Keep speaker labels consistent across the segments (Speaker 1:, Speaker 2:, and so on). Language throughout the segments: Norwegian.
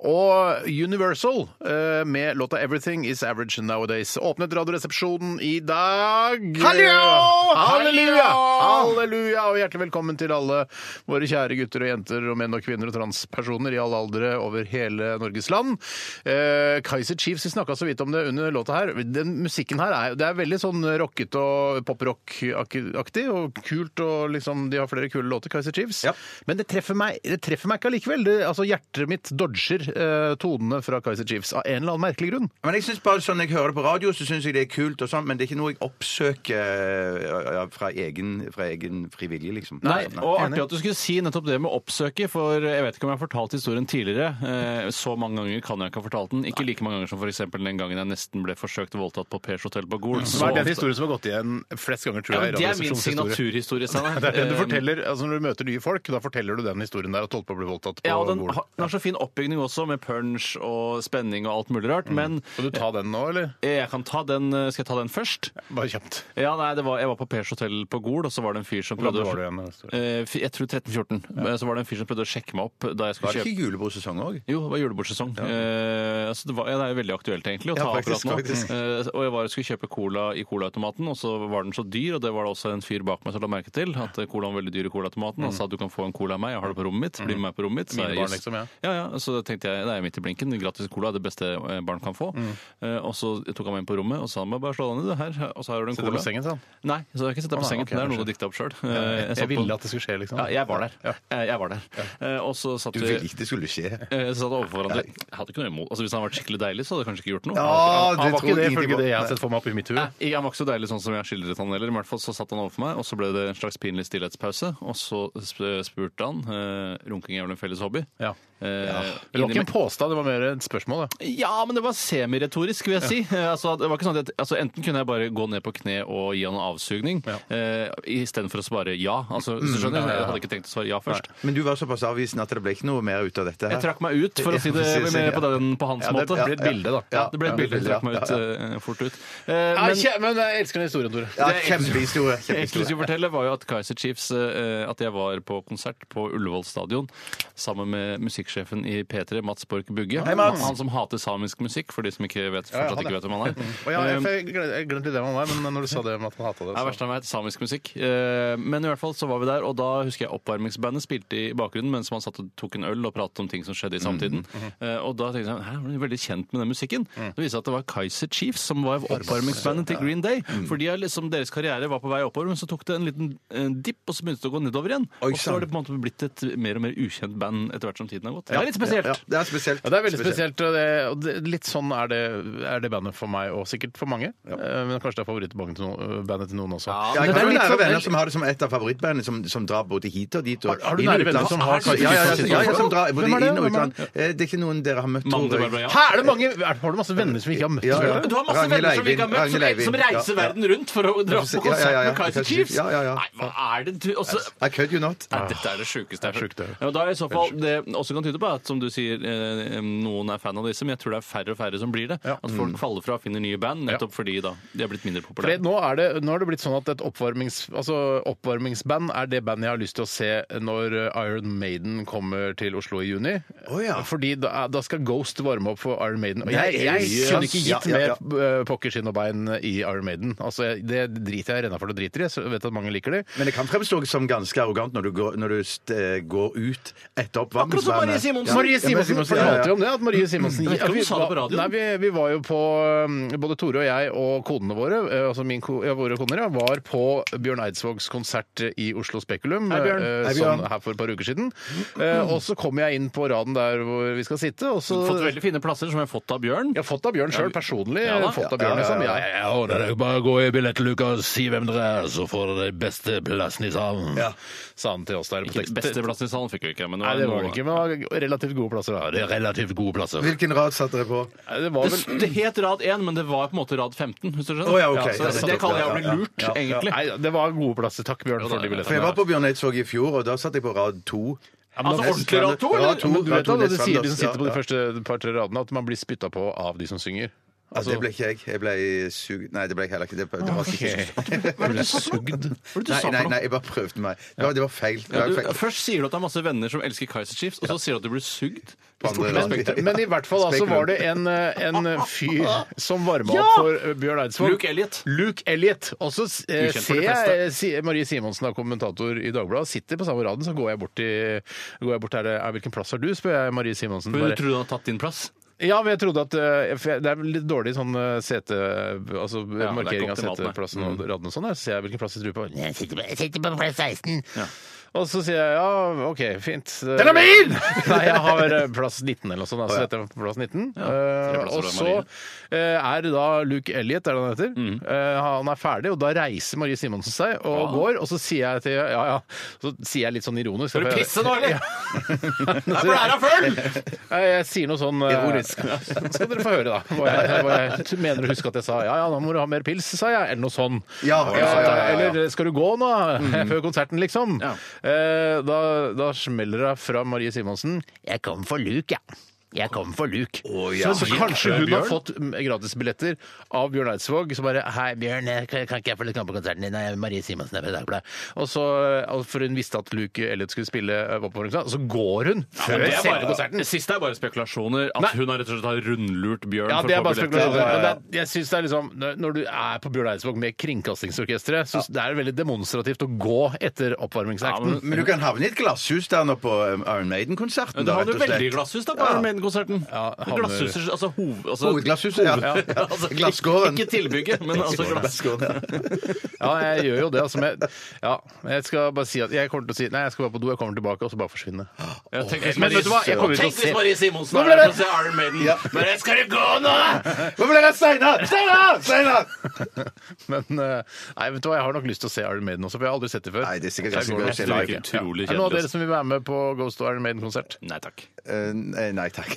Speaker 1: og Universal eh, med låta 'Everything Is Average Nowadays'. Åpnet Radioresepsjonen i dag.
Speaker 2: Hallo!
Speaker 1: Halleluja!
Speaker 2: Hallo!
Speaker 1: Halleluja! Og hjertelig velkommen til alle våre kjære gutter og jenter og menn og kvinner og transpersoner i alle aldre over hele Norges land. Eh, Kaiser Chiefs, vi snakka så vidt om det under låta her. Den musikken her er, det er veldig sånn rockete og poprock-aktig og kult, og liksom de har flere kule låter, Kaiser Chiefs.
Speaker 2: Ja.
Speaker 1: Men det treffer meg, det treffer meg ikke allikevel. Det, altså, hjertet mitt dodger eh, tonene fra Kaiser Chiefs av en eller annen merkelig grunn.
Speaker 2: Men jeg synes bare sånn, når jeg hører det på radio, så syns jeg det er kult, og sånn, men det er ikke noe jeg oppsøker eh, ja, fra egen, fra egen frivillig, liksom.
Speaker 1: Nei,
Speaker 3: Og artig at du skulle si nettopp det med oppsøke, for jeg vet ikke om jeg har fortalt historien tidligere. Eh, Så mange ganger kan jeg ikke ha fortalt den. Ikke like mange ganger som f.eks. den gangen jeg nesten ble forsøkt voldtatt på Pers hotell på Gol.
Speaker 1: Mm. Hva er den historien som har gått igjen flest ganger, tror
Speaker 3: Ja,
Speaker 1: jeg? i
Speaker 3: men det er min
Speaker 1: Radioresepsjonens historie?
Speaker 3: signaturhistorie, Steinar.
Speaker 1: Det er den du
Speaker 3: Eh,
Speaker 1: forteller, altså Når du møter nye folk, da forteller du den historien der at du holdt på å bli voldtatt. på
Speaker 3: Ja, og den
Speaker 1: bordet.
Speaker 3: har, den har så fin oppbygning også, med punch og spenning og alt mulig
Speaker 1: Mm.
Speaker 3: rart. Men
Speaker 1: Skal du ta den nå, eller?
Speaker 3: jeg kan ta den, eh, skal jeg ta den først?
Speaker 1: Bare kjapt.
Speaker 3: Ja, nei, det var, Jeg var på Pers hotell på Gol, og så var det en fyr som
Speaker 1: Hvor gammel
Speaker 3: prøvde å-
Speaker 1: var du igjen? da, Støre?
Speaker 3: Eh, fi- Jeg tror 13-14. Eh, Så var det en fyr som prøvde å sjekke meg opp da jeg skulle
Speaker 2: Var
Speaker 3: kjøpe
Speaker 2: det ikke julebordsesong òg?
Speaker 3: Jo, det var julebordsesong. Eh, altså det, var, ja, det er jo veldig aktuelt egentlig å ta
Speaker 1: Ja, faktisk,
Speaker 3: akkurat nå.
Speaker 1: faktisk.
Speaker 3: Eh, og jeg var og skulle kjøpe cola i colaautomaten, og så var den så dyr, og det var det også en fyr bak meg som la merke til, at eh, colaen var veldig dyr i colaautomaten. Han sa at du kan få en cola av meg, jeg har det på rommet mitt, bli med meg på rommet mitt. Så
Speaker 1: Mm. Mine
Speaker 3: jeg-
Speaker 1: barn, liksom, ja.
Speaker 3: Ja, ja, så da tenkte jeg, det er midt i blinken, gratis cola er det beste eh, barn kan få.
Speaker 1: Mm.
Speaker 3: Eh, og så tok han meg inn på rommet og sa, «Må jeg bare slå deg ned, her, og så har du en
Speaker 1: Sitter du
Speaker 3: cola.
Speaker 1: på sengen, sa han.
Speaker 3: Nei, så jeg har ikke sett deg
Speaker 1: Å,
Speaker 3: på
Speaker 1: nei,
Speaker 3: sengen,
Speaker 1: ok,
Speaker 3: det er noe
Speaker 1: unnskyld.
Speaker 3: du diktet opp selv. Eh,
Speaker 1: Jeg,
Speaker 3: satt på-
Speaker 1: ville at det skulle skje, liksom.
Speaker 3: Ja, jeg var der.
Speaker 1: Ja.
Speaker 3: Eh, Jeg var der. Eh, Og så satt
Speaker 2: Du
Speaker 3: vi-
Speaker 2: ville ikke det skulle skje.
Speaker 3: Eh, Så satt overfor hverandre. Jeg hadde ikke noe imot. Altså, hvis han hadde vært skikkelig deilig, så hadde jeg kanskje ikke gjort noe.
Speaker 2: Ja,
Speaker 1: Han var
Speaker 2: tror
Speaker 1: ikke det,
Speaker 2: jeg
Speaker 1: ifølge
Speaker 2: ikke var-
Speaker 1: det jeg har sett for meg oppi mitt hue.
Speaker 3: Nei, han var ikke så deilig sånn som jeg skildret han heller. I hvert fall så satt han overfor meg, og så ble det en slags pinlig stillhetspause. Og så sp- spurte han eh, runking er vel en felles hobby.
Speaker 1: Ja.
Speaker 3: Eh,
Speaker 1: Det var ikke
Speaker 3: inni-
Speaker 1: en påstand, det var mer et spørsmål. Da.
Speaker 3: ja, men det var semiretorisk, vil jeg si. Eh, Altså, det var ikke sånn at jeg, altså, enten kunne jeg bare gå ned på kne og gi han en avsugning,
Speaker 1: Ja.
Speaker 3: eh, istedenfor å svare ja. Altså, hvis du skjønner, Jeg hadde ikke tenkt å svare ja først.
Speaker 2: Men du var såpass avvisende at det ble ikke noe mer ut av dette? her.
Speaker 3: Jeg trakk meg ut, for å si det
Speaker 2: Precis,
Speaker 3: mer på,
Speaker 2: ja.
Speaker 3: den, på hans
Speaker 1: Ja, det
Speaker 3: måte.
Speaker 1: ble et bilde, da.
Speaker 3: Ja, det ble
Speaker 2: Ja,
Speaker 3: et bilde. Jeg
Speaker 2: ja,
Speaker 3: trakk meg ut
Speaker 2: ja,
Speaker 3: eh, fort ut. Eh,
Speaker 1: Men, men jeg elsker den historien, Tore.
Speaker 2: Ja,
Speaker 3: Det er-
Speaker 2: kjempehistorie.
Speaker 3: Det jeg
Speaker 2: kjempehistorie.
Speaker 3: skulle skulle fortelle var jo at Kaiser Chiefs eh, At jeg var på konsert på Ullevål stadion sammen med musikksjefen i P3, Mats Borch Bugge.
Speaker 2: Hei, Mats!
Speaker 3: Han som hater samisk musikk, for de som ikke vet,
Speaker 1: ja,
Speaker 3: fortsatt
Speaker 1: han er-
Speaker 3: ikke vet hvem han er.
Speaker 1: Å, ja, jeg
Speaker 3: Eh,
Speaker 1: jeg gled- jeg glemte det med meg, men når du sa det om at man hata Um, det
Speaker 3: det er
Speaker 1: så-
Speaker 3: verst av meg, samisk musikk. Eh, Men i hvert fall så var vi der, og da husker jeg oppvarmingsbandet spilte i bakgrunnen mens man satt og tok en øl og pratet om ting som skjedde i samtiden.
Speaker 2: Mhm,
Speaker 3: Eh, Og da tenkte jeg hæ, jeg ble veldig kjent med den musikken.
Speaker 2: Mm.
Speaker 3: Det viste seg at det var Kaiser Chiefs som var oppvarmingsbandet til Green Day.
Speaker 2: Mm.
Speaker 3: For de er liksom, deres karriere var på vei oppover, men så tok det en liten eh, dipp, og så begynte det å gå nedover igjen.
Speaker 2: Oi,
Speaker 3: Og så har det på en måte blitt et mer og mer ukjent band etter hvert som tiden har gått. Det er litt spesielt.
Speaker 2: Ja, det er spesielt.
Speaker 1: Ja, det er veldig spesielt. og det- og det, litt sånn er det, er det bandet for meg, og sikkert for mange. Eh, Men kanskje det er favorittbandet til, no, bandet til noen også.
Speaker 2: Ja, jeg
Speaker 1: Men det er
Speaker 2: har jo
Speaker 1: litt
Speaker 2: nære
Speaker 1: sånn-
Speaker 2: venner som har det som et av favorittbandene, som, som drar både hit og dit. Og
Speaker 1: Har- har du
Speaker 2: inn og
Speaker 1: nære venner
Speaker 2: utenlands.
Speaker 1: som
Speaker 2: Ja,
Speaker 1: har
Speaker 2: ja, ja, ja, ja, ja, som drar både
Speaker 1: Hvem er det?
Speaker 2: inn og
Speaker 1: Hvem er
Speaker 2: utland. Eh, Det er ikke noen dere har møtt,
Speaker 3: Mann,
Speaker 2: tror
Speaker 3: det bare ble
Speaker 2: jeg.
Speaker 3: ja.
Speaker 1: Hæ, er det mange, er, har du masse venner som vi ikke har møtt?
Speaker 2: Ja,
Speaker 1: tror
Speaker 2: ja.
Speaker 1: jeg?
Speaker 3: Du har masse
Speaker 2: Ragnhild
Speaker 3: venner som vi ikke har møtt,
Speaker 2: Eivind,
Speaker 3: som, som
Speaker 2: Ragnhild Eivind.
Speaker 3: reiser
Speaker 2: Ja, ja.
Speaker 3: verden rundt for å dra på
Speaker 2: Ja, ja, ja,
Speaker 3: konsert
Speaker 2: ja,
Speaker 3: med Kaiser
Speaker 2: Kaiser
Speaker 3: Chiefs.
Speaker 2: Chiefs. Ja, ja, ja.
Speaker 3: Nei, hva er det du også,
Speaker 2: I could you not.
Speaker 3: Nei, dette er det sjukeste jeg har
Speaker 1: Det er sjukt,
Speaker 3: hørt.
Speaker 1: det.
Speaker 3: Ja, da i så fall, det også kan tyde på at som du sier, eh, noen er fan av disse, men jeg tror det er færre og færre som blir det. At folk faller fra og finner nye band, nettopp fordi da de er blitt mindre
Speaker 1: Fordi
Speaker 3: populære.
Speaker 1: nå er det, nå har det blitt sånn at et oppvarmings, altså oppvarmingsband er det bandet jeg har lyst til å se når eh, Iron Maiden kommer til Oslo i juni.
Speaker 2: Å, ja.
Speaker 1: Fordi da, eh, da skal Ghost varme opp for Iron Maiden. Og jeg,
Speaker 2: Nei,
Speaker 1: jeg
Speaker 2: jøss.
Speaker 1: kunne ikke gitt
Speaker 2: Ja, ja, ja.
Speaker 1: mer eh, pokker, skinn og bein i Iron Maiden. Altså, jeg, det driter jeg renna for, det driter jeg. Så jeg vet at mange liker det.
Speaker 2: Men det kan fremstå som ganske arrogant når du går, når du st- eh, går ut etter
Speaker 3: Akkurat som Marie
Speaker 2: oppvarmingsbandet.
Speaker 3: Simonsen.
Speaker 1: Marie Simonsen
Speaker 2: Simonsen,
Speaker 1: fortalte
Speaker 2: ja, ja.
Speaker 1: jo om det. At Marie Simonsen
Speaker 3: Jeg vet ikke om du sa det på radioen.
Speaker 1: Nei, vi, vi var jo på um, Både Tore og jeg og konene våre, eh, altså min ko, ja, våre koner, ja, var på Bjørn Eidsvågs konsert i Oslo Spekulum
Speaker 3: Hei, Bjørn.
Speaker 1: eh,
Speaker 2: Hei, Bjørn.
Speaker 1: Sånn, her for et par uker siden. Eh, og så kom jeg inn på raden der hvor vi skal sitte, og så
Speaker 3: Fått veldig fine plasser som jeg har fått av Bjørn.
Speaker 1: jeg har fått av Bjørn sjøl, personlig.
Speaker 3: Ja da.
Speaker 1: fått av Bjørn, liksom. Ja, ja, ja.
Speaker 4: Ja, det er jo bare å gå i billettluka og si hvem dere er, så får dere de beste plassene i salen.
Speaker 1: Sa han til oss der på
Speaker 3: Ikke
Speaker 1: tekst.
Speaker 3: beste plassen i salen fikk vi ikke, men det
Speaker 1: Nei,
Speaker 3: var
Speaker 1: det var det
Speaker 3: noe-
Speaker 1: ikke, men det var relativt gode plasser. da.
Speaker 4: Det er relativt gode plasser.
Speaker 5: Hvilken rad satte dere på?
Speaker 1: Det var
Speaker 3: Det,
Speaker 1: vel
Speaker 3: s- det het rad 1, men det var på en måte rad 15. hvis du skjønner.
Speaker 5: Å, ja, ok.
Speaker 3: så
Speaker 5: Ja,
Speaker 3: det,
Speaker 5: nettopp,
Speaker 3: det kaller jeg å
Speaker 5: ja, ja,
Speaker 3: bli
Speaker 5: ja.
Speaker 3: lurt, egentlig.
Speaker 1: Nei, det var gode plasser. Takk, Bjørn, for de
Speaker 2: For jeg
Speaker 1: billettene.
Speaker 2: var på Bjørn Eidsvåg i fjor, og da satt jeg på rad to.
Speaker 3: Altså ordentlig rad 2,
Speaker 1: Ja,
Speaker 3: eller?
Speaker 2: to,
Speaker 1: men du
Speaker 2: ja,
Speaker 1: vet
Speaker 2: to
Speaker 1: da, det sier de
Speaker 2: Nils
Speaker 1: som sitter på de
Speaker 2: Sanders,
Speaker 1: første par-tre radene, at man blir spytta på av de som synger.
Speaker 2: Ja,
Speaker 3: altså.
Speaker 2: det ble ikke jeg. Jeg ble sugd Nei, det ble jeg heller ikke. Det, det var ikke
Speaker 1: Ble sugd.
Speaker 2: nei, nei, nei, jeg bare prøvde meg. Det var, det var feil. Det
Speaker 3: Ja,
Speaker 2: var
Speaker 3: du,
Speaker 2: feil.
Speaker 3: først sier du at det er masse venner som elsker Kaiser Chiefs, og så sier du at du blir sugd.
Speaker 2: På andre rad.
Speaker 1: Men i hvert fall altså,
Speaker 2: Spekulum.
Speaker 1: var det en, eh, en fyr som varma
Speaker 3: Ja!
Speaker 1: opp for eh, Bjørn Eidsvåg.
Speaker 3: Luke Elliot.
Speaker 1: Luke Elliot. Og så eh,
Speaker 3: Ukjent for
Speaker 1: ser
Speaker 3: de
Speaker 1: jeg
Speaker 3: fleste.
Speaker 1: eh, si, Marie Simonsen, da, kommentator i Dagbladet, sitter på samme raden. Så går jeg bort til går jeg bort der, eh, Hvilken plass har du? spør jeg Marie Simonsen.
Speaker 3: Men
Speaker 1: Bare,
Speaker 3: du trodde han hadde tatt din plass?
Speaker 1: Ja, men jeg trodde at eh, for jeg- Det er vel litt dårlig sånn eh, sete... Altså
Speaker 3: det Mm. er
Speaker 1: markering
Speaker 3: ikke
Speaker 1: av
Speaker 3: optimalt, nei.
Speaker 1: seteplassen og radene og sånn. der, Så ser jeg hvilken plass jeg tror på. Jeg sitter på, jeg sitter på plass 16. Og så sier jeg ja, OK, fint. Den er min! Nei, jeg har eh, plass 19 eller noe sånt. da, Så setter jeg meg på plass 19. Eh,
Speaker 3: plasser
Speaker 1: og
Speaker 3: av
Speaker 1: så
Speaker 3: Marie.
Speaker 1: eh, er det da Luke Elliot, er det han heter.
Speaker 3: Mm.
Speaker 1: Eh, Han er ferdig, og da reiser Marie Simonsen seg og går. Og så sier jeg til Ja, ja. Så sier jeg litt sånn ironisk.
Speaker 3: Skal du
Speaker 1: for jeg-
Speaker 3: pisse nå, eller?
Speaker 1: Nei,
Speaker 3: for er han full!
Speaker 1: Nei, Jeg sier noe sånn eh,
Speaker 2: Ironisk.
Speaker 1: ja, Så skal dere få høre, da. Hva jeg, hva jeg mener å huske at jeg sa ja, ja, nå må du ha mer pils, sa jeg, eller noe sånn.
Speaker 2: Ja, ja, ja, ja, ja.
Speaker 1: Eller eh, skal du gå nå? Før konserten, liksom.
Speaker 3: Ja.
Speaker 1: Eh, Da, da smeller det fra Marie Simonsen. Jeg kom for Luke, jeg. Jeg kom for Luke. Så kanskje hun har fått gratisbilletter av Bjørn Eidsvåg, som bare 'Hei, Bjørn, jeg kan kan ikke jeg få litt komme på konserten din?' Nei, Marie Simonsen er fra Dagbladet. Og så, eh, og for hun visste at Luke Elliot skulle spille eh, Våpenvåpenkonserten, så går hun
Speaker 3: Ja,
Speaker 1: før
Speaker 3: men det, er
Speaker 1: selve
Speaker 3: bare,
Speaker 1: konserten.
Speaker 3: det siste er bare spekulasjoner. At
Speaker 1: Nei.
Speaker 3: hun har rett og slett har rundlurt Bjørn.
Speaker 1: Ja,
Speaker 3: for
Speaker 1: det
Speaker 3: å
Speaker 1: er
Speaker 3: få
Speaker 1: bare
Speaker 3: billetter.
Speaker 1: spekulasjoner. Men
Speaker 3: Ja, ja,
Speaker 1: det
Speaker 3: ja.
Speaker 1: er, jeg synes det er liksom, når- Når du er på Bjørn Eidsvåg med Kringkastingsorkesteret, så det er veldig demonstrativt å gå etter
Speaker 3: Ja, men-
Speaker 1: oppvarmingsakten.
Speaker 2: Mm, Men du kan havne i et glasshus der nå på um, Iron Maiden-konserten.
Speaker 3: Men Du
Speaker 2: da, rett
Speaker 3: hadde
Speaker 2: og slett.
Speaker 3: veldig glasshus da på Iron Maiden-konserten.
Speaker 1: Ja, eh,
Speaker 3: Men
Speaker 1: havner-
Speaker 3: Glasshuset, altså, hov, altså
Speaker 2: Hovedglasshuset, ja.
Speaker 3: altså, ikke-
Speaker 2: Glasskåren.
Speaker 3: Ikke tilbygget, men altså glass.
Speaker 2: Glasskåren, ja.
Speaker 1: Ja, jeg gjør jo det. Altså, men, ja, men jeg skal bare si at jeg kommer til å si Nei, jeg skal bare på do, jeg kommer tilbake, og så bare forsvinne.
Speaker 3: Ja, tenk hvis
Speaker 1: Men
Speaker 3: Marie-
Speaker 1: vet du hva, jeg kommer til å
Speaker 3: Tenk
Speaker 1: se-
Speaker 3: hvis Marie Simonsen
Speaker 1: Nå
Speaker 3: er
Speaker 1: ble
Speaker 3: der
Speaker 1: det-
Speaker 3: og ser Iron Maiden. Bare, skal du gå nå?!
Speaker 2: Hvorfor er det Steinar? Steinar! Steinar!
Speaker 1: Men eh, nei, vet du hva, jeg har nok lyst til å se Iron Maiden også, for jeg har aldri sett det før.
Speaker 2: Nei, det er sikkert
Speaker 1: Jeg
Speaker 2: ganske
Speaker 1: går
Speaker 2: gøy å
Speaker 1: nok
Speaker 2: se
Speaker 1: til å
Speaker 2: live.
Speaker 1: like det.
Speaker 3: Utrolig
Speaker 1: Er det noen av dere
Speaker 3: kjedelig.
Speaker 1: som vil være med på Ghost og Iron Maiden-konsert?
Speaker 3: Nei takk.
Speaker 2: Eh, Nei takk.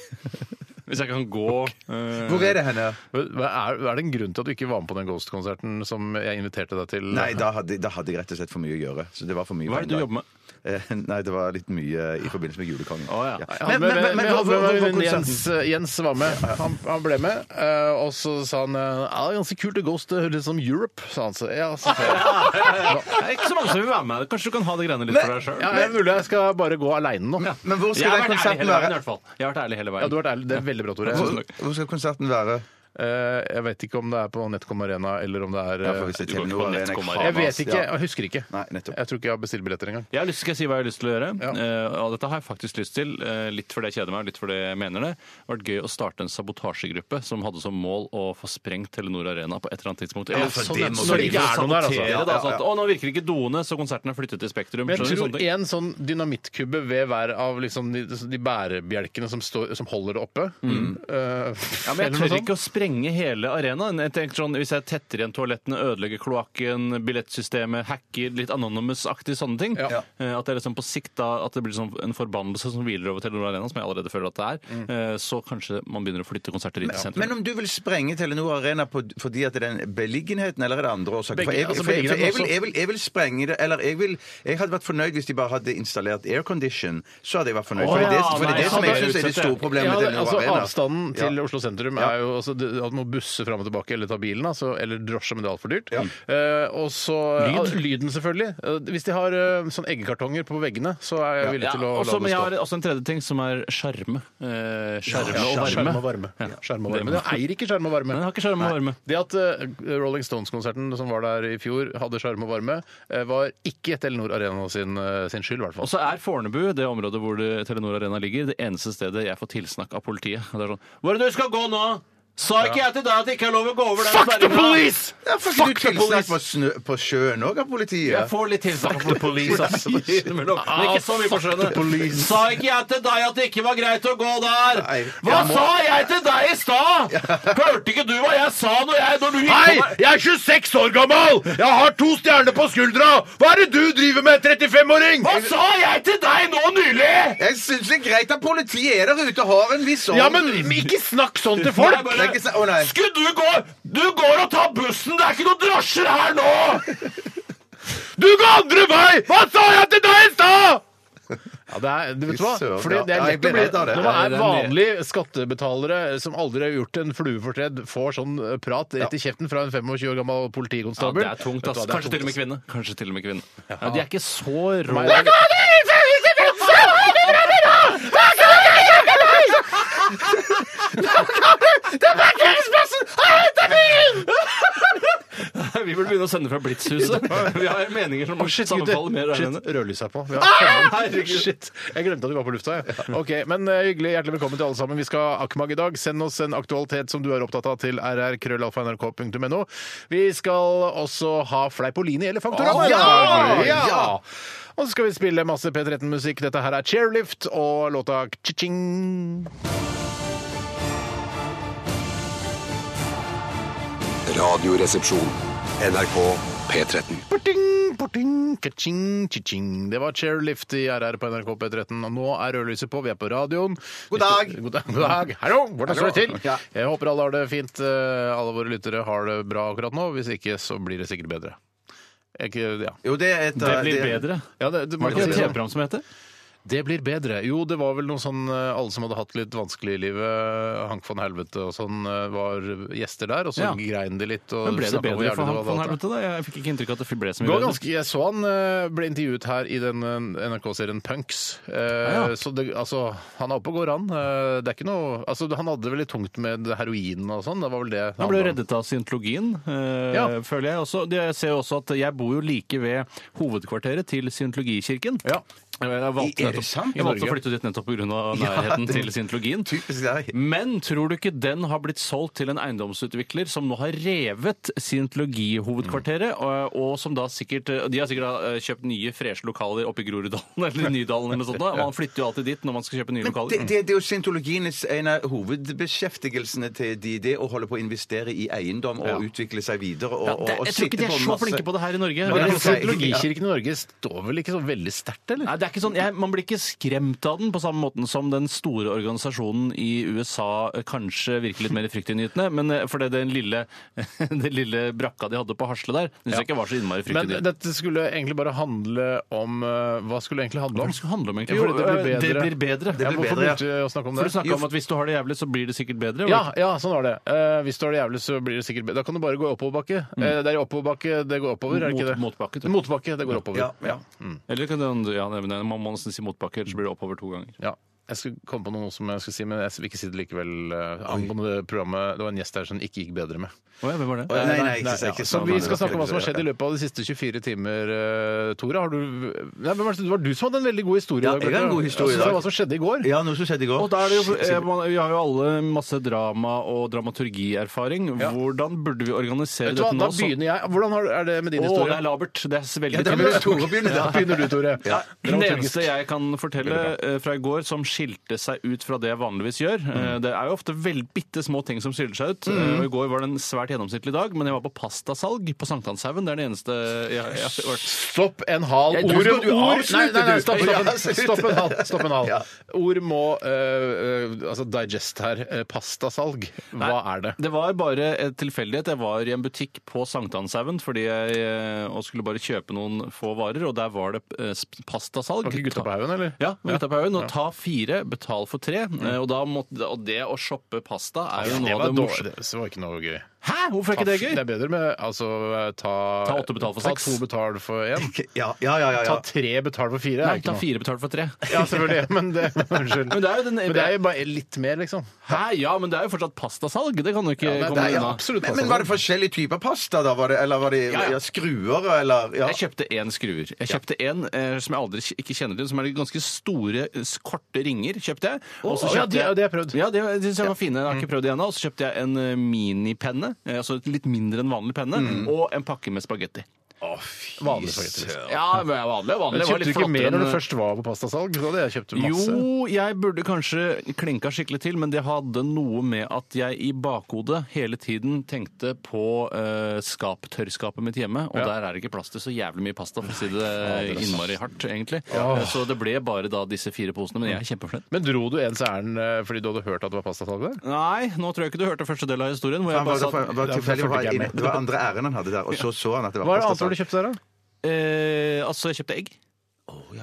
Speaker 3: Hvis jeg kan gå eh,
Speaker 2: Hvor er det henne?
Speaker 1: Hva Er, er det en grunn til at du ikke var med på den Ghost-konserten som jeg inviterte deg til?
Speaker 2: Nei, da hadde, da hadde jeg rett og slett for mye å gjøre. Så det var for mye
Speaker 3: Hva er det du jobber med?
Speaker 2: med? Nei, det var litt mye i forbindelse med Julekongen.
Speaker 3: Å, ja.
Speaker 1: Jeg hadde med- med- med- jeg hadde med min venn Jens, eh, Jens var med. Han, han ble med. eh, og så sa han eh, ja, det er ganske kult, det Ghost det høres ut som Europe, sa han. Så, ja, så, sa jeg,
Speaker 3: Det er ikke så mange som vil være med. Kanskje du kan ha det greiene litt for deg sjøl?
Speaker 1: ja, det er mulig jeg skal bare gå aleine nå. Ja,
Speaker 2: Men hvor
Speaker 3: Jeg
Speaker 2: skal den
Speaker 3: har vært ærlig
Speaker 2: konserten
Speaker 3: hele veien, i
Speaker 2: være?
Speaker 3: hvert fall. Jeg har vært ærlig hele veien.
Speaker 1: du har vært ærlig. Det er veldig bra, Tore.
Speaker 2: Hvor, hvor skal konserten være?
Speaker 1: Eh, jeg vet ikke om det er på NetCom Arena eller om det er
Speaker 2: Ja, for hvis
Speaker 1: eh,
Speaker 2: det er
Speaker 3: du går ikke
Speaker 2: Telenor
Speaker 3: på
Speaker 2: Arena,
Speaker 3: Netcom
Speaker 2: faen,
Speaker 3: Arena.
Speaker 1: Jeg vet
Speaker 2: ass.
Speaker 1: ikke.
Speaker 2: Ja.
Speaker 1: Jeg husker ikke.
Speaker 2: Nei, nettopp.
Speaker 1: Jeg tror ikke jeg har bestilt billetter engang.
Speaker 3: Jeg har lyst, skal jeg si hva jeg har lyst til å gjøre?
Speaker 1: Ja.
Speaker 3: Eh, og dette har jeg faktisk lyst til. eh, litt fordi jeg kjeder meg, og litt fordi jeg mener det. Det har vært gøy å starte en sabotasjegruppe som hadde som mål å få sprengt Telenor Arena på et eller annet tidspunkt. Eller
Speaker 2: for
Speaker 3: sånn,
Speaker 2: det
Speaker 3: at-
Speaker 2: må-
Speaker 3: når
Speaker 1: det
Speaker 3: det ikke
Speaker 1: er
Speaker 3: er
Speaker 1: noen der, altså.
Speaker 3: sabotere, da,
Speaker 2: Ja, ja,
Speaker 3: sånn
Speaker 2: ja.
Speaker 3: at, Å, nå virker ikke doene, så konserten er flyttet til Spektrum.
Speaker 1: Men jeg tror
Speaker 3: Skjønner du sånne ting?
Speaker 1: en sånn dynamittkubbe ved hver av liksom de, de bærebjelkene som, står, som holder det oppe
Speaker 3: Mm.
Speaker 1: eh,
Speaker 3: Ja,
Speaker 1: eller
Speaker 3: men jeg
Speaker 1: noe
Speaker 3: tør
Speaker 1: sånt.
Speaker 3: ikke å sprenge hele arenaen. Jeg tenker sånn, Hvis jeg tetter igjen toalettene, ødelegger kloakken, billettsystemet, hacker litt anonymous-aktig sånne ting
Speaker 1: Ja.
Speaker 3: eh, At det er liksom på sikt da, at det blir sånn en forbannelse som hviler over Telenor Arena, som jeg allerede føler at det er, eh, så kanskje man begynner å flytte konserter inn til sentrum.
Speaker 2: Men om du vil sprenge Telenor Arena på, fordi at det er den beliggenheten, eller er det andre årsaker? For
Speaker 1: Begge-
Speaker 2: jeg,
Speaker 1: altså
Speaker 2: for jeg, for jeg,
Speaker 1: beliggenheten
Speaker 2: vil, jeg, vil, jeg vil sprenge det, eller jeg vil Jeg hadde vært fornøyd hvis de bare hadde installert aircondition. Så hadde jeg vært fornøyd.
Speaker 3: Å,
Speaker 2: For det er det,
Speaker 3: ja,
Speaker 2: for det, er
Speaker 3: nei,
Speaker 2: det som jeg
Speaker 3: ja, det er
Speaker 2: syns er det
Speaker 3: utsatt,
Speaker 2: store
Speaker 3: ja.
Speaker 2: problemet med
Speaker 1: Ja,
Speaker 2: Telenor
Speaker 1: altså
Speaker 2: Arena.
Speaker 1: Avstanden
Speaker 2: Ja.
Speaker 1: til Oslo sentrum er jo altså, det- at man må busse fram og tilbake eller ta bilen, altså, eller drosje, men det er altfor dyrt. Eh, og så
Speaker 3: Lyd?
Speaker 1: ja, Lyden, selvfølgelig. Eh, hvis de har eh, sånn eggekartonger på veggene, så er jeg villig
Speaker 3: Ja,
Speaker 1: til å
Speaker 3: også, men jeg
Speaker 1: la
Speaker 3: har
Speaker 1: det stå.
Speaker 3: også en tredje ting, som er skjerme. Eh, skjerme og varme.
Speaker 1: Skjerm og varme.
Speaker 3: Ja.
Speaker 1: Ja. Skjerm og varme. Men jeg eier ikke skjerm og varme.
Speaker 3: Men jeg har ikke skjerme og varme.
Speaker 1: Det at eh, Rolling Stones-konserten som var der i fjor, hadde sjarm og varme, eh, var ikke Telenor Arena sin, eh, sin skyld, i hvert
Speaker 3: Og
Speaker 1: fall.
Speaker 3: så er Fornebu, det området hvor det, Telenor Arena ligger, det eneste stedet jeg får tilsnakk av politiet. Og Det er sånn 'Hvor er det du skal gå nå?' Sa ikke jeg til deg at det ikke er lov å gå over den
Speaker 1: Fuck the
Speaker 3: sperringen?
Speaker 1: police!
Speaker 2: Ja, får ikke du tilsnakk på, snø, på sjøen òg av politiet?
Speaker 3: Jeg får litt tilsnakk på police, ass. Innimellom. Men ikke så mye på
Speaker 1: Ah,
Speaker 3: skjønnet.
Speaker 2: police.
Speaker 3: Sa ikke jeg til deg at det ikke var greit å gå der?
Speaker 2: Nei,
Speaker 3: Hva
Speaker 2: jeg må-
Speaker 3: sa jeg til deg i stad? Hørte ikke du hva jeg sa når jeg når du gikk
Speaker 1: Hei,
Speaker 3: på meg?
Speaker 1: jeg er 26 år gammel! Jeg har to stjerner på skuldra! Hva er det du driver med, 35-åring?
Speaker 3: Hva sa jeg til deg nå nylig?
Speaker 2: Jeg syns det er greit at politiet er der ute og har en viss orden.
Speaker 1: Ja, men ikke snakk sånn til
Speaker 2: Nei,
Speaker 1: folk!
Speaker 2: bare- Det er ikke så- Å, nei.
Speaker 3: Skulle du gå Du går og tar bussen! Det er ikke noen drosjer her nå!
Speaker 1: Du går andre vei! Hva sa jeg til deg i stad?! Ja, det er, du vet hva?
Speaker 2: Fy søren,
Speaker 1: Fordi det
Speaker 2: ja.
Speaker 1: er
Speaker 2: Ja, jeg
Speaker 1: lett å
Speaker 2: ble
Speaker 1: bli
Speaker 2: redd av det.
Speaker 1: Når man
Speaker 3: Ja,
Speaker 1: er
Speaker 3: det er en-
Speaker 1: vanlige skattebetalere som aldri har gjort en flue for tredd, får sånn eh, prat rett i kjeften fra en 25 år gammel politikonstabel Vet du hva, det er tungt, ass.
Speaker 3: kvinne. Kanskje til altså. og med kvinne. Ja, de er ikke så rå. Vi burde begynne å sende fra Blitzhuset. Vi har meninger som
Speaker 1: Shit,
Speaker 3: sammenfaller mer
Speaker 1: gutter.
Speaker 3: her
Speaker 1: Shit,
Speaker 3: enn
Speaker 1: rødlyset er på. Vi har
Speaker 3: Herregud.
Speaker 1: Shit. Jeg glemte at vi var på lufta. Jeg. Ok, men eh, Hyggelig. Hjertelig velkommen til alle sammen. Vi skal ha Akmag i dag. Send oss en aktualitet som du er opptatt av til rrkrøllalfa.nrk.no. Vi skal også ha Fleipolini eller Fantorama.
Speaker 2: Å, ja!
Speaker 1: ja! Og så skal vi spille masse P13-musikk. Dette her er Chairlift og låta Chiching.
Speaker 6: Radioresepsjon. NRK P13.
Speaker 1: Porting, porting, ka-ching, chi-ching. Det var Chairlift i RR på NRK P13. Og nå er rødlyset på, vi er på radioen.
Speaker 2: God dag.
Speaker 1: Vi- God dag. God dag. Hallo, hvordan står det til?
Speaker 2: Ja.
Speaker 1: Jeg håper alle har det fint. eh, Alle våre lyttere har det bra akkurat nå. Hvis ikke, så blir det sikkert bedre. Jeg, ikke- ja.
Speaker 2: Jo, det er et
Speaker 3: Det blir bedre.
Speaker 1: Ja, det, det,
Speaker 3: Var det ikke et
Speaker 1: det-
Speaker 3: TV-program som heter?
Speaker 1: det blir bedre. Jo, det var vel noe sånn eh, alle som hadde hatt litt vanskelig i livet, eh, Hank von Helvete og sånn, eh, var gjester der, og så
Speaker 3: Ja.
Speaker 1: grein de litt. Og
Speaker 3: Men ble det
Speaker 1: snakket om hvor
Speaker 3: bedre
Speaker 1: jævlig
Speaker 3: for
Speaker 1: det
Speaker 3: han
Speaker 1: var,
Speaker 3: von
Speaker 1: alt det.
Speaker 3: Helvete? da? Jeg fikk ikke inntrykk av at det ble så
Speaker 1: Det
Speaker 3: mye
Speaker 1: var
Speaker 3: bedre.
Speaker 1: ganske, jeg så han eh, ble intervjuet her i den eh, NRK-serien Punks. Eh,
Speaker 3: Ja, ja.
Speaker 1: Så det, altså, han er oppe og går, han. Eh, det er ikke noe, altså, han hadde det veldig tungt med heroinen og sånn. Det var vel det.
Speaker 3: Han ble jo reddet av scientologien, eh,
Speaker 1: Ja.
Speaker 3: føler jeg også. Det- Jeg ser jo også at jeg bor jo like ved hovedkvarteret til scientologikirken.
Speaker 1: Ja.
Speaker 3: Jeg valgte,
Speaker 2: Er det
Speaker 3: nettopp,
Speaker 2: sant?
Speaker 3: jeg valgte å
Speaker 1: Norge?
Speaker 3: flytte dit nettopp pga. nærheten til scientologien.
Speaker 2: Typisk deg.
Speaker 3: Men tror du ikke den har blitt solgt til en eiendomsutvikler som nå har revet scientologihovedkvarteret, og, og som da sikkert De har sikkert da, eh, kjøpt nye, freshe lokaler oppe i Groruddalen eller Nydalen eller noe sånt. da. Man flytter jo alltid dit når man skal kjøpe nye
Speaker 2: Men
Speaker 3: lokaler.
Speaker 2: det, det, det er jo scientologienes en av hovedbeskjeftigelsene til de, det å holde på å investere i eiendom og utvikle seg videre. Og,
Speaker 3: Ja, det,
Speaker 2: og
Speaker 3: jeg tror ikke de er så flinke på det her i Norge.
Speaker 1: Men
Speaker 2: det er
Speaker 3: Scientologi-
Speaker 2: ok.
Speaker 1: Scientologikirken i Norge står vel ikke så veldig sterkt, eller?
Speaker 3: Nei, det er ikke sånn, jeg, Man blir ikke skremt av den på samme måten som den store organisasjonen i USA eh, kanskje virker litt mer fryktinngytende. Men eh, for det, den, lille, den lille brakka de hadde på Hasle der, syns jeg ikke var så innmari
Speaker 1: Men
Speaker 3: fryktinngytende.
Speaker 1: dette skulle egentlig bare handle om eh, Hva skulle det egentlig handle
Speaker 3: Hva
Speaker 1: om?
Speaker 3: skal det handle om, egentlig?
Speaker 1: Ja, fordi det blir
Speaker 3: Jo, eh,
Speaker 1: bedre.
Speaker 3: det blir bedre.
Speaker 1: Ja,
Speaker 2: blir
Speaker 1: hvorfor
Speaker 2: bedre, ja.
Speaker 1: begynte vi å snakke om
Speaker 3: For
Speaker 1: det?
Speaker 3: du snakka om at hvis du har det jævlig, så blir det sikkert bedre.
Speaker 1: Ja,
Speaker 3: var det ikke?
Speaker 1: ja, sånn var det. Eh, hvis du har det jævlig, så blir det sikkert bedre. Da kan du bare gå i oppoverbakke. Eh, det er i oppoverbakke det går oppover, er det ikke det?
Speaker 3: Mm. Mot- motbakke, tror jeg.
Speaker 1: Motbakke, det går oppover.
Speaker 2: Ja, ja.
Speaker 3: Eller kan det, ja, nei, men man må nesten si motbakke, ellers blir det oppover to ganger.
Speaker 1: Ja. Jeg skulle komme på noe som jeg skulle si, men jeg vil ikke si det likevel. eh, angående det programmet, Det var en gjest der som det ikke gikk bedre med.
Speaker 3: Å ja, hvem var det?
Speaker 2: Å, ja, nei, nei, ikke,
Speaker 1: Nei,
Speaker 2: ikke
Speaker 1: ja. Så
Speaker 2: sånn.
Speaker 1: Vi skal snakke om hva som har skjedd i løpet av de siste 24 timer. eh, Tore, har du Nei, hvem var det som- det var du som hadde en veldig god historie
Speaker 2: Ja,
Speaker 1: i dag.
Speaker 2: jeg har en
Speaker 1: Bjarte.
Speaker 2: god historie
Speaker 1: Jeg
Speaker 2: i
Speaker 1: synes
Speaker 2: dag.
Speaker 1: det var Hva som skjedde i går?
Speaker 2: Ja, noe som skjedde i går.
Speaker 3: Og da er det jo, eh, man, Vi har jo alle masse drama og dramaturgierfaring. Hvordan burde vi organisere
Speaker 1: Vet du hva,
Speaker 3: dette
Speaker 1: da
Speaker 3: nå? så-
Speaker 1: begynner jeg. Hvordan har, er det med din
Speaker 3: Å, det
Speaker 1: historie?
Speaker 3: er labert. Det er veldig
Speaker 2: Ja, det
Speaker 3: tydelig.
Speaker 2: er Tore begynner
Speaker 1: Da
Speaker 2: da.
Speaker 1: begynner du, Tore.
Speaker 3: Det
Speaker 1: Dramaturgisk.
Speaker 3: eneste jeg kan fortelle eh, fra i går som skilte seg ut fra det jeg vanligvis gjør
Speaker 1: Mm.
Speaker 3: eh, Det er jo ofte vel, bitte små ting som skiller seg ut. Eh, og I går var det en svært gjennomsnittlig dag, men jeg var på pastasalg på Sankthanshaugen. Det er det eneste jeg, jeg, har vært.
Speaker 1: Stopp en hal.
Speaker 2: Jeg-
Speaker 1: Ordet
Speaker 2: Nå skal du
Speaker 1: ord
Speaker 2: avslutte,
Speaker 1: Nei, nei, nei,
Speaker 2: du.
Speaker 1: stopp, stopp,
Speaker 2: Ja,
Speaker 1: stopp,
Speaker 2: slutt.
Speaker 1: stopp en hal. Stopp en hal.
Speaker 2: Ja.
Speaker 1: Ord må eh, eh, altså digest her. Eh, pastasalg. Hva
Speaker 3: Nei,
Speaker 1: er det?
Speaker 3: Det var bare en tilfeldighet. Jeg var i en butikk på Sankthanshaugen fordi jeg eh, og skulle bare kjøpe noen få varer, og der var det eh, sp- pastasalg.
Speaker 1: Var ikke gutta på haugen, eller?
Speaker 3: Ja, med gutta på haugen. Og ta fire, betal for tre. Eh, Og, da måtte, og det å shoppe pasta er jo
Speaker 1: Mm. det
Speaker 3: noe
Speaker 1: var
Speaker 3: av det
Speaker 1: dårlig.
Speaker 3: morsomste.
Speaker 1: Det var ikke noe gøy.
Speaker 3: Hæ? Hvorfor er ikke det
Speaker 1: Det
Speaker 3: gøy?
Speaker 1: er bedre med altså ta
Speaker 3: Ta åtte betal for
Speaker 1: ta
Speaker 3: seks.
Speaker 1: to betal for én.
Speaker 2: Ja, ja, ja. ja, ja.
Speaker 1: Ta tre betal for fire.
Speaker 3: Nei,
Speaker 1: er ikke
Speaker 3: ta
Speaker 1: noe.
Speaker 3: fire betalt for tre.
Speaker 1: Ja, selvfølgelig. Men det, unnskyld.
Speaker 3: Men det er jo den-
Speaker 1: Men det er jo bare litt mer, liksom.
Speaker 3: Hæ? Ja, men det er jo fortsatt pastasalg. Det kan du ikke
Speaker 1: Ja, det er-
Speaker 3: komme
Speaker 1: det er
Speaker 3: unna.
Speaker 1: absolutt
Speaker 2: Men, men var det forskjellige typer pasta, da? Var det, eller var det
Speaker 3: altså. ja.
Speaker 2: ja, skruer, eller ja.
Speaker 3: Jeg kjøpte én skruer. Jeg kjøpte en eh, som jeg aldri kj- ikke kjenner til, som er de ganske store, s- korte ringer. kjøpte jeg. Og så
Speaker 1: Å, ja,
Speaker 3: kjøpte
Speaker 1: de-
Speaker 3: jeg-
Speaker 1: ja, de har jeg prøvd. Mm.
Speaker 3: Ja, de, de synes jeg var fine. Jeg har ikke prøvd de ennå. Og så kjøpte jeg en eh, minipenne, eh, altså et litt mindre enn vanlig penne,
Speaker 1: Mm.
Speaker 3: og en pakke med spagetti.
Speaker 1: Vanlig spagetti. liksom.
Speaker 3: Ja, men jeg var vanlig.
Speaker 1: Men
Speaker 3: vanlig. Jeg var
Speaker 1: kjøpte du
Speaker 3: litt
Speaker 1: ikke mer
Speaker 3: flottere
Speaker 1: når du
Speaker 3: enn-
Speaker 1: først var på pastasalg? Da hadde jeg kjøpt masse.
Speaker 3: Jo, jeg burde kanskje klinka skikkelig til, men det hadde noe med at jeg i bakhodet hele tiden tenkte på eh, skaptørrskapet mitt hjemme, og der er det ikke plass til så jævlig mye pasta, for å si det innmari hardt, egentlig. Eh, Så det ble bare da disse fire posene, men jeg er kjempefornøyd.
Speaker 1: Men dro du ens ærend eh, fordi du hadde hørt at det var pastasalg der?
Speaker 3: Nei, nå tror jeg ikke du hørte første del av historien. Hvor
Speaker 2: Han
Speaker 3: jeg
Speaker 2: var,
Speaker 3: bare
Speaker 2: det var,
Speaker 3: satt,
Speaker 2: var tilfeldig,
Speaker 1: Ja, for-
Speaker 2: var, det var andre æren han hadde der, og så så han at det var
Speaker 1: Hva er det annet
Speaker 2: pasta. sånn.
Speaker 1: du kjøpte der, da?
Speaker 3: eh, altså, jeg kjøpte egg. Så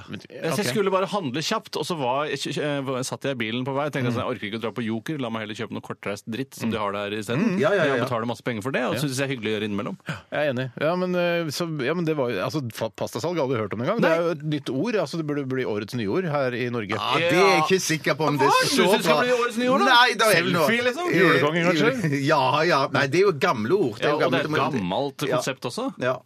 Speaker 3: Jeg skulle bare handle kjapt, og så var, jeg- eh, satt jeg i bilen på vei og tenkte sånn, jeg orker ikke å dra på Joker, la meg heller kjøpe noe kortreist dritt som de har der isteden.
Speaker 2: Ja, ja, ja, ja.
Speaker 3: Jeg betaler masse penger for det, og det syns jeg er hyggelig å gjøre innimellom.
Speaker 1: Jeg er enig. Ja, men, eh, så, ja, men det var jo altså, fa- Pastasalg har jeg aldri hørt om engang. Det er jo et nytt ord. altså Det burde bli årets nye ord her i Norge.
Speaker 2: Ja, det er jeg ikke sikker på om det
Speaker 3: Hva? Du
Speaker 2: så
Speaker 3: synes det skal bli årets nye år, da?
Speaker 2: Nei, da er vel noe.
Speaker 3: Selfie, liksom?
Speaker 2: Eh,
Speaker 1: Julekongen, kanskje?
Speaker 2: Ja, ja. Nei, det er jo gamle ord.
Speaker 3: Ja, og det er
Speaker 2: ord,
Speaker 3: et
Speaker 2: men-
Speaker 3: gammelt
Speaker 2: Ja.
Speaker 3: konsept også.
Speaker 2: Ja.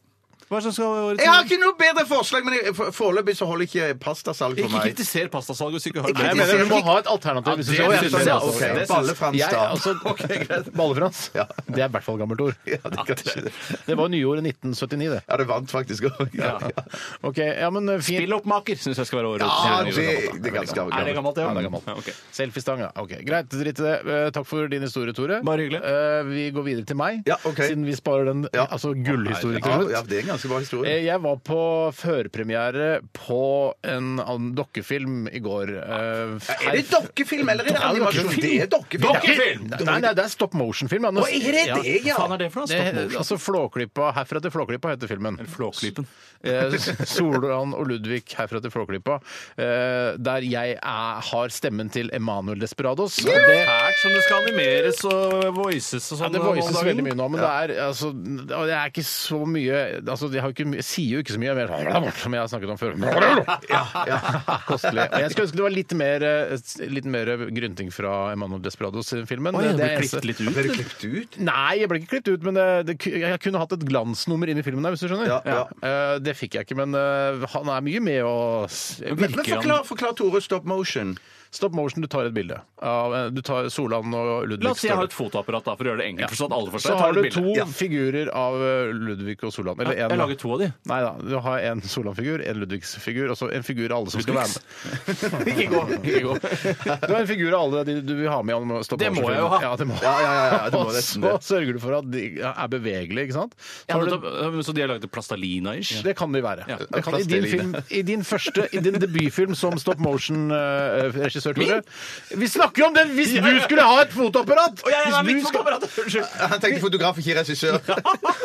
Speaker 3: Hva er det som skal være årets
Speaker 2: Jeg har
Speaker 3: nye?
Speaker 2: ikke noe bedre forslag, men jeg- for- foreløpig så holder ikke pastasalg for
Speaker 3: Ikke
Speaker 2: meg.
Speaker 3: kritiser pastasalget hvis du ikke har
Speaker 1: Nei, jeg mener Du må ha et alternativ. hvis du
Speaker 3: det
Speaker 1: skal
Speaker 3: er
Speaker 1: ha
Speaker 3: det
Speaker 1: pastasalg.
Speaker 3: jeg synes, ja, ok.
Speaker 1: Jeg-
Speaker 2: Ballefrans, da.
Speaker 1: altså, Ballefrans. Det er i hvert fall gammelt ord.
Speaker 2: Ja, det, er kanskje det.
Speaker 1: Det var nyordet 1979, det.
Speaker 2: ja, det vant faktisk òg. Ja. Ja.
Speaker 1: Ok, ja, men eh, fint.
Speaker 3: Spilloppmaker syns jeg skal være årets
Speaker 2: Ja,
Speaker 3: nye
Speaker 2: det,
Speaker 3: ord.
Speaker 2: det er ganske gammelt.
Speaker 3: Er det gammelt,
Speaker 1: Ja,
Speaker 3: ja?
Speaker 1: det er gammelt.
Speaker 3: Ja, ok.
Speaker 1: Selfiestang, ja. Ok, Greit, drit i det. Eh, Takk for din historie, Tore.
Speaker 3: Bare hyggelig.
Speaker 1: Eh, Vi går videre til meg,
Speaker 2: Ja, ok.
Speaker 1: siden vi sparer den
Speaker 2: Ja.
Speaker 1: altså, gullhistorien til
Speaker 2: Ja,
Speaker 1: slutt.
Speaker 2: ja, det er en ganske bra historie.
Speaker 1: Eh, Jeg var på førpremiere på en annen dokkefilm i går. Eh,
Speaker 2: Er det dokkefilm eller er det animasjon?
Speaker 1: Dokkefilm.
Speaker 2: Det er dokkefilm.
Speaker 1: Dokkefilm! Nei, nei, det er stop motion-film. ja. Nå-
Speaker 2: Å, er det
Speaker 1: Ja.
Speaker 2: det, ja?
Speaker 3: Hva faen er det for noe?
Speaker 1: Det,
Speaker 3: Stopp motion.
Speaker 1: altså Flåklypa, Herfra til Flåklypa heter filmen.
Speaker 3: Flåklypen.
Speaker 1: Eh, Solan og Ludvig herfra til Flåklypa. Eh, der jeg er, har stemmen til Emanuel Desperados. Og
Speaker 3: Det
Speaker 1: det,
Speaker 3: er som det skal animeres og voices og
Speaker 1: ja,
Speaker 3: sånn.
Speaker 1: det voices veldig mye nå, men
Speaker 3: Ja.
Speaker 1: det er altså Det er ikke så mye Altså, jeg, har ikke, mye- sier jo ikke så mye mer som jeg har snakket om før. Kostelig. Og jeg skulle ønske det var litt mer, eh, litt mer grynting fra Emanuel Desperados i filmen.
Speaker 3: Oi, det
Speaker 1: er
Speaker 3: blir
Speaker 1: eneste-
Speaker 3: klippet litt ut.
Speaker 2: Ble det klippet ut?
Speaker 1: Nei, jeg ble ikke klippet ut, men det, det, jeg kunne hatt et glansnummer inn i filmen der, hvis du skjønner.
Speaker 2: Ja, ja.
Speaker 1: Eh, det fikk jeg ikke, men eh, han er mye med å s-
Speaker 2: Men forklar, forklar Tore stop motion.
Speaker 1: Stop motion, du tar et bilde. Av, eh, du tar Solan og Ludvig.
Speaker 3: La oss si jeg
Speaker 1: står
Speaker 3: har
Speaker 1: der.
Speaker 3: et fotoapparat da, for å gjøre det enkelt. for sånn at alle
Speaker 1: Så
Speaker 3: forstår. Jeg tar
Speaker 1: har
Speaker 3: et
Speaker 1: du
Speaker 3: bilde.
Speaker 1: to
Speaker 2: Ja.
Speaker 1: figurer av eh, Ludvig og Solan. Eller
Speaker 3: Jeg
Speaker 1: en, da.
Speaker 3: lager to av de.
Speaker 1: Nei da. Du har en Solan-figur, en Ludvigs-figur, og så en figur av alle som skal være
Speaker 3: Ludvigs?
Speaker 1: med. ikke gå! ikke gå. Du har en figur av alle de du vil ha med. i Stop
Speaker 3: Det må
Speaker 1: motion-filmen.
Speaker 3: jeg jo ha.
Speaker 1: Ja, det må.
Speaker 2: Ja, ja, ja, ja, det må
Speaker 1: og
Speaker 2: nesten
Speaker 1: så
Speaker 2: det.
Speaker 1: sørger du for at de er bevegelige, ikke sant? Så
Speaker 3: Ja,
Speaker 1: har
Speaker 3: men
Speaker 1: du-
Speaker 3: da- men Så de har laget plastalina-ish?
Speaker 1: Det kan de være.
Speaker 3: Ja.
Speaker 1: Det kan, i, din film, I din første i din debutfilm som stop motion-regissør, Tore Vi snakker jo om den hvis du skulle ha et fotoapparat! Hvis du skal
Speaker 2: Han tenkte fotograf, ikke regissør.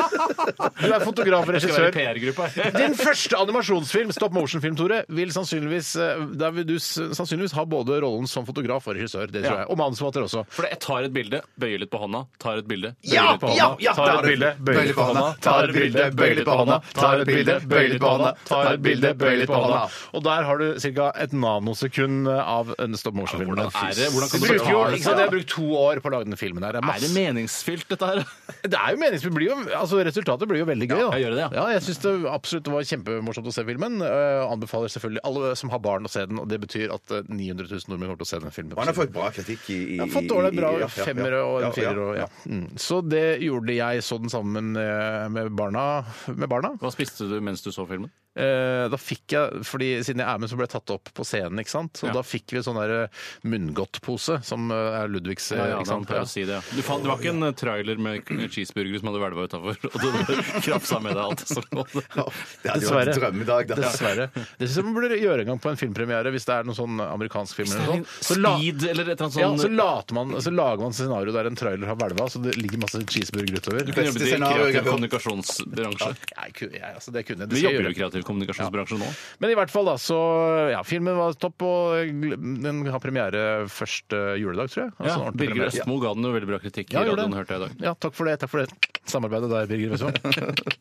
Speaker 1: du er fotograf og
Speaker 3: Skal være
Speaker 1: regissør.
Speaker 3: PR-gruppa.
Speaker 1: Din første animasjonsfilm, stop motion-film, Tore, vil sannsynligvis, eh, der vil du s- sannsynligvis ha både rollen som fotograf og regissør. Det tror
Speaker 3: Ja.
Speaker 1: jeg. Og manusforfatter også.
Speaker 3: For jeg tar et bilde, bøyer litt på hånda, tar et bilde, bøyer
Speaker 2: Ja,
Speaker 3: litt på
Speaker 2: ja,
Speaker 3: hånda.
Speaker 2: ja,
Speaker 3: tar
Speaker 2: der
Speaker 3: et
Speaker 2: er
Speaker 3: bilde,
Speaker 2: det.
Speaker 3: bøyer litt på hånda, tar et bilde, bøyer litt på hånda, tar et bilde, bøyer litt på hånda, tar et bilde, bøyer litt på hånda.
Speaker 1: Og der har du ca. et nanosekund av en stop motion-film.
Speaker 3: Hvordan er det? Hvordan kan
Speaker 1: Du
Speaker 3: du
Speaker 1: bruker jo,
Speaker 3: betale
Speaker 1: ikke
Speaker 3: for
Speaker 1: sant, jeg
Speaker 3: det?
Speaker 1: har brukt to år på å lage den filmen her. Det er,
Speaker 3: Er det
Speaker 1: masse.
Speaker 3: meningsfylt, dette her?
Speaker 1: det er jo meningsfullt. Blir jo, altså, resultatet blir jo veldig gøy. da.
Speaker 3: jeg gjør det,
Speaker 1: ja. jeg syns det absolutt var kjempemorsomt å se filmen. Eh, anbefaler selvfølgelig alle som har barn å se den, og det betyr at eh, 900 000 nordmenn kommer til å se den filmen.
Speaker 2: Han har fått bra kritikk i, i
Speaker 1: Jeg har fått ålreit
Speaker 2: i- i- ja,
Speaker 1: bra
Speaker 2: ja, ja.
Speaker 1: femmere og
Speaker 2: Ja,
Speaker 1: en firer. Og, ja. Mm. Så det gjorde jeg. Så den sammen eh, med barna. Med barna.
Speaker 3: Hva spiste du mens du så filmen?
Speaker 1: Eh, Da fikk jeg, fordi Siden jeg er med, så ble jeg tatt opp på scenen. ikke sant? Og
Speaker 3: Ja.
Speaker 1: da fikk vi sånn der munngodtpose, som eh, er Ludvigs. eh,
Speaker 3: Ja, ja,
Speaker 1: ikke sant?
Speaker 3: pleier å si det, ja. Du fant, det var ikke en eh, trailer med k- cheeseburgere som hadde hvelva utafor, og du bare krafsa med deg alt som lå
Speaker 2: Ja.
Speaker 3: der.
Speaker 2: Det hadde jo vært en drømmedag. da.
Speaker 1: Dessverre. Det syns jeg man burde gjøre en gang på en filmpremiere, hvis det er noen sånn amerikansk film. eller noe sånt. Så la-
Speaker 3: Speed eller et eller annet sånn-
Speaker 1: Ja, så,
Speaker 3: sånt.
Speaker 1: later man, så lager man scenario der en trailer har hvelva, så det ligger masse cheeseburger utover.
Speaker 3: Du kunne
Speaker 2: Beste
Speaker 3: jobbet i
Speaker 2: scenario jeg
Speaker 3: kreativ
Speaker 2: har hørt.
Speaker 3: kommunikasjonsbransje.
Speaker 1: Nei, ku- jeg, altså, det kunne jeg. Det
Speaker 3: Vi
Speaker 1: skal jeg
Speaker 3: jobber
Speaker 1: gjøre.
Speaker 3: jo i kreativ kommunikasjonsbransjen nå.
Speaker 1: Men i hvert fall, da, så Ja, filmen var topp, og den har premiere første juledag, tror jeg. Altså, en
Speaker 3: Ja,
Speaker 1: ordentlig
Speaker 3: Birger
Speaker 1: premiere.
Speaker 3: Østmo ga den jo veldig bra kritikk
Speaker 1: Ja,
Speaker 3: i
Speaker 1: gjorde
Speaker 3: radioen,
Speaker 1: det.
Speaker 3: hørte jeg i dag.
Speaker 1: Ja, takk for det. Takk for det samarbeidet der, Birger Westvold.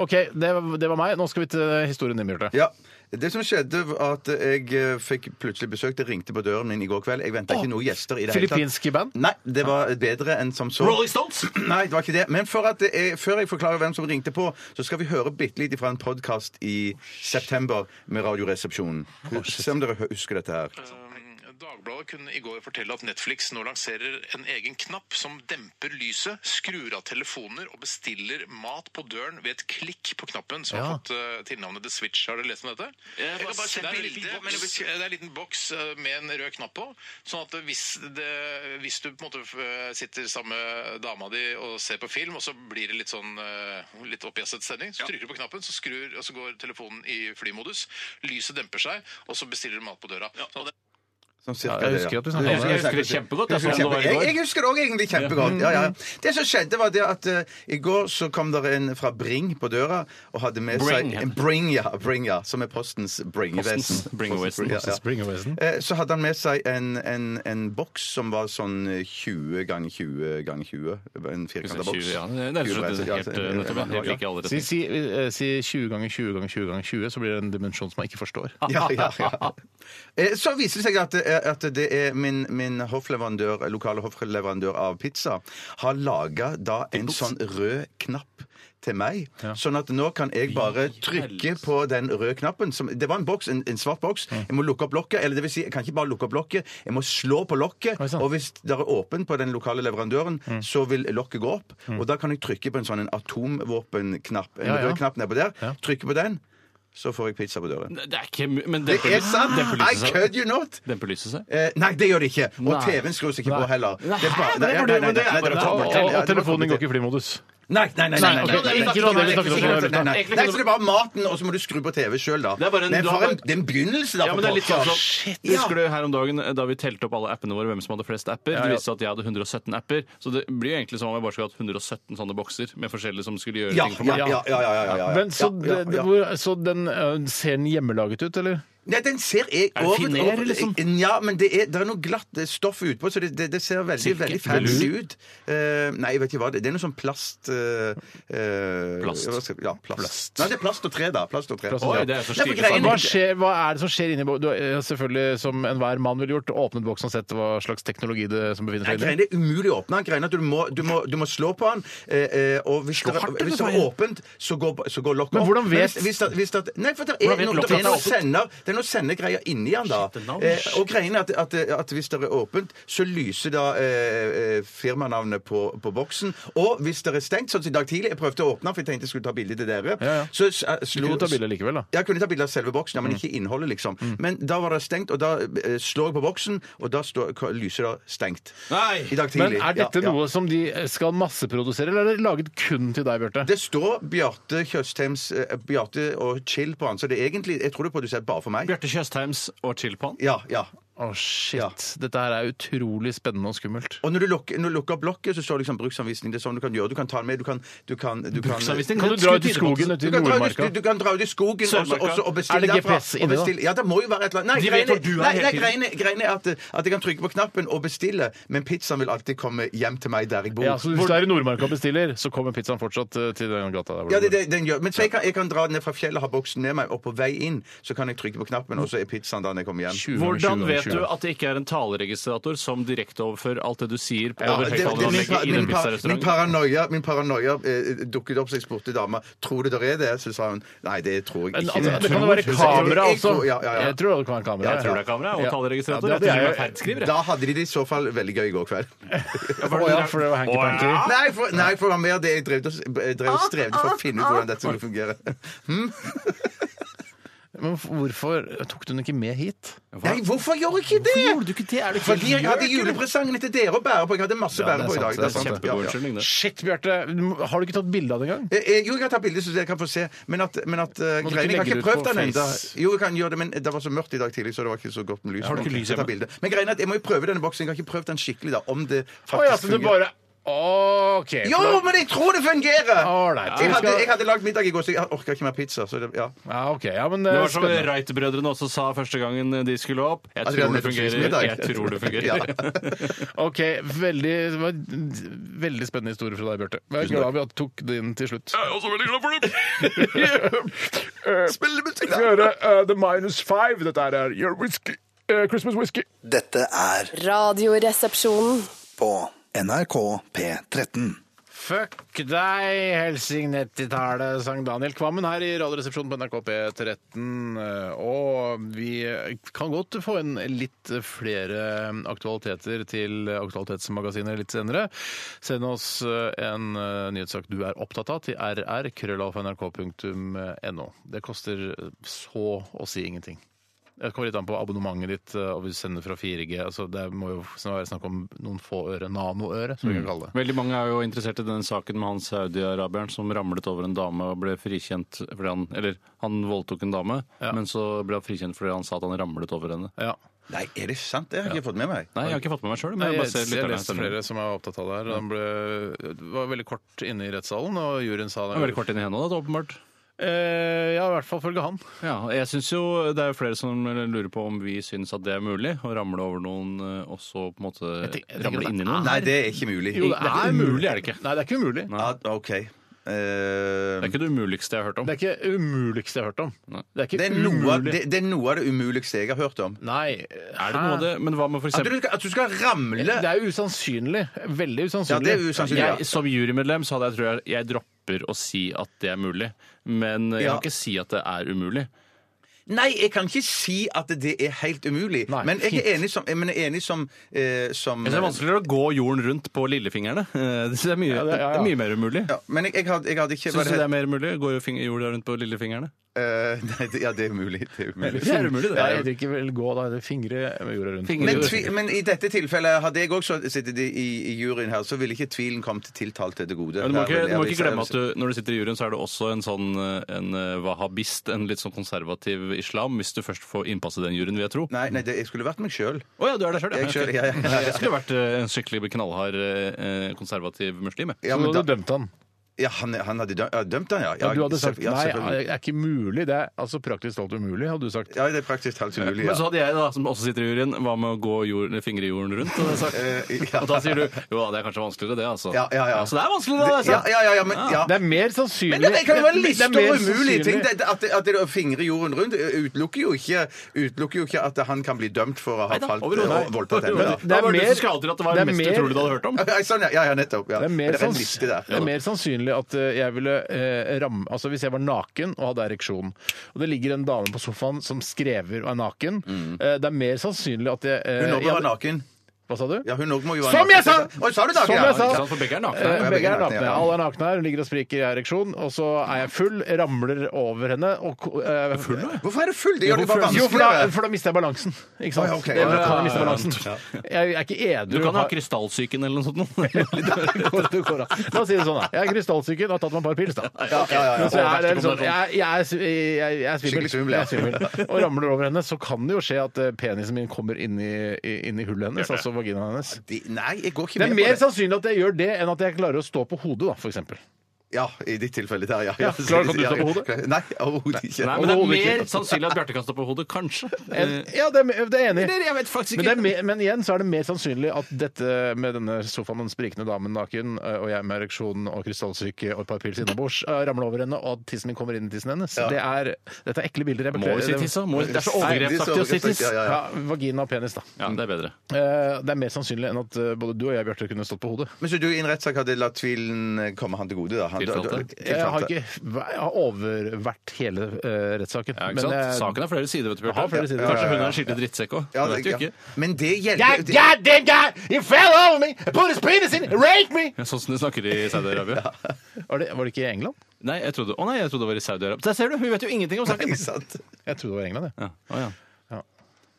Speaker 1: OK, det, det var meg. Nå skal vi til historien din, Bjarte.
Speaker 2: Ja. Det som skjedde, var at jeg eh, fikk plutselig besøk. Det ringte på døren min i går kveld. Jeg venta
Speaker 1: Å,
Speaker 2: ikke noen gjester. i det
Speaker 1: filippinske band?
Speaker 2: Nei, det var bedre enn som så.
Speaker 3: Stones!
Speaker 2: Nei, det var ikke det. Men for at det er, før jeg forklarer hvem som ringte på, så skal vi høre bitte litt fra en podkast i september med Radioresepsjonen. Se om dere husker dette her.
Speaker 5: Dagbladet kunne i går fortelle at Netflix nå lanserer en egen knapp som demper lyset, skrur av telefoner og bestiller mat på døren ved et klikk på knappen, som
Speaker 1: Ja.
Speaker 5: har fått eh, tilnavnet The Switch. Har dere lest om dette?
Speaker 7: har bare
Speaker 5: Jeg kan bare
Speaker 7: sett
Speaker 5: se
Speaker 7: bildet,
Speaker 5: bildet,
Speaker 7: men jeg
Speaker 5: men det er en liten boks eh, med en rød knapp på, sånn at hvis, det, hvis du på en måte eh, sitter sammen med dama di og ser på film, og så blir det litt sånn eh, litt oppjasset stemning, så trykker du på knappen, så skrur, og så går telefonen i flymodus, lyset demper seg, og så bestiller du mat på døra. Sånn at
Speaker 2: Sånn cirka
Speaker 1: Ja, jeg
Speaker 2: det,
Speaker 1: husker at du snakket
Speaker 2: Du
Speaker 1: om det.
Speaker 3: Jeg husker det kjempegodt. Jeg,
Speaker 2: Jeg,
Speaker 3: sånn det var i
Speaker 2: jeg,
Speaker 3: går.
Speaker 2: jeg husker det òg egentlig kjempegodt. Ja, ja. Det som skjedde, var det at eh, i går så kom det en fra Bring på døra og hadde med
Speaker 3: Bring,
Speaker 2: seg
Speaker 3: heter
Speaker 2: en Bring, ja, Bring, ja. Som er Postens Bring-vesen.
Speaker 3: Postens Bring-vesen.
Speaker 2: Postens
Speaker 3: Postens
Speaker 1: Bringerwesen.
Speaker 2: Eh, Så hadde han med seg en, en, en boks som var sånn 20 ganger 20 ganger 20. En firkanta boks.
Speaker 3: 20, ja. Det er rett og slett
Speaker 2: Ja,
Speaker 3: helt eh, nettopp.
Speaker 2: ja,
Speaker 3: Helt lik i alle
Speaker 1: Si,
Speaker 3: retninger.
Speaker 1: si, eh, si 20 ganger 20 ganger 20 ganger 20, så blir det en dimensjon som jeg ikke forstår.
Speaker 2: Ja, ja, ja. Eh, Så viser det seg at, eh, at det er min, min hoffleverandør, lokale hoffleverandør av pizza har laga da en sånn rød knapp til meg. Sånn at nå kan jeg bare trykke på den røde knappen. Som, det var en boks, en, en svart boks. Jeg må lukke opp lokket. Eller det vil si, jeg kan ikke bare lukke opp lokket, jeg må slå på lokket.
Speaker 1: Oi, sånn. Mm. sant.
Speaker 2: Og hvis det er åpent på den lokale leverandøren, så vil lokket gå opp. Og da kan jeg trykke på en sånn en atomvåpenknapp. En
Speaker 1: Mm. Ja, ja.
Speaker 2: rød knapp nedpå der.
Speaker 1: Ja.
Speaker 2: Trykke på den, så får jeg pizza på døren.
Speaker 3: Det er ikke mu- Men
Speaker 2: Det
Speaker 3: demper
Speaker 2: er sant!
Speaker 3: demper
Speaker 2: I
Speaker 3: lyset seg?
Speaker 2: kid you not!
Speaker 3: Demper lyset seg?
Speaker 2: Eh, nei, det gjør det ikke. Og
Speaker 3: Nei.
Speaker 2: TV-en skrus ikke på
Speaker 1: Nei.
Speaker 2: heller. Det er
Speaker 3: Hæ?
Speaker 2: bare-
Speaker 3: Men det
Speaker 2: nei, nei,
Speaker 3: burde- men det
Speaker 2: nei,
Speaker 3: er
Speaker 2: nei,
Speaker 3: bare-
Speaker 2: det var
Speaker 1: Og,
Speaker 2: dobbelt-
Speaker 1: og,
Speaker 2: ja,
Speaker 1: og
Speaker 2: det var
Speaker 1: telefonen din går
Speaker 2: dobbelt-
Speaker 1: ikke i flymodus.
Speaker 2: Nei, nei, nei. nei, nei,
Speaker 1: Nei,
Speaker 2: nei,
Speaker 1: ok,
Speaker 2: nei,
Speaker 1: ikke noe av det vi snakket om
Speaker 2: nei,
Speaker 1: nå,
Speaker 2: nei, nei.
Speaker 3: egentlig.
Speaker 2: Nei, så det er bare maten, og så må du skru på TV-sjøl, da.
Speaker 3: Det er bare en-
Speaker 2: men
Speaker 3: du
Speaker 2: for
Speaker 3: har
Speaker 2: en,
Speaker 3: bare-
Speaker 2: det er en begynnelse, da.
Speaker 3: Ja,
Speaker 2: for
Speaker 3: men det er litt
Speaker 2: folk.
Speaker 3: sånn som-
Speaker 2: Ja.
Speaker 3: Husker du her om dagen eh, da vi telte opp alle appene våre, hvem som hadde flest apper?
Speaker 1: Ja, ja.
Speaker 3: Det viste seg at jeg hadde 117 apper, så det blir jo egentlig som om jeg bare skulle hatt 117 sånne bokser med forskjellige som skulle gjøre
Speaker 2: Ja,
Speaker 3: ting for
Speaker 2: ja,
Speaker 3: meg.
Speaker 2: ja, ja, ja, ja, ja, ja.
Speaker 1: Men, så,
Speaker 2: Ja, ja,
Speaker 1: det-
Speaker 2: ja.
Speaker 1: det- hvor- så den eh, ser den hjemmelaget ut, eller?
Speaker 2: Nei, den ser jeg Eh,
Speaker 3: Er det finere, liksom?
Speaker 2: Ja, men det er, det er noe glatt eh, stoff utpå, så det, det, det ser veldig,
Speaker 3: Silke?
Speaker 2: veldig fancy ut. Eh, nei, jeg vet ikke hva det er. Det er noe sånn plast eh, eh,
Speaker 3: Plast.
Speaker 2: hva skal- Ja, plast. Nei, det er plast og tre, da. Plast og tre.
Speaker 1: Plast
Speaker 3: og tre. Oi, det er så
Speaker 2: Nei, for
Speaker 3: stilig
Speaker 2: greien-
Speaker 3: sagt.
Speaker 1: Hva, skjer, hva er det som skjer inni boksen? Du har eh, selvfølgelig, som enhver mann ville gjort, åpnet boksen og sett hva slags teknologi det som befinner
Speaker 2: Nei,
Speaker 1: seg inni.
Speaker 2: greien er umulig å åpne den. Greien er at du må, du må, du må slå på den. Eh, eh, og hvis det,
Speaker 3: hardt,
Speaker 2: er- hvis det
Speaker 3: eller
Speaker 2: er åpent, så går, så går lokket
Speaker 1: Men
Speaker 2: opp.
Speaker 1: hvordan vet-
Speaker 2: hvis, hvis det, hvis det, Nei, for det
Speaker 1: Hvordan
Speaker 2: er
Speaker 1: vet
Speaker 2: noe,
Speaker 1: lokket
Speaker 2: det
Speaker 1: at
Speaker 2: er
Speaker 1: det er
Speaker 2: noe
Speaker 1: åpent?
Speaker 2: sender, det er noe sendegreier inni den da.
Speaker 3: Shit, det er navn.
Speaker 2: Eh, og greien er at, at, at hvis det er åpent, så lyser da eh, eh, firmanavnet på, på boksen. Og hvis det er stengt, sånn som i dag tidlig, jeg prøvde å åpne den, for jeg tenkte jeg skulle ta bilde til dere,
Speaker 1: Ja, ja.
Speaker 2: så s- eh,
Speaker 1: Du
Speaker 2: slo
Speaker 1: kunne ta bilde likevel, da.
Speaker 2: jeg kunne ta bilde av selve boksen,
Speaker 1: Mm.
Speaker 2: ja, men ikke innholdet, liksom. Men da var det stengt, og da eh, slår jeg på boksen, og da står, lyser det stengt.
Speaker 3: Nei!
Speaker 2: I dag
Speaker 1: Men
Speaker 2: tidlig.
Speaker 1: er dette
Speaker 2: Ja, ja.
Speaker 1: noe som de skal masseprodusere, eller er det laget kun til deg, Bjarte?
Speaker 2: Det står Bjarte Tjøstheims eh, Bjarte og Chill på den, så det er egentlig Jeg tror det er produsert bare for meg.
Speaker 3: Bjarte Tjøstheims og Chilpan.
Speaker 2: Ja, ja.
Speaker 1: Å, shit.
Speaker 2: Ja.
Speaker 1: Dette her er utrolig spennende og skummelt.
Speaker 2: Og når du lukker, når du lukker opp lokket, så står det liksom bruksanvisning. Det er sånn du kan gjøre. Du kan ta den med. Du kan, du kan, du kan
Speaker 3: Bruksanvisning?
Speaker 1: Kan du dra ut i skogen ute
Speaker 2: Du
Speaker 1: i
Speaker 2: kan, dra ut,
Speaker 1: Nordmarka?
Speaker 2: i- du kan dra ut i skogen og så-
Speaker 3: Sørmarka.
Speaker 2: og så- og bestille
Speaker 1: Er det
Speaker 2: derfra,
Speaker 1: GPS
Speaker 2: og
Speaker 1: inni da?
Speaker 2: bestille- Ja, det må jo være et eller annet. Nei,
Speaker 3: De vet
Speaker 2: greiene-
Speaker 3: hvor du er
Speaker 2: nei,
Speaker 3: hele
Speaker 2: nei,
Speaker 3: tiden.
Speaker 2: greiene- greiene er at, at jeg kan trykke på knappen og bestille, men pizzaen vil alltid komme hjem til meg der jeg bor.
Speaker 1: Ja, så Hvis du er i Nordmarka og bestiller, så kommer pizzaen fortsatt eh, til den gata der. hvor
Speaker 2: Ja,
Speaker 1: du
Speaker 2: det, det, den gjør. Men så jeg kan, jeg kan dra ned fra fjellet, ha boksen med meg, og på vei inn så kan jeg trykke på knappen, og så er pizzaen da når jeg kommer hjem.
Speaker 1: 20 ganger 20
Speaker 3: Hvordan
Speaker 1: ganger
Speaker 3: vet
Speaker 1: 20
Speaker 3: du
Speaker 1: ganger.
Speaker 3: at det ikke er en taleregistrator som direkteoverfører alt det du sier på
Speaker 2: Ja,
Speaker 3: over
Speaker 2: det- det- min,
Speaker 3: høyttaleranlegget i
Speaker 2: min,
Speaker 3: den
Speaker 2: par- min
Speaker 3: pizzarestauranten?
Speaker 2: paranoia, min paranoia eh, dukket opp, så jeg spurte dama tror du det er det. Så sa hun nei, det tror jeg
Speaker 1: Men,
Speaker 2: ikke.
Speaker 1: altså, det kan jo
Speaker 2: Tror-
Speaker 1: være kamera
Speaker 2: Jeg- jeg
Speaker 1: også.
Speaker 2: tror- Ja, ja, ja.
Speaker 1: Jeg tror det kan være kamera.
Speaker 3: Jeg tror det er kamera og
Speaker 1: Ja.
Speaker 3: taleregistrator.
Speaker 1: Ja, det-
Speaker 3: jeg tror
Speaker 1: det
Speaker 3: det er ferdskrivere.
Speaker 2: Da hadde de det i så fall veldig gøy i går kveld.
Speaker 1: Å ja, for det var hanky-panky.
Speaker 2: Nei, for, nei, for det var mer det jeg drev, og- jeg drev og strevde for å
Speaker 1: Ah!
Speaker 2: finne ut hvordan dette skulle fungere.
Speaker 1: Men hvorfor tok du den ikke med hit?
Speaker 2: Nei, hvorfor gjorde jeg ikke det?
Speaker 3: du ikke det? Er du
Speaker 2: Fordi jeg hadde julepresangen til dere å bære på. Jeg hadde masse å
Speaker 1: Ja, det
Speaker 2: bære
Speaker 1: er
Speaker 2: på i dag.
Speaker 1: sant, det er
Speaker 2: Det er sant. Ja,
Speaker 3: Kjempegod
Speaker 2: ja.
Speaker 3: unnskyldning, det.
Speaker 1: Shit, Bjarte! Har du ikke tatt bilde av det engang?
Speaker 2: Eh, eh, Jo, jeg har tatt bilde, så dere kan få se. Men at, men at eh,
Speaker 1: Må du ikke
Speaker 2: greien, Jeg har
Speaker 1: legge
Speaker 2: ikke
Speaker 1: det ut
Speaker 2: prøvd
Speaker 1: på
Speaker 2: den ennå.
Speaker 1: Face?
Speaker 2: Jo, jeg kan gjøre det, men det var så mørkt i dag tidlig, så det var ikke så godt med lys.
Speaker 3: Har du ikke lys
Speaker 2: Jeg tar
Speaker 3: hjemme?
Speaker 2: bilde. Men greien er at jeg må jo prøve denne boksen. Jeg har ikke prøvd den skikkelig, da. Om det
Speaker 1: Å ja,
Speaker 2: faktisk
Speaker 1: så du bare OK. for
Speaker 2: Jo,
Speaker 1: da-
Speaker 2: men jeg tror det fungerer!
Speaker 1: Alright,
Speaker 2: Jeg
Speaker 1: vi
Speaker 2: hadde,
Speaker 1: skal-
Speaker 2: jeg hadde lagd middag i går, så jeg orka ikke mer pizza. Så det, ja.
Speaker 1: ja, ok, ja, men
Speaker 3: Det
Speaker 1: eh,
Speaker 3: var som
Speaker 1: spennende.
Speaker 3: Wright-brødrene også sa første gangen de skulle opp. Jeg
Speaker 2: At Altså, vi
Speaker 3: tror
Speaker 2: hadde nettopp
Speaker 3: det
Speaker 2: spist
Speaker 3: fungerer.
Speaker 2: middag.
Speaker 3: Jeg tror det fungerer.
Speaker 1: OK, veldig, det var en veldig spennende historie fra deg, Bjarte. Jeg er glad vi at tok din til slutt.
Speaker 3: Jeg er også veldig glad for det!
Speaker 2: Spille musikk,
Speaker 1: skal høre eh, The Minus Five. Dette her er Your Whisky. eh, Christmas Whisky.
Speaker 8: Dette er
Speaker 9: Radioresepsjonen.
Speaker 8: på NRK P13.
Speaker 1: Fuck deg, Helsing 90-tallet, sang Daniel Kvammen her i Radioresepsjonen på NRK P13. Eh, Og vi kan godt få inn litt flere aktualiteter til Aktualitetsmagasinet litt senere. Send oss eh, en eh, nyhetssak du er opptatt av til rr.krøllalfa.nrk.no. Det koster så å si ingenting. Det kommer litt an på abonnementet ditt, eh, og vi sender fra 4G. Altså, det må jo være snakk om noen få øre, nanoøre, som vi kan kalle det.
Speaker 3: Veldig mange er jo interessert i den saken med han saudi-arabieren som ramlet over en dame og ble frikjent fordi han Eller han voldtok en dame,
Speaker 1: Ja.
Speaker 3: men så ble han frikjent fordi han sa at han ramlet over henne.
Speaker 1: Ja.
Speaker 2: Nei, er det sant? Det har jeg ikke fått med meg.
Speaker 3: Nei, jeg har ikke fått med meg sjøl, men
Speaker 1: Nei,
Speaker 3: jeg
Speaker 1: jeg,
Speaker 3: bare ser
Speaker 1: jeg
Speaker 3: lytterne
Speaker 1: leste
Speaker 3: stemmer.
Speaker 1: flere som er opptatt av det her. og Han ble, det var veldig kort inne i rettssalen, og juryen sa
Speaker 3: Det er Veldig kort inn i hendene, da, åpenbart.
Speaker 1: Eh, ja, i hvert fall følge han.
Speaker 3: Ja, og jeg synes jo Det er jo flere som lurer på om vi syns at det er mulig å ramle over noen eh, og så på en måte
Speaker 1: tenk- jeg tenker at
Speaker 3: ramle
Speaker 1: det
Speaker 3: inni
Speaker 1: er-
Speaker 3: noen.
Speaker 2: Nei, det er ikke mulig.
Speaker 3: det er ikke umulig, er det ikke?
Speaker 1: Nei, det er ikke umulig.
Speaker 3: Nei.
Speaker 2: Ja, OK. Eh,
Speaker 3: Det er ikke det umuligste jeg har hørt om.
Speaker 1: Det er ikke umuligste jeg har hørt om.
Speaker 3: Nei.
Speaker 1: Det er ikke
Speaker 2: det, er noe, av-
Speaker 1: umulig.
Speaker 2: det, det er noe av det umuligste jeg har hørt om.
Speaker 1: Nei.
Speaker 3: Er det noe av det? Men hva med for
Speaker 2: At du,
Speaker 3: eksempel
Speaker 2: skal- at du skal ramle
Speaker 1: Det er jo usannsynlig. Veldig usannsynlig.
Speaker 2: Ja, det er usannsynlig. ja.
Speaker 3: jeg, Som jurymedlem så hadde jeg tror jeg, jeg dropper å si at det er mulig. Men jeg
Speaker 2: Ja.
Speaker 3: kan ikke si at det er umulig.
Speaker 2: Nei, jeg kan ikke si at det er helt umulig.
Speaker 1: Nei,
Speaker 2: men jeg
Speaker 1: fint.
Speaker 2: er enig som, men jeg er enig som, eh, som
Speaker 3: Jeg synes det er vanskeligere å gå jorden rundt på lillefingrene. Eh, Det synes jeg er mye,
Speaker 1: Ja, det-
Speaker 3: det,
Speaker 1: ja, ja.
Speaker 3: er mye mer umulig.
Speaker 2: ja, Men jeg, jeg, hadde, jeg hadde ikke hva
Speaker 3: Syns du
Speaker 2: det
Speaker 3: det er mer mulig? Går jorda rundt på lillefingrene?
Speaker 2: het- eh, Nei, det, ja, det er umulig. Det er umulig.
Speaker 3: Det er umulig, det.
Speaker 1: Nei, jeg vil ikke vel gå da, det er fingre med jorda rundt.
Speaker 3: Fingre-
Speaker 2: Men, tvi, men i dette tilfellet, hadde jeg også sittet i, i juryen her, så ville ikke tvilen kommet tiltalte til gode.
Speaker 3: Men du må ikke,
Speaker 2: Der ville
Speaker 3: du må
Speaker 2: jeg-
Speaker 3: ikke glemme at du, når du sitter i juryen, så er du også en sånn eh, en eh, wahhabist, en litt sånn konservativ islam, hvis du først får innpass i den juryen, vil jeg tro. Å
Speaker 2: Nei, nei det, jeg skulle vært meg sjøl.
Speaker 3: ja, du er der sjøl,
Speaker 2: Jeg selv, ja, ja.
Speaker 3: Jeg skulle vært eh, en skikkelig knallhard eh, konservativ muslim, jeg.
Speaker 2: Ja,
Speaker 1: Så
Speaker 2: men
Speaker 1: du hadde
Speaker 2: da-
Speaker 1: dømt han.
Speaker 2: ja, han, han hadde dømt, ja, dømt han, ja. ja
Speaker 1: Ja, du hadde sagt
Speaker 2: selv- ja,
Speaker 1: nei,
Speaker 2: selvfølgelig.
Speaker 1: det er ikke mulig. Det er altså praktisk talt umulig, hadde du sagt.
Speaker 2: Ja, det er praktisk talt umulig.
Speaker 3: Men
Speaker 2: Ja.
Speaker 3: så hadde jeg, da, som også sitter i juryen, hva med å gå jord, fingre i jorden rundt? Hadde jeg
Speaker 2: Eh,
Speaker 3: sagt.
Speaker 2: ja.
Speaker 3: Og da sier du jo da, det er kanskje vanskeligere, det, altså.
Speaker 2: Ja, ja, ja.
Speaker 3: så det er vanskeligere, da! Altså.
Speaker 2: Ja, ja, ja, ja, men, ja.
Speaker 1: Det er mer sannsynlig
Speaker 2: Men det, det kan jo være
Speaker 1: Det- det-
Speaker 2: litt
Speaker 1: det er mer
Speaker 2: store umulige ting.
Speaker 1: sannsynlig-
Speaker 2: Det, det- at, det- at det å fingre jorden rundt utelukker jo, ikke, utelukker jo ikke at han kan bli dømt for å ha
Speaker 3: Nei da,
Speaker 2: falt
Speaker 3: overhodet.
Speaker 2: og voldtatt
Speaker 3: Overhodet.
Speaker 2: henne. da.
Speaker 3: Det
Speaker 1: Det er
Speaker 3: var du
Speaker 1: mer-
Speaker 3: som skal alltid at det var
Speaker 1: det
Speaker 3: det
Speaker 1: er
Speaker 3: mest
Speaker 1: mer-
Speaker 3: utrolige du hadde hørt om.
Speaker 2: Ja, sånn, ja. ja, ja, nettopp. Ja.
Speaker 1: Det er mer,
Speaker 2: det er en
Speaker 1: sanns-
Speaker 2: liste der.
Speaker 1: det er mer sannsynlig at eh, jeg ville eh, ramme Altså hvis jeg var naken og hadde ereksjon, og det ligger en dame på sofaen som skrever og er naken, eh, det er mer sannsynlig at jeg eh,
Speaker 2: Mm. Hun òg
Speaker 1: jeg
Speaker 2: var
Speaker 1: hadde-
Speaker 2: naken.
Speaker 1: Hva sa du?
Speaker 2: Ja, hun også må jo være
Speaker 1: Som jeg
Speaker 2: naken.
Speaker 1: sa!
Speaker 2: Oi, sa du naken?
Speaker 1: Som
Speaker 2: Ja,
Speaker 1: jeg sa!
Speaker 2: ikke
Speaker 3: sant, for begge er nakne.
Speaker 1: Eh,
Speaker 2: Ja,
Speaker 1: Begge er nakne.
Speaker 2: ja.
Speaker 1: Alle er nakne her. Hun ligger og spriker i ereksjon. Og så er jeg full, ramler over henne og ko- eh,
Speaker 2: Hvorfor er det full? Det gjør det jo bare
Speaker 1: Jo, for da,
Speaker 2: vanskeligere.
Speaker 1: for da mister jeg balansen. Ikke
Speaker 2: Å,
Speaker 1: sant?
Speaker 2: ja, ok.
Speaker 1: Eller
Speaker 2: Ja,
Speaker 1: kan jeg
Speaker 2: ja,
Speaker 1: miste
Speaker 2: ja, ja.
Speaker 1: balansen. Jeg er ikke edru.
Speaker 3: Du kan ha
Speaker 1: har-
Speaker 3: krystallsyken eller noe sånt. noe.
Speaker 1: Det går- det går an. La oss si det sånn, da. Jeg er krystallsyken og har tatt meg et par pils, da. Men Så jeg, er litt sånn, jeg, jeg, er, sv- jeg, jeg er svimmel.
Speaker 2: Skikkelig svimmel,
Speaker 1: jeg
Speaker 2: ja.
Speaker 1: er svimmel. Og ramler over henne, så kan det jo skje at eh, penisen min kommer inn i, i- inn i hullet hennes, altså vaginaen hennes.
Speaker 2: De- Nei, jeg går ikke
Speaker 1: Det er
Speaker 2: med
Speaker 1: mer
Speaker 2: på det.
Speaker 1: sannsynlig at jeg gjør det, enn at jeg klarer å stå på hodet, da, for eksempel.
Speaker 2: Ja, i ditt tilfelle der, ja.
Speaker 1: Ja, klarer du ikke å stå på hodet?
Speaker 2: Nei, overhodet ikke.
Speaker 3: Nei, men det er
Speaker 1: Overhodet
Speaker 3: mer
Speaker 1: ikke.
Speaker 3: sannsynlig at Bjarte kan stå på hodet, kanskje.
Speaker 1: En- Ja, det er, det er enig.
Speaker 3: Eller jeg vet faktisk
Speaker 1: Men,
Speaker 3: ikke.
Speaker 1: det er mer, men igjen så er det mer sannsynlig at dette med denne sofaen, den sprikende damen naken, eh, og jeg med ereksjon og krystallsyke og et par pils innabords, eh, ramler over henne, og at tissen min kommer inn i tissen hennes. Det er, dette er ekle bilder. jeg
Speaker 3: Må vi si
Speaker 1: beklager.
Speaker 3: tiss, da? Må vi- Det er så
Speaker 1: Nei,
Speaker 3: overgrepsaktig å si tiss.
Speaker 2: Ja, ja,
Speaker 3: Ja,
Speaker 2: ja.
Speaker 1: Ja, vagina og penis, da.
Speaker 3: det er bedre.
Speaker 1: Eh, Det er mer sannsynlig enn at eh, både du og jeg, Bjarte, kunne stått på hodet.
Speaker 2: Men så du i en rettssak hadde latt tvilen komme han til gode, da? Han,
Speaker 3: Tiltalte.
Speaker 1: Jeg har
Speaker 2: tiltalte.
Speaker 1: ikke jeg har overvært hele eh, rettssaken.
Speaker 3: Ja, ikke sant?
Speaker 1: jeg-
Speaker 3: Saken har flere sider, vet du,
Speaker 1: Har
Speaker 3: Bjarte.
Speaker 1: flere sider.
Speaker 3: Kanskje hun er en skikkelig drittsekk òg.
Speaker 2: Ja,
Speaker 3: Det vet du
Speaker 2: ja.
Speaker 3: ikke.
Speaker 2: Men det
Speaker 1: God,
Speaker 2: hjelper det-
Speaker 1: God damn guy! He fell over me! and Put his penis in! it, Raped me!
Speaker 3: Ja, Sånn som de snakker i Saudi-Arabia.
Speaker 1: Var det, var det ikke i England?
Speaker 3: Nei, jeg trodde, å nei, jeg trodde det var i Saudi-Arabia. Der ser du! Hun vet jo ingenting om saken!
Speaker 2: Ikke sant?
Speaker 1: Jeg trodde det var i England, jeg.
Speaker 3: Ja. Å, ja.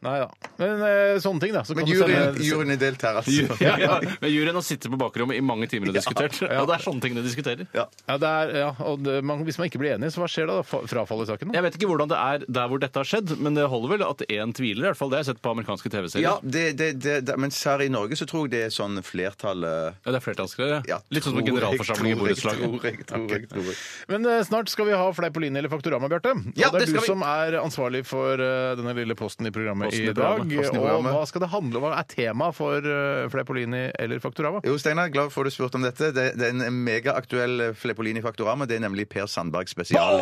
Speaker 1: Nei da. Men eh, sånne ting, da. Så
Speaker 2: Men
Speaker 1: kan du
Speaker 2: juryen,
Speaker 1: sende-
Speaker 2: juryen er delt her, altså.
Speaker 3: Ja, ja. Men juryen har sittet på bakrommet i mange timer og diskutert. Og det er sånne ting de diskuterer.
Speaker 1: Ja, det er, ja, og det, man, Hvis man ikke blir enig, så hva skjer da? da? Fa- Frafaller saken? da?
Speaker 3: Jeg vet ikke hvordan det er der hvor dette har skjedd, men det holder vel at én tviler. i hvert fall. Det har jeg sett på amerikanske TV-serier.
Speaker 2: Ja, det, det, det, det, mens her i Norge så tror jeg det er sånn flertallet
Speaker 3: Ja, det er flertallsgreier.
Speaker 2: ja,
Speaker 3: Litt sånn
Speaker 2: tror
Speaker 3: som
Speaker 2: jeg,
Speaker 3: generalforsamling i
Speaker 2: tror jeg,
Speaker 3: borettslaget.
Speaker 2: Tror jeg, tror jeg, tror jeg.
Speaker 1: Men eh, snart skal vi ha Fleipolini eller Faktorama, Bjarte. Og
Speaker 2: Ja, det
Speaker 1: det er du
Speaker 2: skal vi.
Speaker 1: som er ansvarlig for eh, denne lille posten i programmet
Speaker 3: Posten i
Speaker 1: i dag.
Speaker 3: programmet. Posten i
Speaker 1: Og
Speaker 3: programmet.
Speaker 1: hva skal det handle om? Hva er temaet for eh, Fleipolini eller Faktorama?
Speaker 2: Jo, Steinar, glad for at du spurte om dette. Det, det er en megaaktuell Flepolini Faktorama. Det er nemlig Per Sandberg spesial.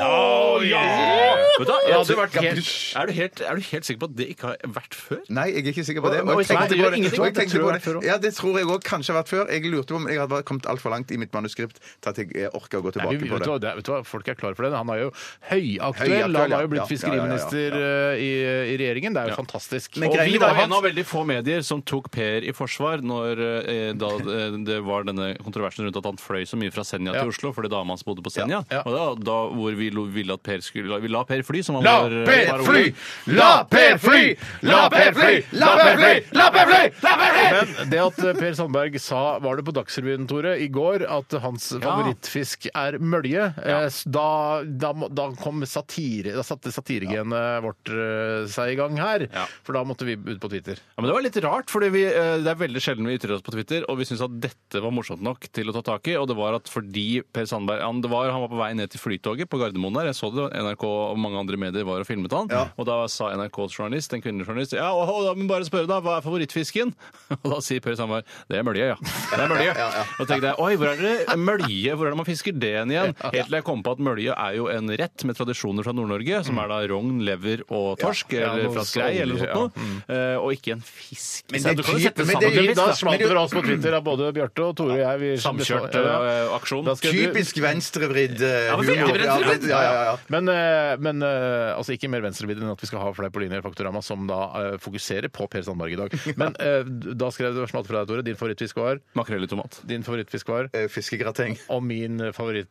Speaker 3: Vet du hva?
Speaker 1: Ja,
Speaker 3: Jeg
Speaker 1: det
Speaker 3: tror-
Speaker 1: hadde vært
Speaker 3: helt- Er du helt- er du helt sikker på at det ikke har vært før?
Speaker 2: Nei, jeg er ikke sikker på det.
Speaker 3: Oi,
Speaker 2: Og jeg
Speaker 3: nei,
Speaker 2: tenkte
Speaker 3: det gjør
Speaker 2: på det.
Speaker 3: ingenting.
Speaker 2: Og jeg tenkte
Speaker 3: Det tror
Speaker 2: på
Speaker 3: jeg har vært før
Speaker 2: det. Ja, det tror jeg òg kanskje har vært før. Jeg lurte på om jeg hadde bare kommet altfor langt i mitt manuskript til at jeg eh, orker å gå
Speaker 1: Nei,
Speaker 2: tilbake
Speaker 1: vi,
Speaker 2: på
Speaker 1: vet, du,
Speaker 2: det.
Speaker 1: hva, det, vet du hva, Folk er klar for det. Han er jo høyaktuell.
Speaker 2: Høyaktuell,
Speaker 1: Han har
Speaker 2: ja.
Speaker 1: jo
Speaker 2: Ja, ja, ja, ja,
Speaker 1: blitt
Speaker 2: ja.
Speaker 1: fiskeriminister eh, i, i regjeringen. Det er jo fantastisk.
Speaker 2: Men
Speaker 1: Og
Speaker 3: Og
Speaker 2: greien
Speaker 3: vi
Speaker 2: var
Speaker 3: var
Speaker 2: jo
Speaker 3: en av veldig få medier som tok Per i forsvar når, eh, da eh, det var denne kontroversen rundt at han fløy så mye fra Senja
Speaker 1: Ja.
Speaker 3: til Oslo fordi dama hans bodde på Senja.
Speaker 1: Ja, ja.
Speaker 3: Og da, da hvor vi lo- ville at Per skulle Vi la Per fly, som han
Speaker 1: La
Speaker 3: var eh,
Speaker 1: Per
Speaker 3: parolen.
Speaker 1: fly! La Per fly! La Per fly! La Per fly! La Per fly! La Per fly! Men det at eh, Per Sandberg sa, var det på Dagsrevyen, Tore, i går, at hans favorittfisk er mølje, eh, s- da, da, må- da kom satire, da satte satiregenet vårt eh, seg i gang her.
Speaker 3: Ja.
Speaker 1: For da måtte vi ut på Twitter.
Speaker 3: Ja, men det var litt rart, for det er veldig sjelden vi ytrer oss på Twitter, og vi syns at dette var morsomt nok til å ta tak i. Og det var at fordi Per Sandberg han, det var, han var på vei ned til flytoget på Gardermoen der, jeg så det, NRK og mange andre medier var og filmet han, og da sa NRKs journalist, en kvinnelig journalist, ja, og, og, da må jeg bare spørre da, hva er favorittfisken? Og da sier Per Sandberg, det er mølje, ja. Det er mølje. Og da tenkte jeg, oi, hvor er det mølje? Hvor er det man fisker det igjen? Helt til jeg kom på at mølje er jo en rett med tradisjoner fra Nord-Norge, som er da rogn, lever og torsk,
Speaker 1: Mm. Ja,
Speaker 3: eller
Speaker 1: noe
Speaker 3: fra skrei,
Speaker 1: sånn,
Speaker 3: eller noe sånt
Speaker 1: ja.
Speaker 3: noe. Eh, og ikke en fisk.
Speaker 2: Men
Speaker 3: Så
Speaker 2: det
Speaker 3: Altså, du kan jo
Speaker 2: typen-
Speaker 3: sette
Speaker 2: men
Speaker 3: sammen
Speaker 2: det-
Speaker 3: en
Speaker 1: Da
Speaker 3: fisk,
Speaker 1: smalt det fra oss på Twitter av både Bjarte og Tore og jeg. Vi-
Speaker 3: da. Samkjørt eh, aksjon.
Speaker 1: Da skal du-
Speaker 2: Typisk venstrevridd eh,
Speaker 3: Ja, men
Speaker 2: humor.
Speaker 3: veldig
Speaker 2: Ja,
Speaker 3: venstrevridd.
Speaker 2: ja, ja, ja.
Speaker 1: Men, eh, men eh, altså ikke mer venstrevidd enn at vi skal ha flere på linje i Faktorama som da eh, fokuserer på Per Sandberg i dag. Men eh, da skrev du smalt fra deg, Tore. Din favorittfisk var
Speaker 3: Makrell i tomat.
Speaker 1: Din favorittfisk var
Speaker 2: Eh, Fiskegrateng.
Speaker 1: Og min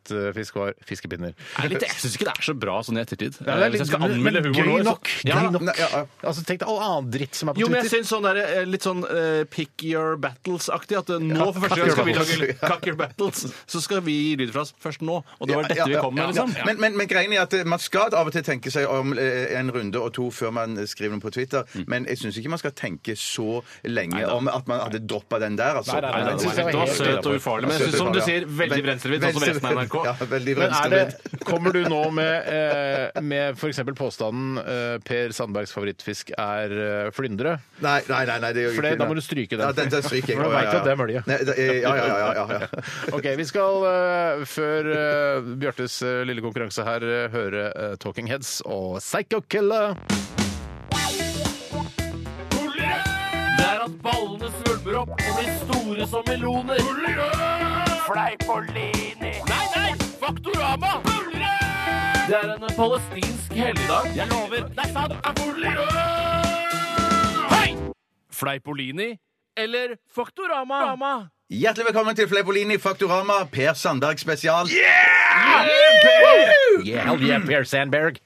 Speaker 1: favorittfisk var fiskepinner.
Speaker 3: Det er litt- Jeg syns ikke det er så bra sånn i ettertid.
Speaker 1: Nei,
Speaker 3: Eh, Hvis jeg skal
Speaker 1: men- men
Speaker 3: anmelde humor
Speaker 1: gøy
Speaker 3: nå, så-
Speaker 1: nok.
Speaker 3: Ja.
Speaker 1: Gøy nok.
Speaker 2: Nei, ja, ja.
Speaker 1: Altså, tenk deg all annen dritt som er på
Speaker 3: Jo, men jeg
Speaker 1: Twitter.
Speaker 3: syns sånn der, eh, litt sånn eh, pick your battles-aktig. At eh, nå for første gang skal vi lage Cock your battles. Så skal vi gi lyd fra oss først nå. Og det var dette vi kom med, liksom.
Speaker 2: Ja. Men, men, men greien er at eh, man skal av og til tenke seg om eh, en runde og to før man eh, skriver noe på Twitter,
Speaker 3: Mm.
Speaker 2: men jeg syns ikke man skal tenke så lenge om at man hadde droppa den der, altså.
Speaker 1: Nei, nei, nei,
Speaker 3: Nei,
Speaker 1: Jeg
Speaker 3: det
Speaker 1: synes
Speaker 3: var
Speaker 1: det var
Speaker 3: helt- det var
Speaker 1: helt
Speaker 3: søt og ufarlig. Men jeg syns, som du sier, veldig venstrevridd, sånn som resten av NRK.
Speaker 2: Ja, veldig
Speaker 1: Men er
Speaker 2: venstrevridd.
Speaker 1: det, kommer du nå med, eh, med f.eks. påstanden eh, Per Sandbergs favorittfisk er eh, flyndre?
Speaker 2: Nei, nei, nei, nei, det gjør jeg
Speaker 1: For det-
Speaker 2: ikke.
Speaker 1: da må du stryke den.
Speaker 2: Ja, den, den stryker jeg.
Speaker 1: For da
Speaker 2: Å, ja,
Speaker 1: vet du at
Speaker 2: ja.
Speaker 1: det er mølje.
Speaker 2: Nei, det er- Ja, ja, ja. ja, ja.
Speaker 1: Ok, vi skal eh, før eh, Bjartes eh, lille konkurranse her eh, høre eh, Talking Heads og Psycho Killer.
Speaker 10: Det er at ballene svulmer opp og blir store som meloner. Fleipolini. Nei, nei! Faktorama! Det er en palestinsk helligdag. Jeg lover. Det er sant. Hei! Fleipolini eller Faktorama?
Speaker 2: Hjertelig velkommen til Fleipolini Faktorama, Per Sandberg spesial.
Speaker 1: Hell yeah, Per Sandberg!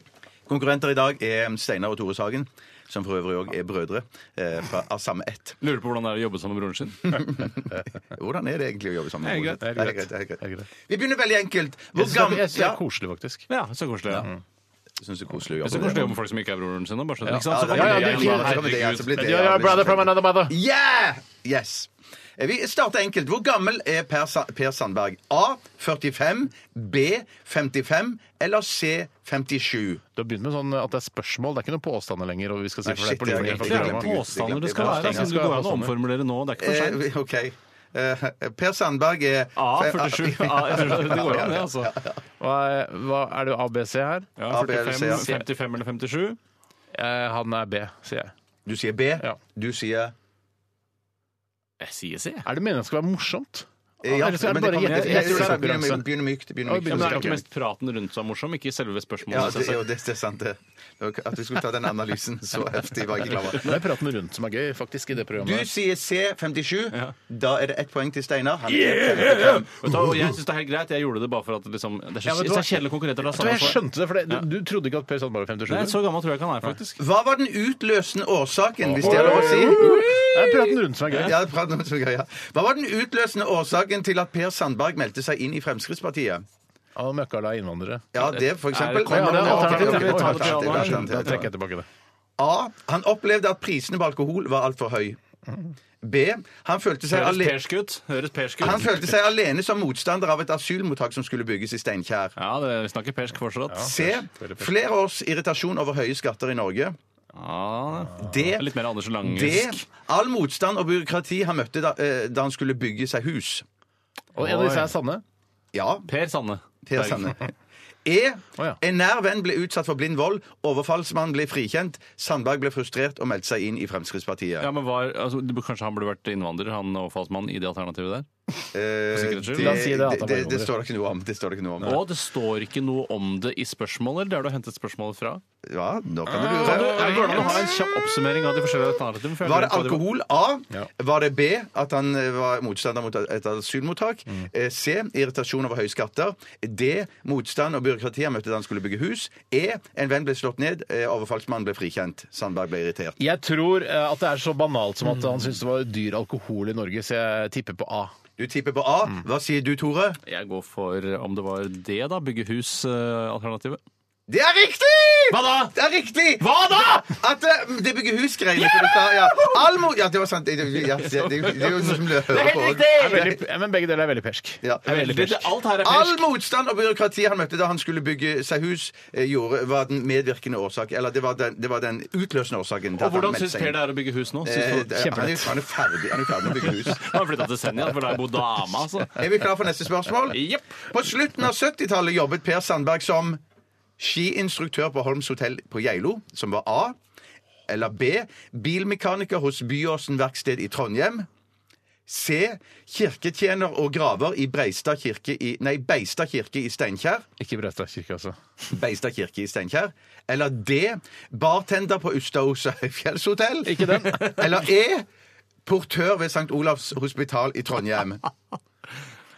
Speaker 2: Konkurrenter i dag er Steinar og Tore Sagen, som for øvrig òg er brødre eh, fra, av samme ett. Eh,
Speaker 3: Lurer på hvordan det er å jobbe sammen med broren sin.
Speaker 2: Hvordan er det egentlig å jobbe sammen?
Speaker 3: Det er
Speaker 2: med
Speaker 3: greit,
Speaker 2: broren?
Speaker 1: det er greit.
Speaker 2: Det er greit, det er
Speaker 1: Det er greit.
Speaker 2: greit. Vi begynner veldig enkelt.
Speaker 1: Jeg
Speaker 2: Hvor
Speaker 1: synes
Speaker 2: gammel
Speaker 1: det er- jeg synes det
Speaker 2: ja.
Speaker 1: er koselig, faktisk.
Speaker 3: Ja, så koselig. Ja.
Speaker 2: Jeg synes det er koselig å
Speaker 3: Jeg
Speaker 2: jobbe
Speaker 3: syns
Speaker 2: med
Speaker 3: koselig å
Speaker 2: det.
Speaker 3: jobbe med folk som ikke er broren sin. da, Bare sånn, ikke sant?
Speaker 2: Ja,
Speaker 3: Så
Speaker 2: det-
Speaker 3: kan
Speaker 1: ja,
Speaker 3: vi-
Speaker 1: ja, det-
Speaker 3: Herregud.
Speaker 2: så kan vi det, ja, så blir det-
Speaker 1: You're your brother from another mother.
Speaker 2: Yeah! Yes! Eh, Vi starter enkelt. Hvor gammel er per, Sa per Sandberg? A. 45. B. 55. Eller C. 57?
Speaker 1: Du har begynt med sånn at det er spørsmål, det er ikke noen påstander lenger. og vi skal si
Speaker 2: Nei,
Speaker 1: for
Speaker 2: shit,
Speaker 1: det er på
Speaker 2: det er
Speaker 1: linje
Speaker 2: greit,
Speaker 3: Det er
Speaker 1: Faktorama.
Speaker 3: ikke
Speaker 2: glemte jeg.
Speaker 3: påstander det skal
Speaker 2: Ja,
Speaker 3: være.
Speaker 1: Steinar
Speaker 3: Siden det
Speaker 1: skal
Speaker 3: går
Speaker 1: ha
Speaker 3: an å
Speaker 1: påstander.
Speaker 3: omformulere nå. Det er ikke for
Speaker 2: Eh,
Speaker 3: sent.
Speaker 2: OK. Eh, per Sandberg er Eh,
Speaker 3: A47. Det går an, det, altså.
Speaker 1: Hva er, hva, er det ABC her?
Speaker 3: Ja,
Speaker 2: A, B eller C,
Speaker 3: 45,
Speaker 2: ja.
Speaker 3: 55 eller 57.
Speaker 1: Eh, han er B, sier jeg.
Speaker 2: Du sier B.
Speaker 1: Ja.
Speaker 2: Du sier
Speaker 3: Jeg sier C.
Speaker 1: Er det meningen det skal være morsomt?
Speaker 2: Eh,
Speaker 1: Eller så er det
Speaker 2: men
Speaker 1: bare
Speaker 2: kan- jeg-
Speaker 1: gjette-
Speaker 2: jeg tror det er-
Speaker 1: gjettekonkurranse.
Speaker 2: begynner mykt, Begynner mykt. begynner
Speaker 3: Ja,
Speaker 2: mykt.
Speaker 3: men det er ikke mest praten rundt som er morsom, ikke selve spørsmålet.
Speaker 2: Ja,
Speaker 3: i seg
Speaker 2: det,
Speaker 3: selv.
Speaker 2: jo, det, det er sant, det. Det var ikke- At vi skulle ta den analysen så heftig, var jeg ikke klar over.
Speaker 1: Det er praten rundt som er gøy, faktisk, i det
Speaker 2: Du
Speaker 1: programmet.
Speaker 2: sier C57. Da er det ett poeng til Steinar. Han er
Speaker 3: Yeah! Vet du hva, og Jeg syns det er helt greit. Jeg gjorde det bare for at liksom, det er så,
Speaker 1: Ja, vet du
Speaker 3: det
Speaker 1: hva?
Speaker 3: er så kjedelige konkurrenter.
Speaker 1: Vet du hva, jeg skjønte det, for det, du, du trodde ikke at Per Sandberg var 57?
Speaker 3: Nei, Så gammel tror jeg ikke han er, faktisk.
Speaker 2: Hva var den utløsende årsaken, hvis det er lov å si?
Speaker 1: Det er praten rundt som er gøy.
Speaker 2: Ja, prat om det som er greia. Hva var den utløsende årsaken til at Per Sandberg meldte seg inn i Fremskrittspartiet?
Speaker 1: Han har møkka la innvandrere.
Speaker 2: Ja, det for
Speaker 3: Er
Speaker 2: eksempel.
Speaker 3: det- Ja,
Speaker 1: det er
Speaker 3: alternativ.
Speaker 1: alternativ.
Speaker 3: Vi tar det til
Speaker 1: Alternativ.
Speaker 3: alle.
Speaker 1: Skjønner, Da trekker jeg tilbake det.
Speaker 2: A. Han opplevde at prisene på alkohol var altfor høy. B. Han følte seg
Speaker 3: Høres
Speaker 2: alene
Speaker 3: persk ut. Høres persk
Speaker 2: han
Speaker 3: ut.
Speaker 2: følte seg alene som motstander av et asylmottak som skulle bygges i Steinkjer.
Speaker 3: Ja, det, vi snakker persk fortsatt.
Speaker 2: C. Flere års irritasjon over høye skatter i Norge.
Speaker 3: Ja,
Speaker 2: D.
Speaker 3: litt mer Anders
Speaker 2: D.
Speaker 3: Langesk.
Speaker 2: All motstand og byråkrati han møtte da, eh, da han skulle bygge seg hus.
Speaker 1: Og en av disse er sanne.
Speaker 2: Ja,
Speaker 3: Per Sanne.
Speaker 2: Per
Speaker 3: Berg.
Speaker 2: Sanne. E.
Speaker 1: Å, ja.
Speaker 2: En nær venn ble utsatt for blind vold. Overfallsmannen ble frikjent. Sandberg ble frustrert og meldte seg inn i Fremskrittspartiet.
Speaker 3: Ja, men var, altså, du- Kanskje han burde vært innvandrer, han overfallsmannen, i det alternativet der?
Speaker 2: Eh,
Speaker 3: sikkerhets skyld.
Speaker 2: det,
Speaker 1: La oss si det,
Speaker 2: det,
Speaker 1: at han
Speaker 2: det,
Speaker 1: var
Speaker 2: det
Speaker 1: innvandrer.
Speaker 2: står det ikke noe om. Det står det ikke noe om.
Speaker 3: Og det står ikke noe om det i spørsmålet. eller Det har du hentet spørsmålet fra.
Speaker 2: Ja, nå kan du
Speaker 3: Kan du,
Speaker 2: lure.
Speaker 3: er det går det an å ha en kjapp oppsummering av de forskjellige alternativene? For jeg
Speaker 2: Var det
Speaker 3: lurer på hva
Speaker 2: alkohol A? Var det B, at han eh, var motstander mot et asylmottak?
Speaker 3: Mm.
Speaker 2: Eh, C, irritasjon over høye skatter? D, motstand og byråkrati han møtte da han skulle bygge hus? E, en venn ble slått ned, eh, overfallsmannen ble frikjent. Sandberg ble irritert.
Speaker 1: Jeg tror eh, at det er så banalt som at han syntes det var dyr alkohol i Norge, så jeg tipper på A.
Speaker 2: Du tipper på A.
Speaker 3: Mm.
Speaker 2: Hva sier du, Tore?
Speaker 3: Jeg går for om det var det, da. Bygge eh, hus-alternativet.
Speaker 2: Det er riktig!
Speaker 3: Hva da?
Speaker 2: Det er riktig!
Speaker 3: Hva da?!
Speaker 2: At eh, det bygger hus-greiene som du sa, ja. All mo- ja, det var sant. Det, det, ja, det, det, det er jo noe som løper på.
Speaker 1: Det er veldig, ja, men begge deler er veldig persk.
Speaker 2: Ja.
Speaker 3: Alt her er
Speaker 2: All
Speaker 3: persk.
Speaker 2: motstand og byråkrati han møtte da han skulle bygge seg hus, eh, gjorde, var den medvirkende årsak. Eller det var den, det var den utløsende årsaken. til
Speaker 3: Og
Speaker 2: at han
Speaker 3: hvordan
Speaker 2: meldte
Speaker 3: syns
Speaker 2: seg
Speaker 3: Per
Speaker 2: inn.
Speaker 3: det er å bygge hus nå?
Speaker 2: Eh,
Speaker 3: Synes
Speaker 2: det- han er jo han er jo ferdig han er jo ferdig med å bygge hus.
Speaker 3: Han har flytta til Senja, for der bor dama, altså.
Speaker 2: Er vi klar for neste spørsmål?
Speaker 3: Jepp.
Speaker 2: På slutten av 70-tallet jobbet Per Sandberg som skiinstruktør på Holms hotell på Geilo, som var A. Eller B. Bilmekaniker hos Byåsen verksted i Trondheim. C. Kirketjener og graver i Breistad kirke i Nei, Beistad kirke i Steinkjer.
Speaker 1: Ikke Breistad kirke, altså.
Speaker 2: Beistad kirke i Steinkjer. Eller D. Bartender på Ustaosa fjellshotell. Ikke den. Eller E. Portør ved St. Olavs hospital i Trondheim.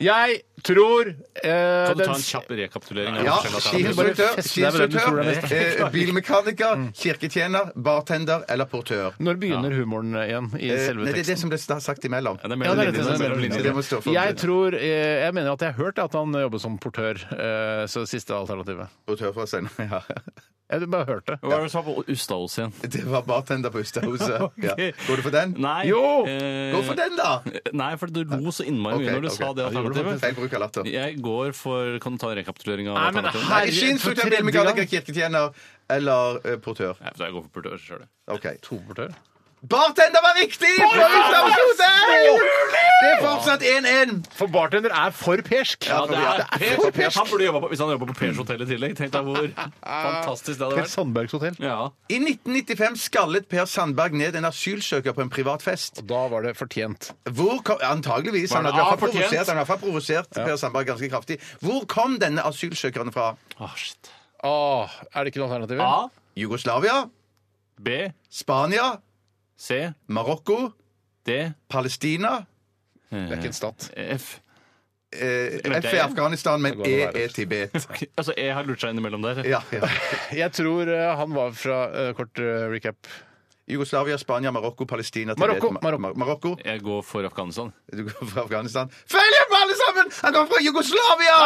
Speaker 1: Jeg tror eh,
Speaker 3: Kan du
Speaker 1: den-
Speaker 3: ta en kjapp rekapitulering? av
Speaker 2: Ja,
Speaker 3: forskjellige alternativer?
Speaker 2: skiinstruktør,
Speaker 1: feste deg med den du tror er best.
Speaker 2: skiinstruktør, eh, bilmekaniker, kirketjener, bartender eller portør.
Speaker 1: Når begynner humoren igjen i
Speaker 2: Eh,
Speaker 1: selve
Speaker 2: Nei, det er
Speaker 1: teksten?
Speaker 2: det som ble sta- sagt imellom.
Speaker 3: Ja, det er mer
Speaker 1: Ja, det er rett
Speaker 3: linjer,
Speaker 1: og slett
Speaker 3: det er mer
Speaker 1: mellom
Speaker 3: linjer.
Speaker 2: Så det må stå for
Speaker 1: Jeg tror, eh, jeg mener at jeg har hørt at han jobber som portør, eh, så det siste alternativet.
Speaker 2: portør fra Steinar. Ja.
Speaker 1: Jeg bare hørte.
Speaker 3: Hva var det du sa på Ustaos igjen?
Speaker 2: Det var bartender på Ustahuset. ja.
Speaker 3: Ok.
Speaker 2: Går du for den?
Speaker 3: Nei,
Speaker 1: Jo!
Speaker 3: eh,
Speaker 2: Gå for den, da!
Speaker 3: Nei, for du lo så innmari mye
Speaker 2: Ok,
Speaker 3: når du
Speaker 2: ok.
Speaker 3: sa det
Speaker 2: Ja, gjorde du faktisk.
Speaker 3: alternativet.
Speaker 2: Feil bruk av latter.
Speaker 3: Jeg går for Kan du ta en rekapitulering av
Speaker 1: Nei, men
Speaker 3: alternativet?
Speaker 1: her-
Speaker 2: Nei, Skiinstruktør,
Speaker 1: for tredje
Speaker 2: bilmekaniker,
Speaker 1: gang.
Speaker 2: kirketjener eller eh, portør.
Speaker 3: Nei, for Jeg går for portør sjøl.
Speaker 2: OK.
Speaker 1: To portør.
Speaker 2: Bartender var riktig! Fra Utslagshotel! Det er fortsatt 1-1.
Speaker 1: For bartender er for persk!
Speaker 3: Ja, det er,
Speaker 2: det er
Speaker 3: Per-
Speaker 2: for persk.
Speaker 3: Han burde jobba på, hvis han jobba på Pers hotell i tillegg. Tenk deg hvor fantastisk det hadde
Speaker 1: Per
Speaker 3: vært.
Speaker 1: Sandbergs hotell.
Speaker 3: Ja.
Speaker 2: I 1995 skallet Per Sandberg ned en asylsøker på en privat fest.
Speaker 1: Da var det fortjent.
Speaker 2: Hvor kom, antageligvis, han
Speaker 3: Var det
Speaker 2: hadde i hvert
Speaker 3: A,
Speaker 2: fall
Speaker 3: fortjent?
Speaker 2: provosert, han hadde i hvert fall provosert Per Sandberg ganske kraftig. Hvor kom denne asylsøkeren fra?
Speaker 3: Åh, shit.
Speaker 1: Åh, er det ikke noe alternativ?
Speaker 3: A,
Speaker 2: Jugoslavia?
Speaker 3: B,
Speaker 2: Spania?
Speaker 3: C,
Speaker 2: Marokko?
Speaker 3: D,
Speaker 2: Palestina?
Speaker 1: Det er ikke en stat.
Speaker 3: F.
Speaker 2: Eh,
Speaker 3: Men det
Speaker 2: F er
Speaker 3: er-
Speaker 2: Afghanistan, men
Speaker 1: går
Speaker 2: E
Speaker 1: det å være.
Speaker 2: er Tibet.
Speaker 3: Altså, E har lurt seg innimellom der.
Speaker 2: Ja, ja.
Speaker 1: Jeg tror eh, han var fra eh, Kort eh, recap.
Speaker 2: Jugoslavia, Spania, Marokko, Palestina, Tibet
Speaker 1: Marokko,
Speaker 2: Ma-
Speaker 1: Marokko.
Speaker 2: Mar- Marokko.
Speaker 3: Jeg går for Afghanistan.
Speaker 2: Du går fra Afghanistan. Følg opp, alle sammen! Han kommer fra Jugoslavia!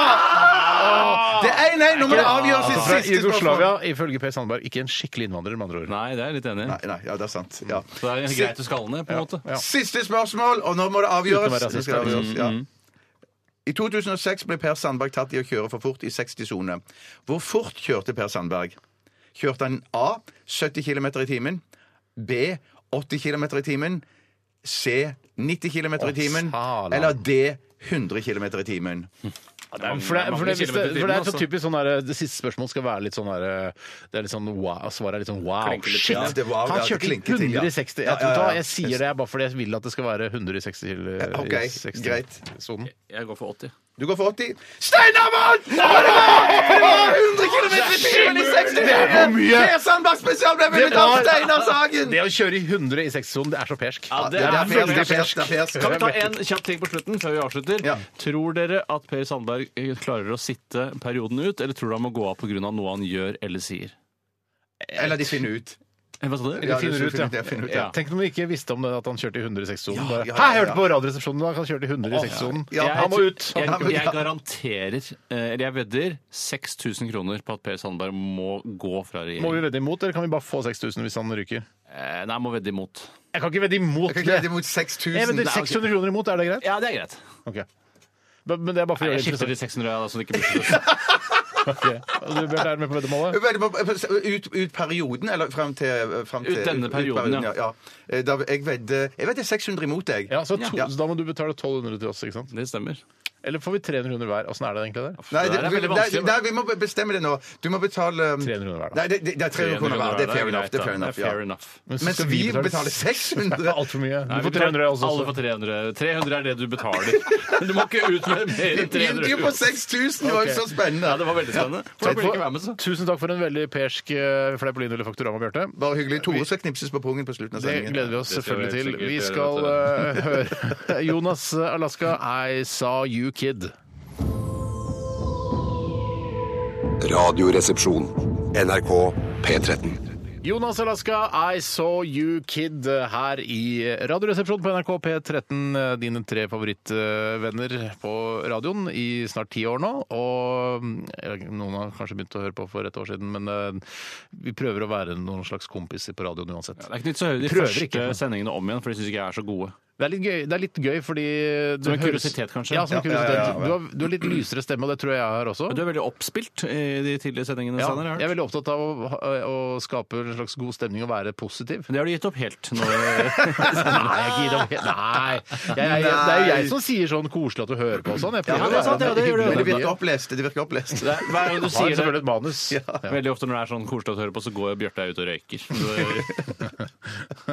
Speaker 2: Det er 1-1. Nå må det avgjøres i
Speaker 1: Ah! Fra
Speaker 2: siste
Speaker 1: Jugoslavia,
Speaker 2: spørsmål.
Speaker 1: ifølge Per Sandberg. Ikke en skikkelig innvandrer, med andre ord.
Speaker 3: Nei, det er jeg litt enig i.
Speaker 2: Nei, nei, ja, det er sant. Ja.
Speaker 3: Så det er greit å skalle ned, på en måte.
Speaker 1: ja.
Speaker 2: Siste spørsmål, og nå må det
Speaker 1: Uten å være
Speaker 2: avgjøres.
Speaker 1: rasist,
Speaker 2: Nå skal det avgjøres ja. I 2006 ble Per Sandberg tatt i å kjøre for fort i 60-sone. Hvor fort kjørte Per Sandberg? Kjørte han A 70 km i timen, B 80 km i timen, C 90 km i timen
Speaker 1: Å, sala.
Speaker 2: eller D 100 km i timen?
Speaker 1: det er, for det, for det, hvis det, for det
Speaker 3: altså.
Speaker 1: er så typisk sånn der, Det siste spørsmålet skal være litt sånn der, Det er litt sånn wow, svaret er litt sånn wow,
Speaker 2: Klinker litt
Speaker 1: shit!
Speaker 2: til, ja. Det er wow,
Speaker 1: Han
Speaker 2: ja, det
Speaker 1: kjørte
Speaker 2: klinker til, ja.
Speaker 1: 160 Jeg,
Speaker 2: Ja,
Speaker 1: tror
Speaker 2: ja, ja.
Speaker 1: da, jeg sier det bare fordi jeg vil at det skal være 160 til eh,
Speaker 2: Ok,
Speaker 1: 60
Speaker 2: greit.
Speaker 1: sonen.
Speaker 3: Jeg går for 80.
Speaker 2: Du går for 80. Steinarmann! Det var det var 100 km i timen i 60
Speaker 1: Det er for mye.
Speaker 2: Per Sandberg spesial ble vunnet av
Speaker 1: var-
Speaker 2: Steinar Sagen!
Speaker 1: Det å kjøre i 100 i 60-sonen, det er så persk.
Speaker 3: Ja,
Speaker 2: Det
Speaker 3: det er
Speaker 2: er
Speaker 3: veldig
Speaker 2: persk, det er persk, det er persk.
Speaker 3: Kan vi ta en kjapp ting på slutten før vi avslutter?
Speaker 2: Ja.
Speaker 3: Tror dere at Per Sandberg eh, klarer å sitte perioden ut, eller tror du han må gå av pga. noe han gjør eller sier?
Speaker 2: Eller de finner ut.
Speaker 3: Eh, Hva sa du?
Speaker 1: Eller
Speaker 2: Ja, det
Speaker 1: finner ut,
Speaker 2: finner
Speaker 1: ja.
Speaker 2: ut, ja, finner ut,
Speaker 1: ja.
Speaker 2: ja.
Speaker 1: Tenk om vi ikke visste om det at han kjørte i 100 i 60-sonen.
Speaker 2: Ja,
Speaker 1: Bare,
Speaker 2: ja, ja,
Speaker 1: Hæ, jeg hørte
Speaker 2: ja.
Speaker 1: på Radioresepsjonen i dag, han kjørte i 100 i 60-sonen.
Speaker 2: Ja, ja.
Speaker 1: Han må ut!
Speaker 3: Jeg,
Speaker 2: Han må ut, ja.
Speaker 3: jeg garanterer, eh, eller jeg vedder, 6000 kroner på at Per Sandberg må gå
Speaker 1: Må
Speaker 3: fra
Speaker 1: vi
Speaker 3: regjeringen.
Speaker 1: vedde imot, eller kan vi bare få 6000 hvis han ryker?
Speaker 3: Eh, Nei, jeg må vedde imot.
Speaker 1: Jeg kan ikke vedde
Speaker 2: Jeg
Speaker 1: imot
Speaker 2: kan ikke
Speaker 1: det.
Speaker 2: vedde mot
Speaker 1: Jeg
Speaker 2: 6000.
Speaker 1: vedder 600 kroner imot, er det greit?
Speaker 3: Ja, det er greit.
Speaker 1: Ok. Men men det er bare for å
Speaker 3: Nei,
Speaker 1: gjøre det
Speaker 3: jeg
Speaker 1: interessant.
Speaker 3: skifter de 600, ja, da, så det ikke blir
Speaker 1: Ok. Og Du Bjørn, er med på veddemålet?
Speaker 2: Vel, Ut, ut perioden, eller frem til, frem til
Speaker 3: Ut denne perioden, ja.
Speaker 2: Eh, Da, jeg vedder jeg vedder 600 imot, jeg.
Speaker 1: Ja, så, to, så da må du betale 1200 til oss, ikke sant?
Speaker 3: Det stemmer.
Speaker 1: Eller får vi 300 kroner hver? Åssen er det egentlig der?
Speaker 2: Nei, det,
Speaker 3: Det der er
Speaker 2: vi,
Speaker 3: veldig
Speaker 2: nei,
Speaker 3: vanskelig.
Speaker 2: nei, vi må bestemme det nå. Du må betale um,
Speaker 1: 300 kroner hver, da.
Speaker 2: Nei, det, det, det er 300 kroner hver. Det er fair enough. Det er fair enough, ja.
Speaker 1: Men så
Speaker 2: Mens
Speaker 1: skal
Speaker 2: vi
Speaker 1: betale-
Speaker 2: betaler 600.
Speaker 1: Det er altfor mye.
Speaker 3: Nei,
Speaker 1: Du
Speaker 3: vi
Speaker 1: får 300 også.
Speaker 3: Alle får 300. 300 er det du betaler. Du må ikke ut med mer
Speaker 2: Vi
Speaker 3: enn
Speaker 2: begynte jo på
Speaker 3: 300.
Speaker 2: 6000! Det var jo så
Speaker 3: Ja,
Speaker 2: spennende.
Speaker 3: det var veldig spennende.
Speaker 1: Takk
Speaker 3: Hvorfor blir du ikke med med, så?
Speaker 1: for, tusen takk for en veldig persk eh, Fleipolino eller Faktorama, Bjarte.
Speaker 2: Bare hyggelig. Tore skal knipses på pungen på slutten av
Speaker 1: Det
Speaker 2: sendingen.
Speaker 1: gleder vi oss
Speaker 3: Det skal vi
Speaker 1: selvfølgelig til.
Speaker 3: helt sikkert
Speaker 1: Vi
Speaker 3: gjøre,
Speaker 1: skal
Speaker 3: vet
Speaker 1: eh, høre Jonas Alaska, I saw you kid.
Speaker 6: Radioresepsjon. NRK P13.
Speaker 1: Jonas Alaska, I saw you kid her i Radioresepsjonen på NRK P13. eh, Dine tre favorittvenner på radioen i snart ti år nå. Og eh, noen har kanskje begynt å høre på for et år siden, men eh, vi prøver å være noen slags kompiser på radioen uansett.
Speaker 3: Det er ikke nytt så høye de
Speaker 1: Prøver
Speaker 3: første
Speaker 1: ikke.
Speaker 3: sendingene om igjen, for de syns ikke jeg er så gode.
Speaker 1: Det er litt gøy, det er litt gøy fordi det
Speaker 3: Som en
Speaker 1: høres-
Speaker 3: kuriositet, kanskje?
Speaker 1: Ja, som
Speaker 2: Ja, ja,
Speaker 1: en kuriositet.
Speaker 2: ja, ja.
Speaker 1: Du, har, du har litt lysere stemme, og det tror jeg jeg har også.
Speaker 3: Men du er veldig oppspilt i de tidligere sendingene.
Speaker 1: Ja,
Speaker 3: Sander, har
Speaker 1: jeg er
Speaker 3: jeg hørt.
Speaker 1: veldig opptatt av å, ha- å skape en slags god stemning og være positiv.
Speaker 3: Men det har du gitt opp helt. Nå.
Speaker 1: Nei, jeg gidder ikke. Nei. Jeg, jeg, det er jo jeg som sier sånn koselig at du hører på og sånn. Jeg prøver
Speaker 2: Ja,
Speaker 1: å
Speaker 2: det er
Speaker 1: være
Speaker 2: sant, ja, det
Speaker 1: hyggelig.
Speaker 3: gjør du.
Speaker 2: Men det virker opplest. Det virker opplest.
Speaker 3: Det er- Hver gang du
Speaker 1: Jeg har
Speaker 3: sier
Speaker 1: selvfølgelig et
Speaker 3: det
Speaker 1: manus.
Speaker 3: Veldig ofte når det er sånn koselig å høre på, så går Bjarte ut og røyker. Så-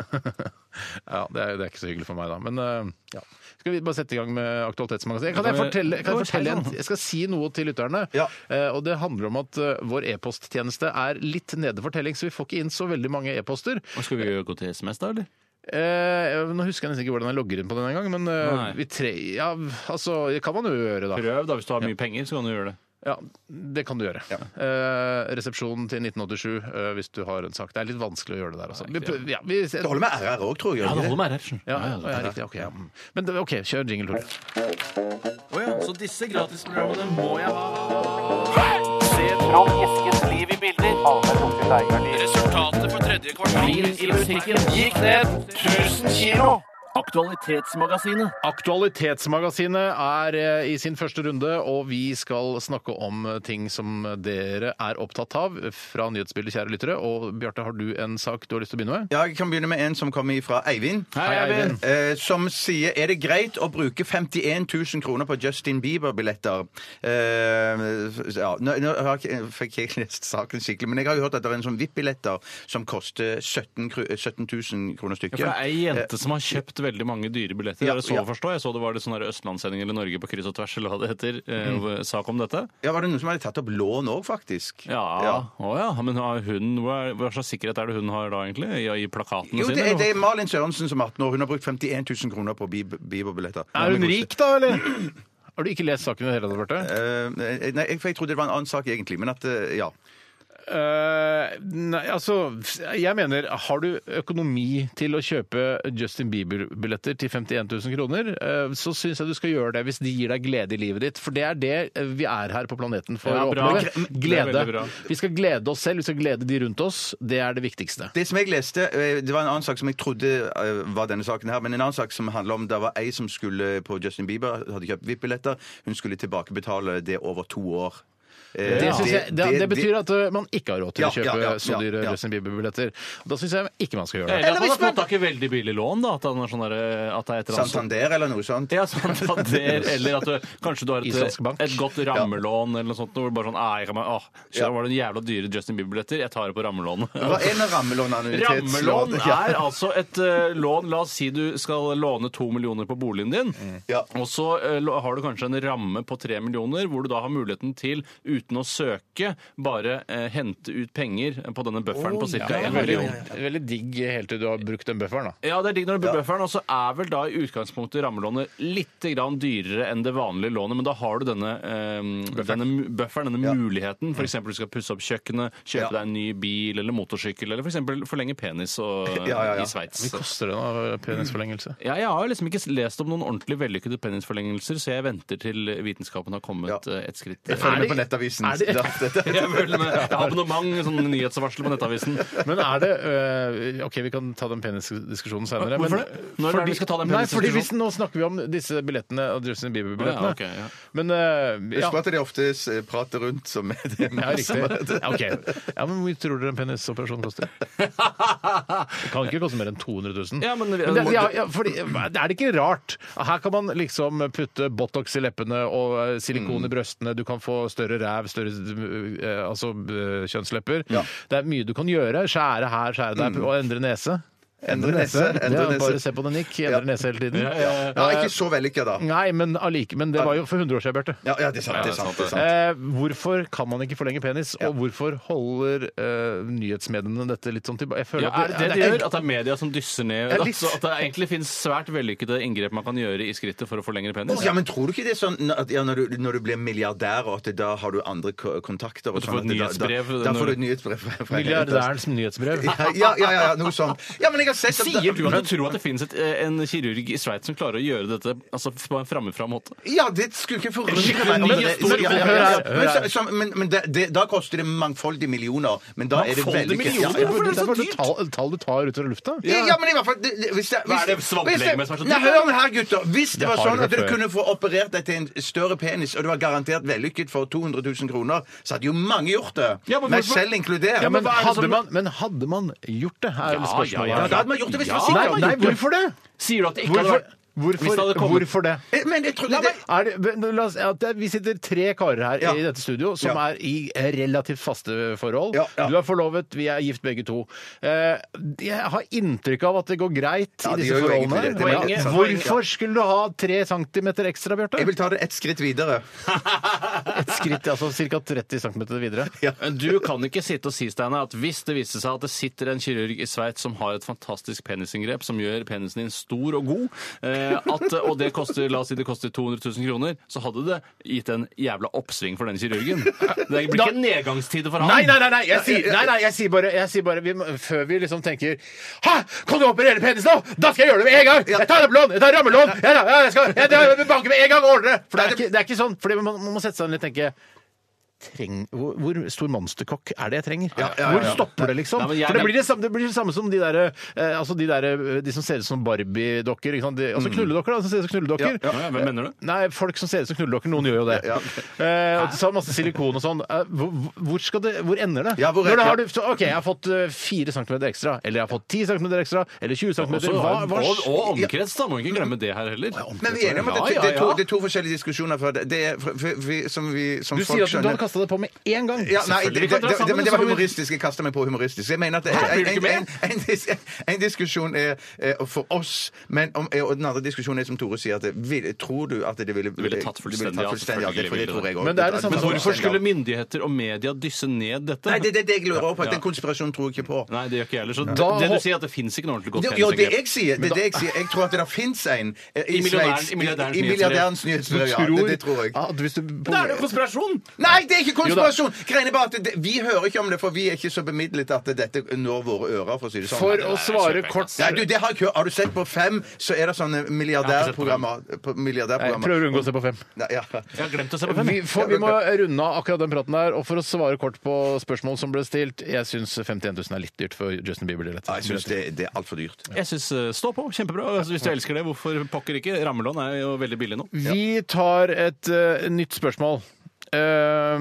Speaker 1: Ja, det er, det er ikke så hyggelig for meg, da. Men eh, ja. skal vi bare sette i gang med Aktualitetsmagasinet? Kan
Speaker 3: Da
Speaker 1: jeg
Speaker 3: kan vi-
Speaker 1: fortelle, kan
Speaker 3: Jo,
Speaker 1: jeg, fortelle
Speaker 3: si
Speaker 1: en,
Speaker 3: noe.
Speaker 1: jeg skal si noe til lytterne.
Speaker 2: Ja.
Speaker 1: eh, Og det handler om at eh, vår e-posttjeneste er litt nede for telling, så vi får ikke inn så veldig mange e-poster.
Speaker 3: Og Skal vi gå til SMS, da, eller?
Speaker 1: Eh, nå husker jeg nesten ikke hvordan jeg logger inn på den engang, men eh,
Speaker 3: Nei.
Speaker 1: vi tre... Ja, altså, det kan man jo gjøre, da.
Speaker 3: Prøv, da. Hvis du har mye penger, så kan du gjøre det.
Speaker 1: Ja, det kan du gjøre. Eh, resepsjonen til 1987 eh, hvis du har en sak. Det er litt vanskelig å gjøre det der, altså. Vi, prøv- ja, vi,
Speaker 2: Det holder med RR òg, tror jeg.
Speaker 3: Ja, det
Speaker 2: ikke
Speaker 3: holder
Speaker 2: det?
Speaker 3: med RR.
Speaker 1: ja, ja, ja, riktig. Ok. Ja. mm. Men det- OK, kjør jingle, Tore.
Speaker 3: Så disse gratisprogrammene må jeg ha.
Speaker 10: Se Trond Eskens liv i bilder. Resultatet for tredje kvartal i musikken gikk ned 1000 kilo. Aktualitetsmagasinet.
Speaker 1: Aktualitetsmagasinet er eh, i sin første runde, og vi skal snakke om eh, ting som dere er opptatt av eh, fra nyhetsbildet, kjære lyttere. Og Bjarte, har du en sak du har lyst til å begynne med?
Speaker 2: Ja, jeg kan begynne med en som kommer fra Eivind.
Speaker 3: Hei, Eivind.
Speaker 2: Eh, som sier er det greit å bruke 51 000 kroner på Justin Bieber-billetter. Eh, ja, nå, nå har jeg, ikke- fikk jeg ikke lest saken skikkelig, men jeg har jo hørt at det er en sånn VIP-billetter som koster 17, kro- 17 000 kroner
Speaker 3: Ja, for det
Speaker 2: stykket.
Speaker 3: er ei jente som har kjøpt veldig mange dyre billetter.
Speaker 2: Ja,
Speaker 3: Dere så
Speaker 2: ja.
Speaker 3: forstå. Jeg så det var litt sånn der Østlandssending eller Norge på kryss og tvers eller hva det heter, eh, sak om dette.
Speaker 2: Ja, Var det noen som hadde tatt opp lån òg, faktisk?
Speaker 3: Ja, Å, ja. men har hun, hva, er- hva slags sikkerhet er det hun har da, egentlig? I, i plakatene
Speaker 2: Jo,
Speaker 3: sine?
Speaker 2: det er,
Speaker 3: eller
Speaker 2: det er Malin Sørensen som er 18 år. Hun har brukt 51 000 kroner på Bieb- Bieber-billetter.
Speaker 1: Er hun rik, da, eller? Har du ikke lest saken i det hele tatt, Bjarte?
Speaker 2: Eh, nei, jeg, for jeg trodde det var en annen sak, egentlig. Men at eh, ja.
Speaker 1: Eh, nei, altså Jeg mener, har du økonomi til å kjøpe Justin Bieber-billetter til 51 000 kroner, eh, så syns jeg du skal gjøre det hvis de gir deg glede i livet ditt. For det er det eh, vi er her på planeten for
Speaker 3: Ja,
Speaker 1: å
Speaker 3: bra.
Speaker 1: oppleve.
Speaker 3: Det er veldig
Speaker 1: Glede.
Speaker 3: bra.
Speaker 1: Vi skal glede oss selv, vi skal glede de rundt oss. Det er det viktigste.
Speaker 2: Det som jeg leste, eh, det var en annen sak som jeg trodde eh, var denne saken her, men en annen sak som handla om det var ei som skulle på Justin Bieber, hadde kjøpt VIP-billetter. Hun skulle tilbakebetale det over to år. Eh,
Speaker 1: Det, synes jeg, det, det, betyr at eh, man ikke har råd til
Speaker 2: Ja,
Speaker 1: å kjøpe
Speaker 2: ja, ja,
Speaker 1: så
Speaker 2: ja,
Speaker 1: dyre
Speaker 2: ja.
Speaker 1: Justin Bieber-billetter. Da syns jeg ikke man skal gjøre
Speaker 3: Eller
Speaker 1: det.
Speaker 3: at man har fått tak i veldig billig lån, da. At, han er sånn der, eh, at det er et eller annet
Speaker 2: Santander eller noe sånt.
Speaker 3: Ja, Santander, eller at du, kanskje du har et,
Speaker 1: Islandsk bank.
Speaker 3: et godt rammelån eller noe sånt. Hvor du bare sånn, «Ah, jeg kan bare, ah,
Speaker 2: Ja.
Speaker 3: shit, da var det en jævla dyre Justin Bieber-billetter, jeg tar det på rammelånet.
Speaker 2: Hva er en rammelån
Speaker 3: Rammelån er altså et eh, lån La oss si du skal låne to millioner på boligen din.
Speaker 2: Ja.
Speaker 3: Og så eh, lå- har du kanskje en ramme på tre millioner, hvor du da har muligheten til, uten å søke, bare eh, hente ut penger på denne bufferen på ca.
Speaker 1: Det
Speaker 3: en
Speaker 1: er veldig,
Speaker 3: million.
Speaker 1: veldig digg helt til du har brukt den bufferen. da.
Speaker 3: Ja, det er digg når du blir bufferen, og så er vel da i utgangspunktet rammelånet litt grann dyrere enn det vanlige lånet, men da har du denne, eh, denne mu- bufferen, denne muligheten. For eksempel du skal pusse opp kjøkkenet, kjøpe
Speaker 2: Mm. Ja.
Speaker 3: deg en ny bil eller motorsykkel, eller for eksempel forlenge penis og,
Speaker 2: Ja, ja, ja.
Speaker 3: i Sveits.
Speaker 1: Koster det da penisforlengelse?
Speaker 3: Ja, jeg har liksom ikke lest om noen ordentlig vellykkede penisforlengelser, så jeg venter til vitenskapen har kommet eh, et skritt.
Speaker 2: Jeg følger med på Nettavisen.
Speaker 1: er det-
Speaker 3: Jeg følger med. Jeg har abonnement, sånn nyhetsvarsel på Nettavisen.
Speaker 1: Men er det øh, OK, vi kan ta den penisdiskusjonen senere.
Speaker 3: Hvorfor
Speaker 1: men-
Speaker 3: det? Når er det vi skal ta den
Speaker 1: Nei, fordi hvis
Speaker 3: penisdiskusjonen?
Speaker 1: Nå snakker vi om disse billettene, og Justin Bieber-billettene.
Speaker 3: Å ja, ok, ja.
Speaker 1: Men øh, ja.
Speaker 2: Husk på at de ofte s- prater rundt som med det.
Speaker 1: Ja, riktig. Ja, ok. ja, men Hvor mye tror dere en penisoperasjon koster? Det kan ikke koste mer enn 200 000.
Speaker 3: Ja, men-
Speaker 1: det, ja, ja, fordi, er det ikke rart? Her kan man liksom putte Botox i leppene og eh, silikon
Speaker 2: Mm.
Speaker 1: i brøstene, du kan få større ræv, større eh, altså, eh, kjønnslepper. Det er mye du kan gjøre. Skjære her, skjære der, og endre nese.
Speaker 2: Mm. Endre nese, endre
Speaker 1: Ja,
Speaker 2: nese.
Speaker 1: bare se på den nikk. Endre nese hele tiden.
Speaker 2: Ja, ikke så vellykka, da.
Speaker 1: Nei, men allike. Men det var jo for 100 år siden, Bjarte.
Speaker 2: Ja, ja, det er sant. Det er sant, det er sant.
Speaker 1: Eh, hvorfor kan man ikke forlenge penis, og hvorfor holder eh, nyhetsmediene dette litt sånn tilbake? Jeg føler
Speaker 3: Ja, er det det
Speaker 1: at
Speaker 3: de gjør? At det er media som dysser ned?
Speaker 2: Ja, litt.
Speaker 3: Altså, at det egentlig finnes svært vellykkede inngrep man kan gjøre i skrittet for å forlenge penis?
Speaker 2: Ja, men Tror du ikke det er sånn at ja, når, du, når du blir milliardær, og at da har du andre ko- kontakter og
Speaker 3: du får
Speaker 2: sånn,
Speaker 3: et
Speaker 2: at da- Da,
Speaker 3: nyhetsbrev
Speaker 2: da får
Speaker 3: når-
Speaker 2: du et nyhetsbrev fra, fra
Speaker 1: Milliardærens nyhetsbrev.
Speaker 2: Ja, ja, ja, ja, noe sånt. Ja, men jeg har sett at-
Speaker 3: Sier du at du tror at det finnes et, eh, en kirurg i Sveits som klarer å gjøre dette altså, på en fremmedfra måte?
Speaker 2: Ja, det skulle ikke forundre meg. om
Speaker 3: Men-
Speaker 2: det-
Speaker 3: men-
Speaker 2: ja, ja,
Speaker 1: hør
Speaker 2: ja,
Speaker 1: her,
Speaker 2: ja.
Speaker 1: hør
Speaker 2: Men
Speaker 1: her.
Speaker 2: så- så- Men men det- det- da koster det mangfoldige millioner. Men da er det
Speaker 3: Mangfoldige
Speaker 2: veldig
Speaker 3: millioner?
Speaker 2: Ja, ja.
Speaker 3: Hvorfor er det så
Speaker 1: bare
Speaker 3: dyrt?
Speaker 1: sånn Tall, tall du tar ut av lufta.
Speaker 2: Ja, ja, men i hvert fall det- det- hvis det, hvis,
Speaker 3: Hva er det svamplegemet som er så
Speaker 2: hvis- Nei,
Speaker 3: dyrt?
Speaker 2: hør nå her, gutter. Hvis det,
Speaker 1: Det
Speaker 2: var
Speaker 1: har
Speaker 2: sånn
Speaker 1: du
Speaker 2: at du
Speaker 1: hørt før.
Speaker 2: kunne få operert deg til en større penis, og du var garantert vellykket for 200 000 kroner, så hadde jo mange gjort det.
Speaker 3: Ja, men
Speaker 2: Meg
Speaker 3: hvorfor-
Speaker 2: selv inkludert.
Speaker 1: Ja, men,
Speaker 3: hva er det
Speaker 1: hadde
Speaker 3: som-
Speaker 1: man, men hadde man gjort det? Her,
Speaker 3: Ja,
Speaker 1: spørsmålet
Speaker 3: ja, ja.
Speaker 1: her.
Speaker 2: Da hadde man gjort det hvis man
Speaker 3: Ja,
Speaker 2: sikkert
Speaker 1: Nei,
Speaker 2: hadde
Speaker 1: nei,
Speaker 2: gjort det.
Speaker 1: hvorfor det?
Speaker 3: Sier du at det ikke
Speaker 1: Hvorfor,
Speaker 3: hadde vært Hvis
Speaker 1: hvorfor,
Speaker 3: det hadde kommet
Speaker 1: hvorfor det?
Speaker 2: Eh, Men jeg trodde
Speaker 1: La meg- Er det, men la oss, at det- vi sitter tre karer her
Speaker 2: Ja.
Speaker 1: i dette studio som
Speaker 2: Ja.
Speaker 1: er i relativt faste forhold.
Speaker 2: Ja, ja.
Speaker 1: Du er forlovet, vi er gift begge to. Eh, jeg har inntrykk av at det går greit
Speaker 2: Ja,
Speaker 1: i
Speaker 2: det
Speaker 1: disse
Speaker 2: gjør jo
Speaker 1: forholdene.
Speaker 2: egentlig det. Det er
Speaker 1: Poenget-
Speaker 2: veldig sant.
Speaker 1: Hvorfor skulle du ha tre centimeter ekstra, Bjarte?
Speaker 2: Jeg vil ta det et skritt videre.
Speaker 1: Et skritt, altså ca. 30 centimeter videre.
Speaker 3: Du kan ikke sitte og si Steiner, at hvis det viser seg at det sitter en kirurg i Sveits som har et fantastisk penisinngrep som gjør penisen din stor og god, eh, at, og det koster la oss si det koster 200 000 kroner, så hadde det gitt en jævla oppsving for den kirurgen. Det blir ikke en nedgangstid for han.
Speaker 1: Nei, nei, nei, nei, jeg sier, nei, nei, jeg sier bare, jeg sier bare vi, må- Før vi liksom tenker Hæ! Kan du operere penis nå?! Da skal jeg gjøre det med en gang! Jeg tar rammelån! Jeg tar rammelån! Jeg, tar- jeg, skal, jeg, tar- jeg banker med en gang og ordner det! For det er ikke, det er ikke sånn. Fordi man, man må sette seg ned og tenke Treng, hvor, hvor stor monsterkokk er det jeg trenger?
Speaker 2: ja, ja, ja.
Speaker 1: Hvor stopper det, liksom?
Speaker 3: Nei, men jeg-
Speaker 1: For det blir det, samme, det blir det samme som de der, eh, altså de, der eh, de som ser ut som Barbie-dokker. ikke sant? De- Altså knulledokker, da. Som ser ut som knulledokker.
Speaker 3: Ja, ja, hvem mener du?
Speaker 1: Nei, folk som ser ut som knulledokker. Noen gjør jo det. Eh, og så har masse silikon og sånn. Eh, hvor, hvor, skal det, hvor ender det?
Speaker 2: Ja, hvor-
Speaker 1: Når det har du, så, OK, jeg har fått eh, 4 cm ekstra. Eller jeg har fått 10 cm ekstra. Eller 20 cm.
Speaker 3: Også,
Speaker 1: Hva, hva,
Speaker 3: og, og omkrets, da. Må ikke glemme det her heller.
Speaker 2: Men vi er enige om at det,
Speaker 3: Ja, ja,
Speaker 2: det, er to,
Speaker 3: ja.
Speaker 2: det er to forskjellige diskusjoner. For det, det er, for, for, vi, som vi, som
Speaker 1: du
Speaker 2: folk
Speaker 1: sier at du
Speaker 2: skjønner-
Speaker 1: hadde kasta det på med en gang.
Speaker 2: Ja, nei, det,
Speaker 3: Selvfølgelig
Speaker 2: det,
Speaker 3: kan
Speaker 2: det,
Speaker 3: dere
Speaker 2: det,
Speaker 3: sammen,
Speaker 2: men det var
Speaker 3: så kan vi-
Speaker 2: humoristisk. Jeg kasta meg på humoristisk. Jeg mener at
Speaker 3: Hæ, blir du
Speaker 2: en,
Speaker 3: ikke
Speaker 2: en,
Speaker 3: med?
Speaker 2: en, dis- en diskusjon er eh, for oss, men om, og den andre diskusjonen er som Tore sier, at det, vil, tror du at det ville
Speaker 3: Det ville tatt fullstendig av,
Speaker 2: av? Det, for det
Speaker 3: selvfølgelig
Speaker 2: tror jeg også.
Speaker 1: Men det er det samme
Speaker 3: Men
Speaker 1: som-
Speaker 3: hvorfor skulle myndigheter og media dysse ned dette?
Speaker 2: Nei, det er det, det jeg lurer på.
Speaker 3: Ja.
Speaker 2: Den konspirasjonen tror jeg ikke på.
Speaker 3: Nei, det gjør ikke jeg heller. Så
Speaker 1: Da-
Speaker 3: det du sier, at det fins ikke noe ordentlig godt
Speaker 2: Jo, jo, det
Speaker 3: penisinngrep.
Speaker 2: jeg sier, det er det jeg sier. Jeg tror at det fins en eh,
Speaker 3: I milliardæren- i milliardærens
Speaker 2: I milliardærens
Speaker 1: Du Ah.
Speaker 2: nyhetsbrev. Ja,
Speaker 1: tror,
Speaker 2: det, det tror jeg.
Speaker 1: at hvis du sånn.
Speaker 3: Da er det jo konspirasjon!
Speaker 2: Nei, det er ikke konspirasjon! Greiene er bare at det, Vi hører ikke om det, for vi er ikke så bemidlet at dette når våre ører, for å si det sånn.
Speaker 1: For å svare kort
Speaker 2: Nei, du, det har, jeg ikke hørt. har du sett på Fem, så er det sånne milliardærprogrammer. på-
Speaker 1: Jeg
Speaker 2: milliardærprogrammer.
Speaker 1: prøver å unngå å se på fem.
Speaker 2: Nei, ja.
Speaker 3: Jeg har glemt å se på fem.
Speaker 1: Vi, for, vi må runde av akkurat den praten der. Og for å svare kort på spørsmål som ble stilt, jeg syns 51 000 er litt dyrt for Justin Bieber.
Speaker 2: Ja, Jeg syns
Speaker 1: Billetter.
Speaker 2: det, det er altfor dyrt.
Speaker 3: Jeg syns stå på. Kjempebra. Altså, hvis du elsker det, hvorfor pokker ikke? Rammelån er jo veldig billig nå.
Speaker 1: Vi tar et eh, nytt spørsmål. eh,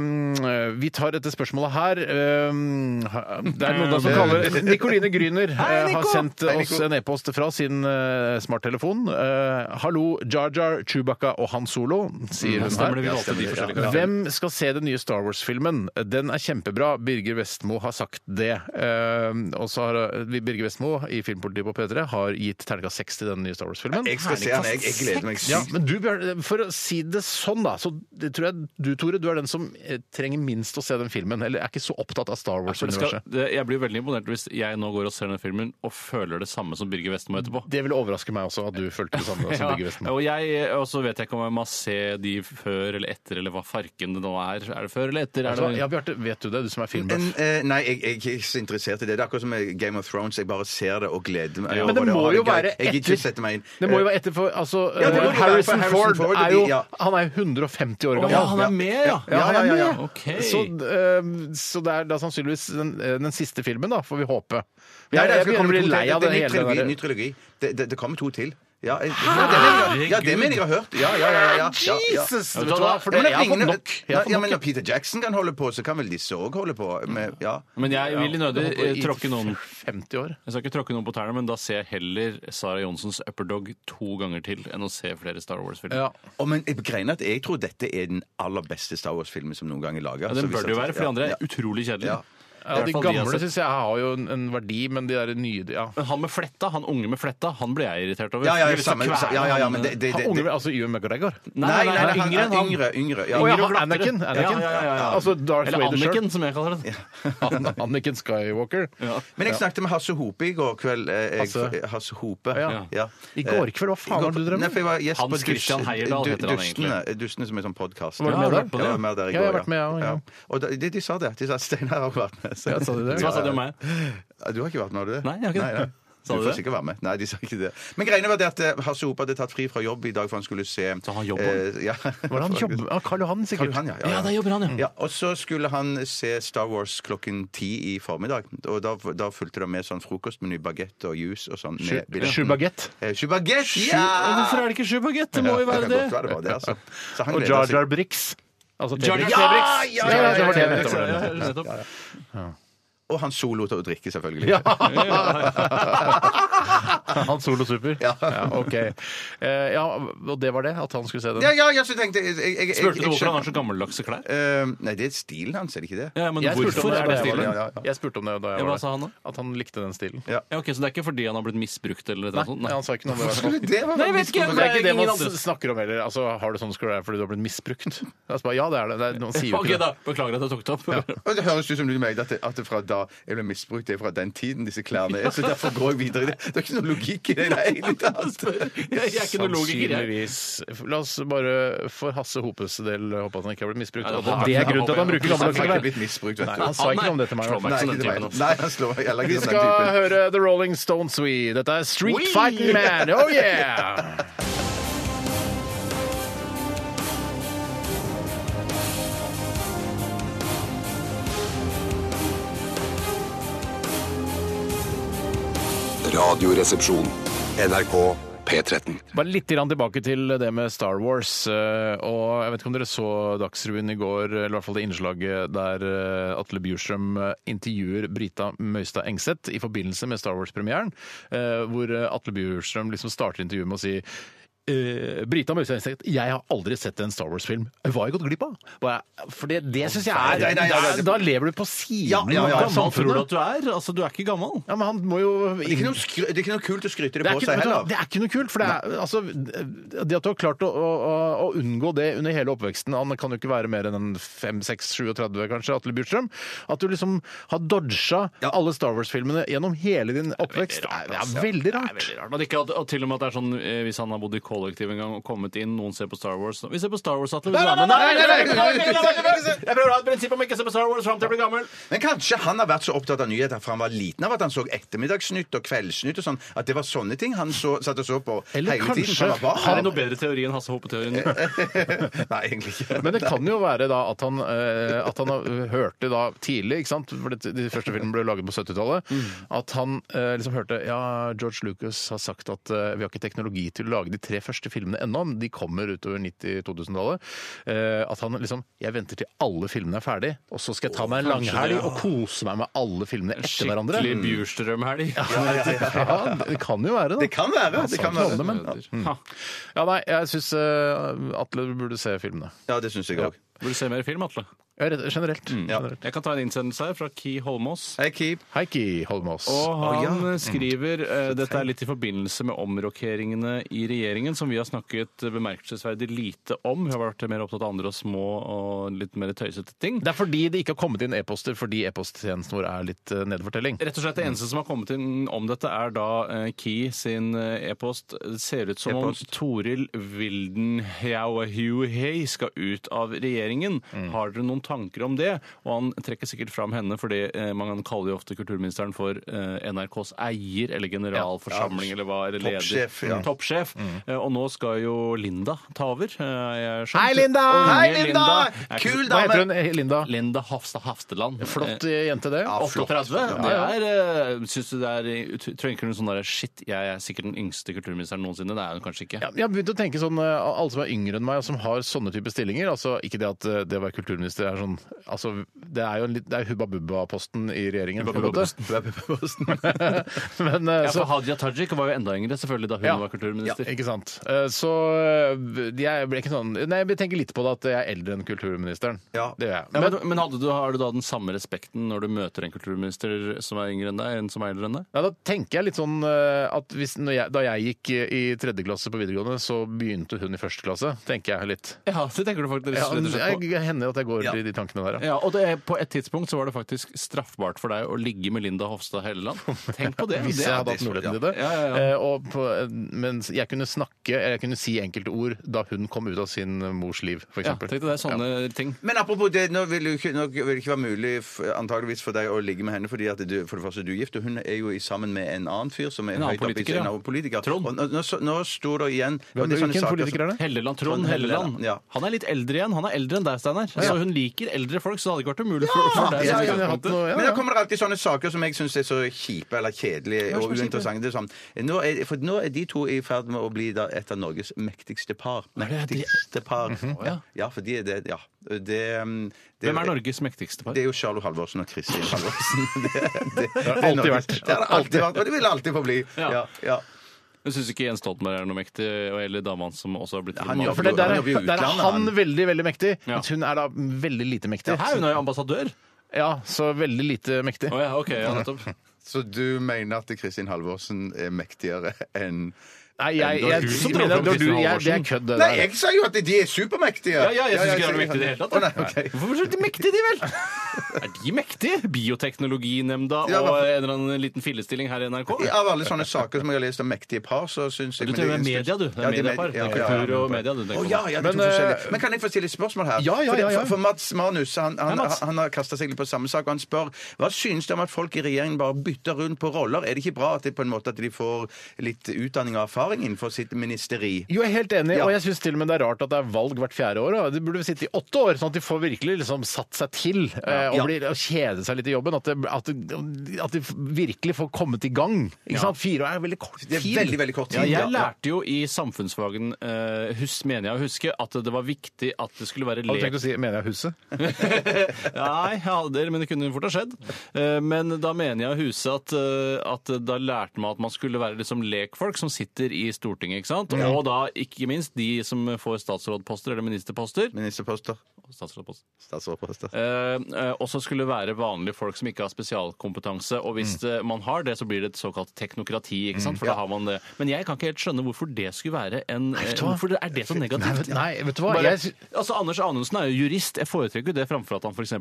Speaker 1: vi tar dette spørsmålet her. Eh, det er noen da som kaller Nikoline Gryner eh,
Speaker 2: Hei, Nico!
Speaker 1: har sendt
Speaker 2: Ehm, Hei,
Speaker 1: oss
Speaker 2: Nico.
Speaker 1: en e-post fra sin eh, smarttelefon. Eh, Hallo, Jar Jar, Chewbacca og Han Solo, sier hun her.
Speaker 3: stemmer det, vi valgte de forskjellige karakterene.
Speaker 1: Hvem skal se den nye Star Wars-filmen? Den er kjempebra. Birger Vestmo har sagt det. Eh, og så har eh, Birger Vestmo i Filmpolitiet på P3 har gitt terningkast seks til den nye Star Wars-filmen.
Speaker 2: Jeg skal se den. Jeg, jeg gleder meg
Speaker 1: Ja,
Speaker 2: sykt.
Speaker 1: men du, Bjørn, for å si det sånn, da, så det tror jeg du, Tore, du er den som eh, trenger minst å se den filmen. Eller er ikke så opptatt av Star
Speaker 3: For det skal,
Speaker 1: Wars-universet.
Speaker 3: det, jeg blir veldig imponert hvis jeg nå går og ser den filmen og føler det samme som Birger Vestmo etterpå.
Speaker 1: Det ville overraske meg også at du følte det samme som
Speaker 3: Ja,
Speaker 1: Birger Vestmo.
Speaker 3: og jeg, eh, og så vet jeg ikke om jeg må se de før eller etter, eller hva farken det nå er. Er det før eller etter?
Speaker 1: Vet
Speaker 3: Er
Speaker 1: du hva?
Speaker 3: det,
Speaker 1: Altså, Ja, Bjarte, vet du det, du som er filmbuff?
Speaker 2: En, eh, nei, jeg, jeg er ikke så interessert i det. Det er akkurat som med Game of Thrones. Jeg bare ser det og gleder meg.
Speaker 1: Men det
Speaker 2: over
Speaker 1: må
Speaker 2: og har
Speaker 1: jo
Speaker 2: gøy.
Speaker 1: være
Speaker 2: Jeg gidder ikke
Speaker 1: etter.
Speaker 2: sette meg inn. Eh,
Speaker 1: Det må jo være etter for altså,
Speaker 2: Ja, det må jo være
Speaker 1: eh,
Speaker 2: for
Speaker 1: Harrison,
Speaker 2: Harrison
Speaker 1: Ford,
Speaker 2: Ford,
Speaker 1: er jo
Speaker 2: de- ja.
Speaker 1: Han er jo 150 år
Speaker 3: Å,
Speaker 1: gammel.
Speaker 3: ja, han er med, ja.
Speaker 1: ja, han er med.
Speaker 3: ja. Ok.
Speaker 1: Så, eh, så det er da sannsynligvis den, eh, den siste filmen, da, får vi håpe.
Speaker 2: Nei,
Speaker 1: Jeg,
Speaker 2: det
Speaker 1: jeg
Speaker 2: skal komme
Speaker 1: begynner å bli
Speaker 2: to til.
Speaker 1: lei av
Speaker 2: Det
Speaker 1: det
Speaker 2: er ny
Speaker 1: hele.
Speaker 2: trilogi,
Speaker 1: det
Speaker 2: Ny
Speaker 1: der.
Speaker 2: trilogi. Det, det, det kommer to til. Ja, jeg, ja, det mener jeg, ja, det mener jeg har hørt. Ja, ja, ja. ja, ja, ja, ja.
Speaker 1: Jesus! Vet
Speaker 3: Ja, vet
Speaker 1: du
Speaker 3: du
Speaker 1: hva?
Speaker 3: hva?
Speaker 1: For
Speaker 2: Ja,
Speaker 1: det,
Speaker 2: men det
Speaker 1: jeg har fått
Speaker 2: ligner-
Speaker 1: nok. Jeg
Speaker 2: Ja,
Speaker 1: har fått
Speaker 2: ja,
Speaker 1: nok.
Speaker 2: men når Peter Jackson kan holde på, så kan vel disse òg holde på. Med, ja.
Speaker 3: men jeg vil
Speaker 1: Ja,
Speaker 3: i nødig
Speaker 1: det holdt på
Speaker 3: eh,
Speaker 1: i
Speaker 3: tråkke noen
Speaker 1: 50 år.
Speaker 3: Jeg skal ikke tråkke noen på tærne, men da ser jeg heller Sara Johnsens Upperdog to ganger til enn å se flere Star Wars-filmer.
Speaker 1: Ja.
Speaker 2: Og, men jeg greiene at jeg tror dette er den aller beste Star Wars-filmen som noen gang er laga.
Speaker 3: Ja, den bør det jo være, for de andre er utrolig kjedelige.
Speaker 2: Ja.
Speaker 3: I
Speaker 1: Ja,
Speaker 3: hvert
Speaker 1: de
Speaker 3: fall jeg har
Speaker 1: gamle
Speaker 3: sett.
Speaker 1: syns jeg har jo en, en verdi, men de der nye ja.
Speaker 3: Men han med fletta, han unge med fletta, han blir jeg irritert over.
Speaker 2: Ja, ja,
Speaker 3: Jeg
Speaker 2: ja,
Speaker 3: vil så
Speaker 2: samme,
Speaker 3: kvele
Speaker 2: ja, ja, ja, men
Speaker 3: han,
Speaker 2: det, det,
Speaker 1: Han
Speaker 2: det,
Speaker 1: unge,
Speaker 2: det.
Speaker 1: altså Ewan McGregor.
Speaker 3: Nei, nei, nei,
Speaker 2: han-
Speaker 3: yngre enn han.
Speaker 2: Yngre, yngre. Ja.
Speaker 3: Å, ja,
Speaker 1: Yngre
Speaker 3: han
Speaker 1: og
Speaker 3: Anakin,
Speaker 1: glattere.
Speaker 3: Anakin.
Speaker 1: Ja, ja, ja, ja. Altså Darth
Speaker 3: Eller
Speaker 1: Vader
Speaker 3: Anniken, som jeg kaller det.
Speaker 1: sjøl. Anniken Skywalker.
Speaker 3: Ja.
Speaker 2: Men jeg snakket med Hasse Hope i går kveld. eh, Jeg,
Speaker 1: Hasse?
Speaker 2: Hasse Hope.
Speaker 1: Ja.
Speaker 2: Ja.
Speaker 1: I går kveld, hva faen
Speaker 2: I går-
Speaker 1: har du drevet
Speaker 2: Nei, for
Speaker 1: med?
Speaker 2: jeg var gjest
Speaker 3: Hans
Speaker 2: på Dus-
Speaker 3: Christian Heyerdahl
Speaker 2: Du-
Speaker 3: heter han
Speaker 2: Dustene, Dustene som er sånn podkast.
Speaker 1: Var du med
Speaker 2: Ja,
Speaker 1: der?
Speaker 2: jeg var med der i
Speaker 1: Ja,
Speaker 2: går,
Speaker 1: jeg har vært med, ja, ja.
Speaker 2: Og da, de, de sa det. De sa Steinar har vært med.
Speaker 1: Ja, sa de det?
Speaker 3: Så hva sa de om meg?
Speaker 2: Ja, Du har ikke vært med, har du det?
Speaker 3: Nei, jeg har ikke det. Sa
Speaker 2: Du
Speaker 3: de
Speaker 2: får
Speaker 3: det?
Speaker 2: sikkert være med. Nei, de sa ikke det. Men greiene var det at eh, Hasse Hope hadde tatt fri fra jobb i dag, for han skulle se
Speaker 3: Så han jobber?
Speaker 2: Eh, ja.
Speaker 1: Var det han jobber? Ah, Karl Johan,
Speaker 2: Karl
Speaker 1: sikkert.
Speaker 2: Johan, ja.
Speaker 3: Ja, der jobber han,
Speaker 2: Ja,
Speaker 3: ja.
Speaker 2: og så skulle han se Star Wars klokken ti i formiddag. Og da, da fulgte det med sånn frokostmeny, baguette og juice og sånn. med billetten.
Speaker 1: Sju baguette.
Speaker 2: Eh, Sju baguette!
Speaker 3: Og
Speaker 2: Ja!
Speaker 3: Hvorfor er det ikke sju baguett? Det må jo
Speaker 2: Det
Speaker 3: være
Speaker 2: kan
Speaker 3: det.
Speaker 2: godt være det var det, altså. Så han
Speaker 1: Og
Speaker 2: gleder
Speaker 1: Jar
Speaker 2: seg.
Speaker 1: Jar Brix. Altså
Speaker 3: Jar Jar
Speaker 1: T-Brix.
Speaker 3: Fabrix.
Speaker 1: Ja, ja, ja, det var det jeg mente.
Speaker 3: Ja, ja, ja, nettopp.
Speaker 2: Og han solo til å drikke, selvfølgelig.
Speaker 1: Ja. Han Solo Super. Ja. OK. Eh, ja, og det var det? At han skulle se den?
Speaker 2: Ja, ja, ja, så tenkte jeg, jeg, jeg, jeg
Speaker 3: Spurte du
Speaker 2: jeg
Speaker 3: hvorfor han har
Speaker 2: skjønner-
Speaker 3: så gammeldagse klær?
Speaker 2: Eh, Nei, det er stilen hans, er det ikke det?
Speaker 3: Ja, men
Speaker 1: Jeg spurte om
Speaker 3: hvorfor
Speaker 1: det
Speaker 3: er
Speaker 1: da
Speaker 3: det
Speaker 1: jeg var
Speaker 3: stilen?
Speaker 1: der. Jeg spurte om det da jeg
Speaker 3: Ja,
Speaker 1: var
Speaker 3: hva sa han da?
Speaker 1: der. At han likte den stilen.
Speaker 2: Ja.
Speaker 3: Ja, ok, Så det er ikke fordi han har blitt misbrukt eller noe sånt?
Speaker 1: Nei, han sa ikke noe om det. i hvert fall.
Speaker 2: Skulle det være
Speaker 3: Nei, jeg vet ikke,
Speaker 1: Men det er
Speaker 3: Nei,
Speaker 1: ikke det
Speaker 3: ingen
Speaker 1: man
Speaker 3: andre.
Speaker 1: s- snakker om heller. Altså, har du sånn skal det være fordi du har blitt misbrukt? Altså, bare, ja, det er det. det er, man sier jo
Speaker 3: Ok,
Speaker 1: ikke det.
Speaker 3: da. Beklager at jeg tok det opp.
Speaker 2: Og Det høres ut som du mener at det, at det fra da jeg ble misbrukt, det er fra den tiden disse klærne er. Så derfor går jeg videre. i Det Det er ikke noe logikk i det i det hele tatt.
Speaker 3: Jeg er ikke noen logiker. jeg.
Speaker 1: Sannsynligvis. La oss bare for Hasse Hopes del håpe at han ikke har blitt misbrukt.
Speaker 3: Nei, det
Speaker 1: og
Speaker 3: håper
Speaker 1: at det
Speaker 3: jeg
Speaker 1: er
Speaker 3: ikke.
Speaker 1: grunnen til at han
Speaker 3: Jeg
Speaker 1: bruker
Speaker 3: håper ikke.
Speaker 2: Han
Speaker 1: gamle
Speaker 2: har ikke
Speaker 1: klær.
Speaker 2: blitt misbrukt,
Speaker 1: Nei,
Speaker 2: vet du.
Speaker 1: Han sa ikke noe om det til meg. i
Speaker 3: Slå
Speaker 1: hvert fall.
Speaker 2: Nei,
Speaker 3: meg ikke som den
Speaker 2: ikke
Speaker 3: typen.
Speaker 2: meg. Nei, han slår meg heller
Speaker 1: Vi
Speaker 2: ikke som den
Speaker 1: skal
Speaker 2: typen.
Speaker 1: høre The Rolling Stones, we. Dette er Street Fighting Man. Oh yeah!
Speaker 11: Radioresepsjon. NRK P13.
Speaker 1: Bare litt grann tilbake til det med Star Wars. eh, Og jeg vet ikke om dere så Dagsrevyen i går, eller i hvert fall det innslaget der eh, Atle Bjurstrøm eh, intervjuer Brita Møystad Engseth i forbindelse med Star Wars-premieren, eh, hvor eh, Atle Bjurstrøm liksom starter intervjuet med å si eh, Brita Møystad Engseth, jeg har aldri sett en Star Wars-film. Hva har jeg gått glipp av? Hva er- For det, det syns jeg
Speaker 2: Nei,
Speaker 1: er
Speaker 2: nei, nei, nei.
Speaker 1: da- Da lever du på
Speaker 2: Ja,
Speaker 1: siden
Speaker 2: ja, ja,
Speaker 1: av
Speaker 3: Hvor gammel tror du
Speaker 1: samfunnet.
Speaker 3: at du er? Altså, Du er ikke gammel.
Speaker 1: Ja, men han må jo
Speaker 2: Det er ikke noe, skry det er ikke noe kult å skryte det
Speaker 1: det
Speaker 2: på
Speaker 1: er, ikke,
Speaker 2: seg
Speaker 1: vet du hva,
Speaker 2: heller.
Speaker 1: det er ikke noe kult. For det, er, altså, det at du har klart å, å, å- å unngå det under hele oppveksten Han kan jo ikke være mer enn en 5-6-37, kanskje, Atle Bjurstrøm. At du liksom har dodga alle Star Wars-filmene gjennom hele din oppvekst. Det er, det er veldig
Speaker 3: Det er
Speaker 1: rart.
Speaker 3: veldig rart. Men ikke at, og til og med at det er sånn eh, hvis han har bodd i kollektiv en gang og kommet inn, noen ser på Star Wars Vi ser på Star Wars, Atle. vil du være med?
Speaker 1: nei, nei, nei, nei,
Speaker 3: nei, nei, nei, nei, nei. Jeg prøver å ha et prinsipp om ikke å se på Star Wars fram til jeg blir gammel.
Speaker 2: Men kanskje han har vært så opptatt av nyheter fra han var liten av at han så Ettermiddagsnytt og Kveldsnytt og sånn, at det var sånne ting han så, satt og så på
Speaker 1: Eller
Speaker 2: hele tiden.
Speaker 1: kanskje
Speaker 2: fra han var barn.
Speaker 3: Har vi noe bedre teori enn Hasse Hope-teorien?
Speaker 2: Nei, egentlig ikke.
Speaker 1: Men det kan jo være da at han, eh, at han har- hørte da tidlig, ikke sant? for det, de første filmene ble laget på 70-tallet, at han eh, liksom hørte ja, George Lucas har sagt at eh, vi har ikke teknologi til å lage de tre første filmene ennå, men de kommer utover 90-2000-tallet. eh, At han liksom Jeg venter til alle filmene er ferdig, og så skal jeg ta meg en
Speaker 3: kanskje det,
Speaker 1: langhelg
Speaker 3: ja.
Speaker 1: og kose meg med alle filmene etter hverandre. Mm.
Speaker 3: Skikkelig Bjurstrøm-helg.
Speaker 1: Ja, det kan jo være det.
Speaker 2: Det kan være, det
Speaker 1: sa
Speaker 2: kan
Speaker 1: ikke
Speaker 2: være.
Speaker 1: alle, men- Mm. Ja, nei, jeg syns eh, Atle burde se filmene.
Speaker 2: Ja, det syns jeg òg.
Speaker 3: Burde du se mer film, Atle?
Speaker 1: Mm. Ja, rett- generelt. generelt.
Speaker 3: Jeg kan ta en innsendelse her fra Ki Holmås.
Speaker 2: Hei, Keep.
Speaker 1: Heikki Holmås.
Speaker 3: Og
Speaker 2: Å, ja.
Speaker 3: han
Speaker 1: Mm.
Speaker 3: eh, skriver eh, Dette er litt i forbindelse med omrokeringene i regjeringen, som vi har snakket eh, bemerkelsesverdig lite om. Vi har vært mer opptatt av andre og små og litt mer tøysete ting.
Speaker 1: Det er fordi det ikke har kommet inn e-poster, fordi e-posttjenesten vår er litt eh, nedfortelling.
Speaker 3: Rett og slett Det eneste som har kommet inn om dette, er da eh, Ki sin eh, e-post. Det ser ut som
Speaker 2: E-post.
Speaker 3: om Toril Wildenhauahuhei skal ut av regjeringen.
Speaker 2: Mm.
Speaker 3: Har dere noen tanker om det? Og han trekker sikkert fram henne, fordi eh, man kaller jo ofte kulturministeren for eh, NRKs eier eller generalforsamling eller hva, eller leder.
Speaker 2: Toppsjef, ja. Mm.
Speaker 3: Toppsjef. Eh, og nå skal jo Linda ta over. Eh, jeg skjønte-
Speaker 1: Hei, Linda!
Speaker 3: Unge
Speaker 1: Hei,
Speaker 2: Linda!
Speaker 3: Er ikke-
Speaker 2: Kul
Speaker 1: Hva
Speaker 2: dame!
Speaker 1: heter hun? Eh, Linda?
Speaker 3: Linda Hafstad Hafteland.
Speaker 1: Flott eh, jente, det.
Speaker 2: Ja, flott.
Speaker 3: 38?
Speaker 1: Ja, ja.
Speaker 3: Det er, eh, synes du det er eh, ut- Tenker du sånn der Shit, jeg er sikkert den yngste kulturministeren noensinne. Det er hun kanskje ikke.
Speaker 1: Ja, jeg har begynt å tenke sånn eh, Alle som er yngre enn meg, og som har sånne type stillinger altså Ikke det at eh, det å være kulturminister er sånn altså, Det er jo en litt, det er Hubba Bubba-posten i regjeringen. på en måte. Men, eh,
Speaker 3: Ja,
Speaker 1: så,
Speaker 3: for Hadia Tajik var jo enda yngre selvfølgelig da hun
Speaker 1: Ja.
Speaker 3: var kulturminister.
Speaker 1: ikke sant. Eh, Så eh, jeg ble ikke sånn Nei, jeg tenker litt på det at jeg er eldre enn kulturministeren.
Speaker 2: Ja.
Speaker 1: Det gjør jeg.
Speaker 3: Ja,
Speaker 1: Men,
Speaker 3: men men hadde du, har du da den samme respekten når du møter en kulturminister som er yngre enn deg, enn som er eldre enn deg?
Speaker 1: Ja, da tenker jeg litt sånn eh, at hvis, når jeg, Da jeg gikk eh, i tredje klasse på videregående, så begynte hun i første klasse, tenker jeg litt.
Speaker 3: Ja, det tenker du faktisk
Speaker 1: Ja,
Speaker 3: rett og slett
Speaker 1: jeg,
Speaker 3: på.
Speaker 1: jeg hender at jeg går i de tankene der, ja.
Speaker 3: Ja, og det, på et tidspunkt så var det faktisk straffbart for deg å ligge med Linda Hofstad Helleland. Tenk på det!
Speaker 1: Hvis
Speaker 3: det
Speaker 1: jeg
Speaker 3: er
Speaker 1: hadde hatt muligheten til det.
Speaker 3: Ja, ja, ja.
Speaker 1: Eh, og på, men jeg kunne snakke, eller jeg kunne si enkelte ord da hun kom ut av sin mors liv, f.eks.
Speaker 3: Ja, tenk deg det, sånne ting.
Speaker 2: Men apropos det, nå vil, du ikke, nå vil det ikke være mulig f- antageligvis for deg å ligge med henne, fordi at du, for det første er du gift, og hun er jo i- sammen med en annen fyr som er
Speaker 3: En annen
Speaker 2: høyt oppe i-
Speaker 3: politiker, ja.
Speaker 2: en annen politiker.
Speaker 3: Trond.
Speaker 2: Og nå, nå, nå sto det igjen
Speaker 1: Hvem,
Speaker 2: det er sånne
Speaker 1: hvilken
Speaker 2: saker
Speaker 1: politiker
Speaker 2: som-
Speaker 1: er det?
Speaker 3: Helleland, Trond
Speaker 2: Trond
Speaker 3: Helleland.
Speaker 2: Helleland, ja.
Speaker 3: Han er litt eldre igjen. Han er eldre enn deg, Steinar. Så hun liker eldre folk, så det hadde ikke vært umulig for, for deg.
Speaker 1: Ja,
Speaker 3: som
Speaker 1: jeg kunne hatt
Speaker 3: utgangspunktet.
Speaker 1: noe- ja,
Speaker 2: Men da
Speaker 1: ja.
Speaker 2: kommer det alltid sånne saker som jeg syns er så kjipe eller kjedelige og uinteressante. Det er sånn, nå er, for nå er de to i ferd med å bli da et av Norges mektigste par. Mektigste par. Ja. Ja, for de er det, ja. Det, um, det
Speaker 3: Mhm. Hvem er Norges mektigste par?
Speaker 2: Det er jo Charlo Halvorsen og Kristin Halvorsen. Det, det, det,
Speaker 1: har
Speaker 2: er
Speaker 1: alltid
Speaker 2: Norges-
Speaker 1: vært.
Speaker 2: Det har det alltid vært, og det vil det alltid forbli.
Speaker 3: Ja.
Speaker 2: Ja, ja.
Speaker 3: Jeg syns ikke Jens Stoltenberg er noe mektig, og eller dama hans som også har blitt
Speaker 2: han
Speaker 3: roman.
Speaker 2: gjør
Speaker 1: For det, der,
Speaker 2: Han jobber i
Speaker 1: er, der er
Speaker 2: utlandet,
Speaker 1: han
Speaker 2: han.
Speaker 1: veldig, veldig mektig,
Speaker 3: Ja.
Speaker 1: mens hun er da veldig lite mektig.
Speaker 3: Her, hun er jo ambassadør.
Speaker 1: Ja, så veldig lite mektig.
Speaker 3: Å ja, ok, ja, nettopp.
Speaker 2: Så du mener at Kristin Halvorsen er mektigere enn
Speaker 1: Nei, jeg,
Speaker 3: Det var
Speaker 1: jeg,
Speaker 3: hun
Speaker 1: mener-
Speaker 3: som dro opp
Speaker 1: det var du- jeg,
Speaker 3: Kristin
Speaker 1: det er
Speaker 3: Halvorsen.
Speaker 1: kødd, det
Speaker 2: Nei,
Speaker 1: der.
Speaker 2: jeg sa jo at de er supermektige!
Speaker 3: Ja, ja, jeg syns ikke det er noe mektig i det hele tatt.
Speaker 2: Å, nei, ok.
Speaker 3: Nei. Hvorfor er de mektige, de vel? Er de mektige? Bioteknologinemnda
Speaker 2: Ja,
Speaker 3: og
Speaker 2: hva-
Speaker 3: en eller annen liten fillestilling her i NRK?
Speaker 2: I- Av alle sånne saker som jeg har lest om mektige par, så syns jeg men
Speaker 3: Du tenker
Speaker 2: det er
Speaker 3: media,
Speaker 2: inspirasjon-
Speaker 3: du. Det er
Speaker 2: Ja, med-
Speaker 3: mediepar. Det
Speaker 2: ja,
Speaker 3: er
Speaker 2: ja,
Speaker 3: kultur
Speaker 2: ja.
Speaker 3: og media. det tenker
Speaker 2: Å
Speaker 3: man.
Speaker 2: ja, ja, det er to
Speaker 1: Men, eh,
Speaker 2: forskjellige. Men kan jeg få stille et spørsmål her?
Speaker 1: Ja, ja,
Speaker 2: For det-
Speaker 1: ja, ja.
Speaker 2: For, for Mats Manus han, han,
Speaker 3: Hei, Mats.
Speaker 2: han har kasta seg litt på samme sak, og han spør hva syns du om at folk i regjeringen bare bytter rundt på roller? Er det ikke bra at, det, på en måte, at de får litt utdanning og erfaring innenfor sitt ministeri?
Speaker 1: Jo, jeg er helt enig,
Speaker 2: Ja.
Speaker 1: og jeg syns til og med det er rart at det er valg hvert fjerde år. og De burde sitte i åtte år, sånn at de får virkelig liksom satt seg til eh, og,
Speaker 2: Ja.
Speaker 1: blir, og kjede seg litt i jobben. At, det, at, det, at de virkelig får kommet i gang. Ikke sant? Fire år er veldig kort tid.
Speaker 2: Det er veldig, veldig kort tid.
Speaker 3: Ja, jeg lærte jo i samfunnsfagen, eh, hus, mener jeg å huske, at det var viktig at det skulle være
Speaker 1: Hadde du
Speaker 3: lek
Speaker 1: tenkt å si 'mener jeg huset'?
Speaker 3: Nei, jeg hadde, men det kunne fort ha skjedd. Eh, Men da mener jeg å huske at, eh, at da lærte man at man skulle være liksom lekfolk som sitter i Stortinget, ikke sant? Og da ikke minst de som får statsrådposter eller ministerposter.
Speaker 2: Ministerposter.
Speaker 3: Statsrådposter.
Speaker 2: Statsrådposter.
Speaker 3: Eh, eh, også skulle være vanlige folk som ikke har spesialkompetanse. Og hvis eh, man har det, så blir det et såkalt teknokrati. ikke sant? For da har man det. Men jeg kan ikke helt skjønne hvorfor det skulle være en eh,
Speaker 1: vet du hva?
Speaker 3: Hvorfor det- er det så
Speaker 1: Nei,
Speaker 3: negativt?
Speaker 1: vet- nei, vet du hva?
Speaker 3: Bare,
Speaker 1: Jeg, sy-
Speaker 3: altså, Anders Anundsen er jo jurist. Jeg foretrekker jo det framfor at han f.eks. er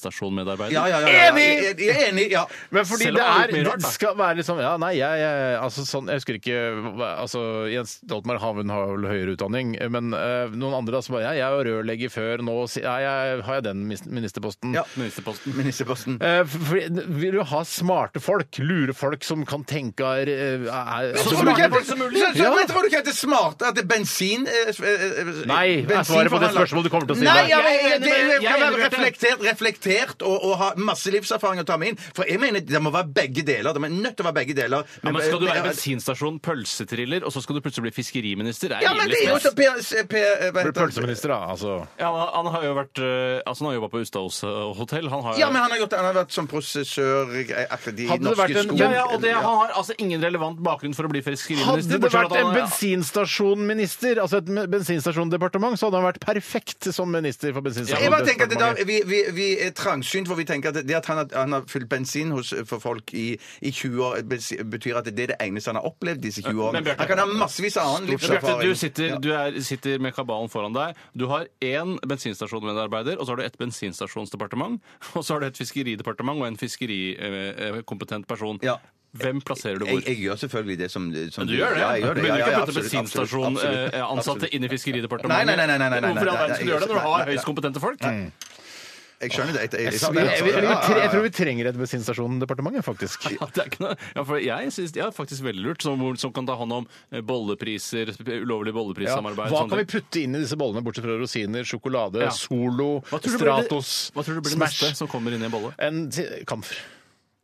Speaker 3: bensinstasjonmedarbeider.
Speaker 2: Ja, ja, ja, ja, ja.
Speaker 1: Enig!
Speaker 2: Jeg- jeg er Enig! Ja.
Speaker 1: Men fordi
Speaker 3: Selv om
Speaker 1: det
Speaker 3: han har
Speaker 1: er
Speaker 3: gjort mye rart, da.
Speaker 1: Det skal være liksom Ja, nei, jeg, jeg Altså sånn Jeg husker ikke hva- Altså Jens Stoltenberg har vel- har vel høyere utdanning, men eh, noen andre da som bare Ja, jeg var rørlegger før, nå si- ja, jeg, har jeg den mis- ministerposten.
Speaker 2: Ja.
Speaker 3: Ministerposten.
Speaker 2: Ministerposten.
Speaker 1: Eh, for- Fordi, vil du ha smarte folk? Lure folk som kan tenke er, er, er,
Speaker 2: Så
Speaker 1: altså,
Speaker 2: tror du ikke at-
Speaker 1: smarte-
Speaker 2: så- så-
Speaker 1: Ja.
Speaker 2: men tror du ikke at det er smart at det er bensin eh, s- eh, eh,
Speaker 1: Nei, er svaret på det
Speaker 2: bensinforhandler-
Speaker 1: spørsmålet du kommer til å si
Speaker 2: Nei,
Speaker 1: der.
Speaker 2: ja, men,
Speaker 3: Jeg
Speaker 2: jeg,
Speaker 3: er
Speaker 2: det,
Speaker 3: enig med-
Speaker 2: det
Speaker 3: jeg
Speaker 2: kan
Speaker 3: er enig
Speaker 2: være
Speaker 3: med Bjarte.
Speaker 2: reflektert, reflektert og, og ha masse livserfaring å ta med inn. For jeg mener det må være begge deler. Det må nødt til å være begge deler.
Speaker 3: Ja, men Skal du være
Speaker 2: men-
Speaker 3: bensinstasjon, thriller, og så skal du plutselig bli fiskeriminister. Det er
Speaker 2: Ja, men det er jo
Speaker 3: rimelig
Speaker 2: så
Speaker 3: spes.
Speaker 2: P... P eh, hva
Speaker 1: Blir
Speaker 2: heter han?
Speaker 1: pølseminister, da. Altså.
Speaker 3: Ja, men han har jo vært eh, Altså, han har jobba på Ustadhos eh, hotell. Han har
Speaker 2: Ja, men han har, gjort, det. han har vært som prosessør eh, akkurat i
Speaker 1: Hadde det
Speaker 2: norske
Speaker 1: vært en-
Speaker 2: skog.
Speaker 3: ja, ja, og det, Han har altså ingen relevant bakgrunn for å bli fiskeriminister.
Speaker 1: Hadde det
Speaker 3: bortsett fra
Speaker 1: vært
Speaker 3: at
Speaker 1: en
Speaker 3: han er-
Speaker 1: bensinstasjonminister, altså et me- bensinstasjondepartement, så hadde han vært perfekt som minister for
Speaker 2: Jeg bare tenker at det da,
Speaker 1: bensinstasjonsdepartementet.
Speaker 2: vi, vi, vi er trangsynt, for vi tenker at det at han, har- han har fylt bensin hos, for folk i, i 20 år, bes- betyr at det er det eneste han har opplevd disse 20
Speaker 3: Men
Speaker 2: årene.
Speaker 3: Bjarte-
Speaker 2: Han kan ha massevis av annen
Speaker 3: Bjarte,
Speaker 2: livserfaring.
Speaker 3: du sitter, du er, sitter med kabalen foran deg. Du har én bensinstasjonsmedarbeider, og så har du et bensinstasjonsdepartement, og så har du et fiskeridepartement og en fiskerikompetent person.
Speaker 2: Ja.
Speaker 3: Hvem plasserer du
Speaker 2: Jeg,
Speaker 3: hvor?
Speaker 2: jeg gjør selvfølgelig det som, som
Speaker 3: Du gjør det?
Speaker 2: Ja, jeg gjør det.
Speaker 3: Du begynner
Speaker 2: Ja,
Speaker 3: ikke
Speaker 2: ja,
Speaker 3: å putte
Speaker 2: absolutt, absolutt, absolutt,
Speaker 3: bensinstasjonansatte
Speaker 2: absolutt.
Speaker 3: inn i
Speaker 2: Nei,
Speaker 3: Fiskeridepartementet?
Speaker 2: nei, nei, nei, nei, nei, nei,
Speaker 3: Hvorfor i all verden skal du
Speaker 2: nei,
Speaker 3: gjøre det når du
Speaker 2: nei,
Speaker 3: har
Speaker 2: nei,
Speaker 3: høyst kompetente folk?
Speaker 2: Jeg skjønner det. Jeg, jeg, jeg,
Speaker 1: Vi-
Speaker 2: jeg,
Speaker 1: Jeg, jeg, jeg, tre- jeg tror vi trenger et bensinstasjondepartement, faktisk.
Speaker 3: Ja, det er ikke noe. Ja, for jeg synes det er faktisk veldig lurt, som, som kan ta hånd om eh, bollepriser, ulovlig
Speaker 1: Ja.
Speaker 3: bolleprissamarbeid.
Speaker 1: Hva
Speaker 3: sånne
Speaker 1: kan vi
Speaker 3: ting.
Speaker 1: putte inn i disse bollene, bortsett fra rosiner, sjokolade,
Speaker 3: sånn Ja.
Speaker 1: Solo,
Speaker 3: Hva tror du blir det-
Speaker 1: Stratos,
Speaker 3: Hva tror du blir det neste
Speaker 1: Smash?
Speaker 3: som kommer inn i en bolle?
Speaker 1: En ti- kamfer.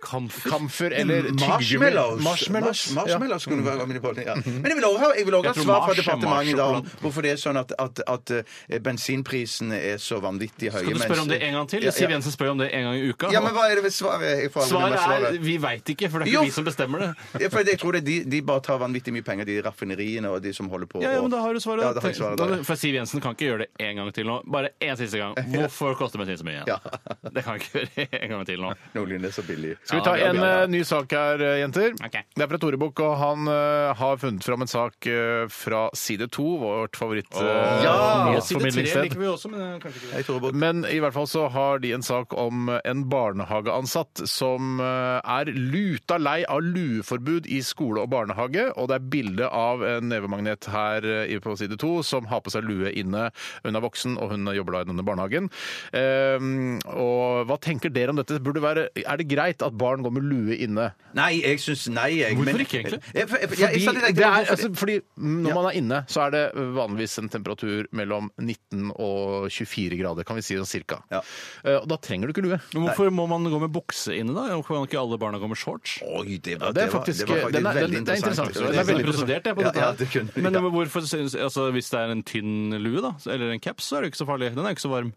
Speaker 3: Kamfer?
Speaker 1: Kamfer eller tyggegummi.
Speaker 2: Marshmallows.
Speaker 1: Marshmallows.
Speaker 2: Mars-
Speaker 1: ja. Mhm.
Speaker 2: marshmallows kunne være mine boller, ja. Men jeg vil også ha, jeg vil også ha
Speaker 3: Jeg tror
Speaker 2: svar fra
Speaker 3: Mars er
Speaker 2: departementet i dag om
Speaker 3: Mars-sjokolade.
Speaker 2: hvorfor det er sånn at, at, at eh, bensinprisene er så vanvittig høye.
Speaker 3: Skal du
Speaker 2: mens-
Speaker 3: spørre om det en gang til?
Speaker 2: Ja, ja.
Speaker 3: Siv Jensen spør jo om det en gang i uka.
Speaker 2: Ja, men hva er det svaret jeg får?
Speaker 3: Svaret er
Speaker 2: Svaret.
Speaker 3: vi veit ikke, for det er
Speaker 2: Jo.
Speaker 3: ikke vi som bestemmer det.
Speaker 2: Ja, for jeg tror det, er de, de bare tar vanvittig mye penger, de raffineriene og de som holder på.
Speaker 3: Ja, ja,
Speaker 2: og-
Speaker 3: men da har du svaret.
Speaker 2: Ja, da har jeg svaret
Speaker 3: Da-
Speaker 2: der.
Speaker 3: For Siv Jensen kan ikke gjøre det en gang til nå. Bare en siste gang. Hvorfor koster bensin så mye igjen?
Speaker 2: Ja.
Speaker 3: Det kan jeg ikke gjøre en gang til nå.
Speaker 2: Noenlunde så billig.
Speaker 1: Skal vi ta
Speaker 3: Ja, det
Speaker 1: en
Speaker 3: blir bra.
Speaker 1: eh, ny sak her, eh, jenter?
Speaker 3: Ok.
Speaker 1: Det er fra Tore Bukk, og han eh, har funnet fram en sak eh, fra Side 2, vårt eh,
Speaker 3: Ja, Side tre
Speaker 1: favoritt-nyhetsformidlingssted.
Speaker 3: liker vi også, men kanskje ikke det.
Speaker 2: Jeg tror bare-
Speaker 1: Men i hvert fall så har de en sak om en barnehageansatt som eh, er luta lei av lueforbud i skole og barnehage, og det er bilde av en nevemagnet her eh, på side to som har på seg lue inne. Hun er voksen, og hun jobber da i denne barnehagen. Ehm, og hva tenker dere om dette? Burde det være, er det greit at barn går med lue inne?
Speaker 2: Nei, jeg syns nei. Jeg,
Speaker 3: Hvorfor ikke, egentlig?
Speaker 2: Jeg, jeg, jeg, jeg,
Speaker 1: Fordi,
Speaker 2: jeg, jeg,
Speaker 1: det er, altså, fordi når
Speaker 2: Ja.
Speaker 1: man er inne, så er det vanligvis en temperatur mellom 19 og 24 grader, kan vi si sånn cirka.
Speaker 2: Ja.
Speaker 1: Eh, Og da trenger du ikke lue.
Speaker 3: Men hvorfor må man gå med bukse inne, da? Hvorfor kan ikke alle barna gå med shorts?
Speaker 2: Oi, det var,
Speaker 1: Ja, det er
Speaker 2: det var-
Speaker 1: faktisk-
Speaker 2: det var faktisk
Speaker 1: den er-
Speaker 2: veldig
Speaker 1: den- det er interessant.
Speaker 2: Det var veldig
Speaker 1: Den er
Speaker 3: Jeg er
Speaker 1: veldig
Speaker 2: interessant.
Speaker 3: prosedert jeg, på
Speaker 2: Ja, ja,
Speaker 3: dette. her.
Speaker 2: det kunne-
Speaker 3: men
Speaker 2: ja.
Speaker 3: hvorfor, synes- altså, hvis det er en tynn lue, da, eller en caps, så er det jo ikke så farlig. Den er jo ikke så varm.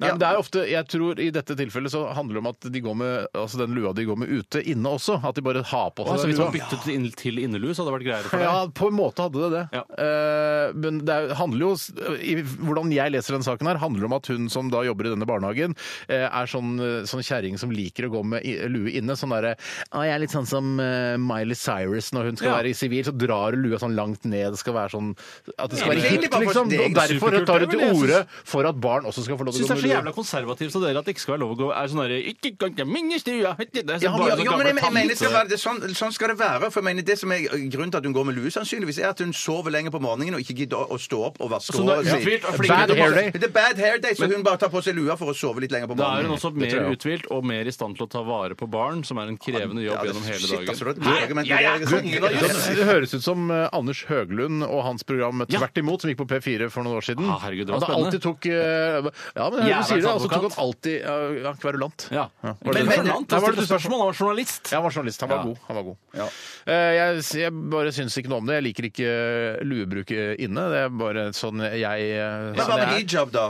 Speaker 1: Nei, men det er ofte, jeg tror I dette tilfellet så handler det om at de går med, altså den lua de går med ute, inne også. At de bare har på seg
Speaker 3: Altså, hvis
Speaker 1: lua.
Speaker 3: man byttet til inn- til innelue, så hadde det vært greiere for deg.
Speaker 1: Ja, på en måte hadde det det.
Speaker 3: Ja.
Speaker 1: Eh, men det er- handler jo s- i, Hvordan jeg leser denne saken her, handler om at hun som da jobber i denne barnehagen, eh, er sånn, eh, sånn kjerring som liker å gå med i, lue inne. Sånn derre ah, Jeg er litt sånn som eh, Miley Cyrus når hun skal
Speaker 3: Ja.
Speaker 1: være i sivil, så drar hun lua sånn langt ned. Det skal være sånn At det
Speaker 2: Ja,
Speaker 1: skal være
Speaker 2: det er egentlig
Speaker 1: hipt,
Speaker 2: bare for-
Speaker 1: liksom.
Speaker 2: det er
Speaker 1: Og derfor
Speaker 3: superkult,
Speaker 1: tar hun til
Speaker 3: det er vel det jeg
Speaker 1: orde for at barn også skal få lov til å gå
Speaker 3: Jeg syns det er
Speaker 1: med
Speaker 3: så
Speaker 1: lue.
Speaker 3: jævla konservativt av dere at det ikke skal være lov å gå er sånn derre ikke kan jeg minnes det, ja. Det er
Speaker 1: Ja,
Speaker 3: sånn
Speaker 2: Jo, jo, men jeg,
Speaker 1: men-
Speaker 3: bare sånn gammel
Speaker 2: jeg mener det skal
Speaker 3: tante.
Speaker 2: være det, sånn, sånn skal det være. For jeg mener det som er Grunnen til at hun går med lue, sannsynligvis, er at hun sover lenger på morgenen og ikke gidder å stå opp og vaske
Speaker 3: Så hun er
Speaker 2: håret sitt.
Speaker 3: uthvilt og
Speaker 1: Bad
Speaker 3: flinkere til å
Speaker 1: hair day.
Speaker 3: passe-
Speaker 2: Det er bad hair day, så hun bare tar på seg lua for å sove litt lenger på
Speaker 3: Da er
Speaker 2: morgenen.
Speaker 3: hun også
Speaker 1: tror
Speaker 3: mer
Speaker 1: jeg.
Speaker 3: uthvilt og mer i stand til å ta vare på barn, som er en krevende jobb
Speaker 2: Ja, det-
Speaker 3: gjennom hele
Speaker 2: shit, altså, det
Speaker 3: dagen.
Speaker 2: var et dårlig argument, men det er sånn. sant.
Speaker 3: kongen av
Speaker 1: Det det høres ut som eh, Anders Høglund og hans program
Speaker 3: Ja.
Speaker 1: Tvert imot, som gikk på P4 for noen år siden.
Speaker 3: Ah, herregud, det var
Speaker 1: han da alltid
Speaker 3: spennende.
Speaker 1: tok eh, Ja, men Høglund
Speaker 3: Jævla
Speaker 1: sier det, og så
Speaker 3: advokat.
Speaker 1: tok han alltid ja, ja, kverulant.
Speaker 3: Ja.
Speaker 1: Ja,
Speaker 3: Var
Speaker 2: Men-
Speaker 3: det men,
Speaker 2: men-
Speaker 3: men,
Speaker 1: Nei, var det du
Speaker 3: spørsmål? Han var journalist.
Speaker 1: Ja, han var journalist. Han var
Speaker 3: Ja.
Speaker 1: god. Han var god.
Speaker 2: Ja.
Speaker 1: Eh, Jeg, jeg bare syns ikke noe om det. Jeg liker ikke luebruk inne. Det er bare sånn jeg eh,
Speaker 2: Men
Speaker 1: sånn
Speaker 2: hva med
Speaker 1: jeg er.
Speaker 2: hijab, da?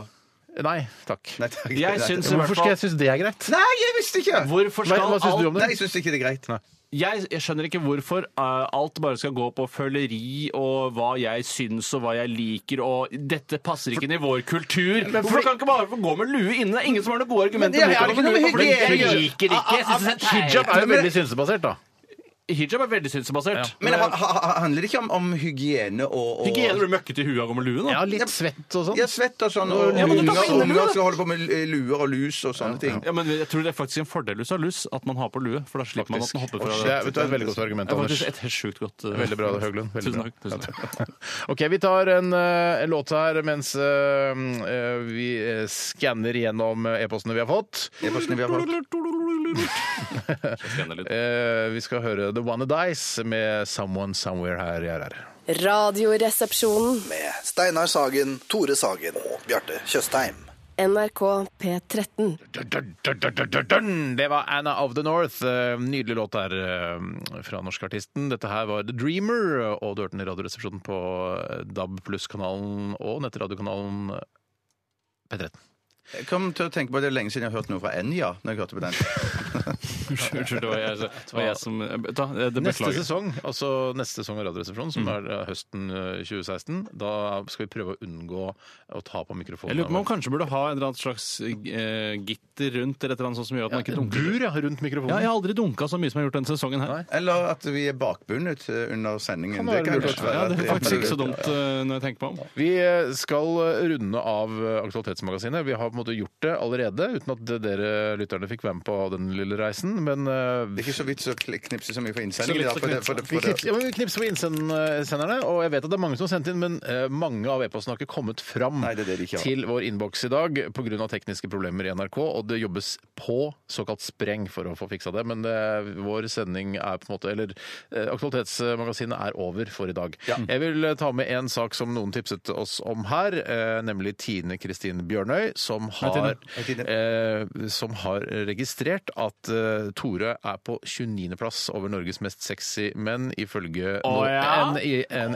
Speaker 1: Nei takk.
Speaker 2: Nei, takk.
Speaker 3: Jeg syns i hvert
Speaker 1: Hvorfor skal jeg
Speaker 3: fall
Speaker 1: synes det er greit?
Speaker 2: Nei, jeg visste ikke!
Speaker 3: Hvorfor
Speaker 1: Hva,
Speaker 3: skal
Speaker 1: hva syns
Speaker 3: alt
Speaker 1: du om
Speaker 2: Nei,
Speaker 1: det?
Speaker 2: jeg syns ikke det er greit.
Speaker 3: jeg, jeg skjønner ikke hvorfor eh, alt bare skal gå på føleri og hva jeg syns og hva jeg liker og dette passer ikke inn i vår kultur. Hvorfor kan ikke bare få gå med lue inne? Det er ingen som har noen gode
Speaker 2: Men det er ikke noe
Speaker 3: argumenter mot det.
Speaker 2: med
Speaker 3: Hvorfor
Speaker 2: hygiene altså, å
Speaker 3: liker
Speaker 2: gjøre.
Speaker 3: det ikke? Jeg synes det er teit.
Speaker 1: Hijab er jo veldig synsebasert, da.
Speaker 3: Hijab er veldig synsbasert.
Speaker 2: Men ha, ha, ha- handler det ikke om, om hygiene og, og
Speaker 3: Hygiene blir møkkete i huet av å gå med lue nå.
Speaker 1: Ja, litt svett og sånn.
Speaker 2: Ja, svett og sånn.
Speaker 1: Ja,
Speaker 2: Og
Speaker 1: men du
Speaker 2: unger
Speaker 3: tar på innerlue,
Speaker 2: unger
Speaker 3: da.
Speaker 2: skal holde på med eh, luer og lus og sånne ting.
Speaker 3: Ja, men jeg tror det er faktisk en fordel hvis du har lus, at man har på lue. For da slipper man at den hopper fra
Speaker 1: Det er, vet du, et veldig godt argument,
Speaker 3: Det er
Speaker 1: Anders.
Speaker 3: faktisk et helt sjukt godt eh,
Speaker 1: Veldig bra, Høglund. Veldig
Speaker 3: Tusen
Speaker 1: bra.
Speaker 3: takk. Tusen takk.
Speaker 1: OK, vi tar en, eh, en låt her mens eh, eh, vi eh, skanner igjennom eh, e-postene vi har fått.
Speaker 2: E-postene vi har fått.
Speaker 3: Skanner litt.
Speaker 1: Eh, vi skal høre The One Dice med Someone Somewhere her i RR.
Speaker 9: Radioresepsjonen.
Speaker 8: Med Steinar Sagen, Tore Sagen og Bjarte Tjøstheim.
Speaker 9: NRK P13.
Speaker 1: Dun-dun-dun-dun-dun-dun! Det var Anna of the North. Eh, Nydelig låt der eh, fra norskartisten. Dette her var The Dreamer, og du hørte den i Radioresepsjonen på eh, DAB pluss-kanalen og nettradiokanalen P13.
Speaker 2: Jeg kom til å tenke på det lenge siden jeg har hørt noe fra Enja. når jeg hørte på den.
Speaker 3: Unnskyld, unnskyld, det var jeg, det var jeg som da, det
Speaker 1: Neste
Speaker 3: Beklager.
Speaker 1: sesong, altså neste sesong av Radioresepsjonen, som er eh, høsten eh, 2016, da skal vi prøve å unngå å ta på mikrofonen.
Speaker 3: Jeg lurer på om man kanskje burde ha en eller annen slags eh, gitter rundt eller et eller annet sånt som gjør at man ikke dunker.
Speaker 1: Bur, ja, rundt mikrofonen.
Speaker 3: Ja, jeg har aldri dunka så mye som jeg har gjort denne sesongen her.
Speaker 2: Eller at vi er bakbundet eh, under sendingen.
Speaker 1: Kan være
Speaker 2: jo
Speaker 1: lurt.
Speaker 2: godt være
Speaker 3: Ja,
Speaker 2: at
Speaker 3: det er
Speaker 2: vi-
Speaker 3: faktisk ikke så dumt eh, når jeg tenker meg om.
Speaker 1: Vi eh, skal runde av eh, Aktualitetsmagasinet. Vi har på en måte gjort det allerede, uten at dere lytterne fikk være med på den lille reisen. Men eh,
Speaker 2: Det er ikke så vidt så kli- knipse så mye for
Speaker 3: Så
Speaker 2: innsendingen.
Speaker 3: litt
Speaker 2: da,
Speaker 3: for
Speaker 2: for det- for det-
Speaker 1: vi
Speaker 2: for det-
Speaker 1: knipser, ja, men vi knipser på innsenderne, og jeg vet at det er mange som har sendt inn, men eh, mange av e-postene har ikke kommet fram
Speaker 2: Nei, det er det de ikke har.
Speaker 1: til vår innboks i dag pga. tekniske problemer i NRK, og det jobbes på såkalt spreng for å få fiksa det. Men eh, vår sending er på en måte Eller eh, Aktualitetsmagasinet er over for i dag. Jeg vil eh, ta med en sak som noen tipset oss om her, eh, nemlig Tine Kristin Bjørnøy, som har,
Speaker 2: Hei, Tine.
Speaker 1: eh, som har registrert at eh, Tore er på 29.-plass over Norges mest sexy menn, ifølge
Speaker 3: Å,
Speaker 1: nå-
Speaker 3: ja?
Speaker 1: en, i en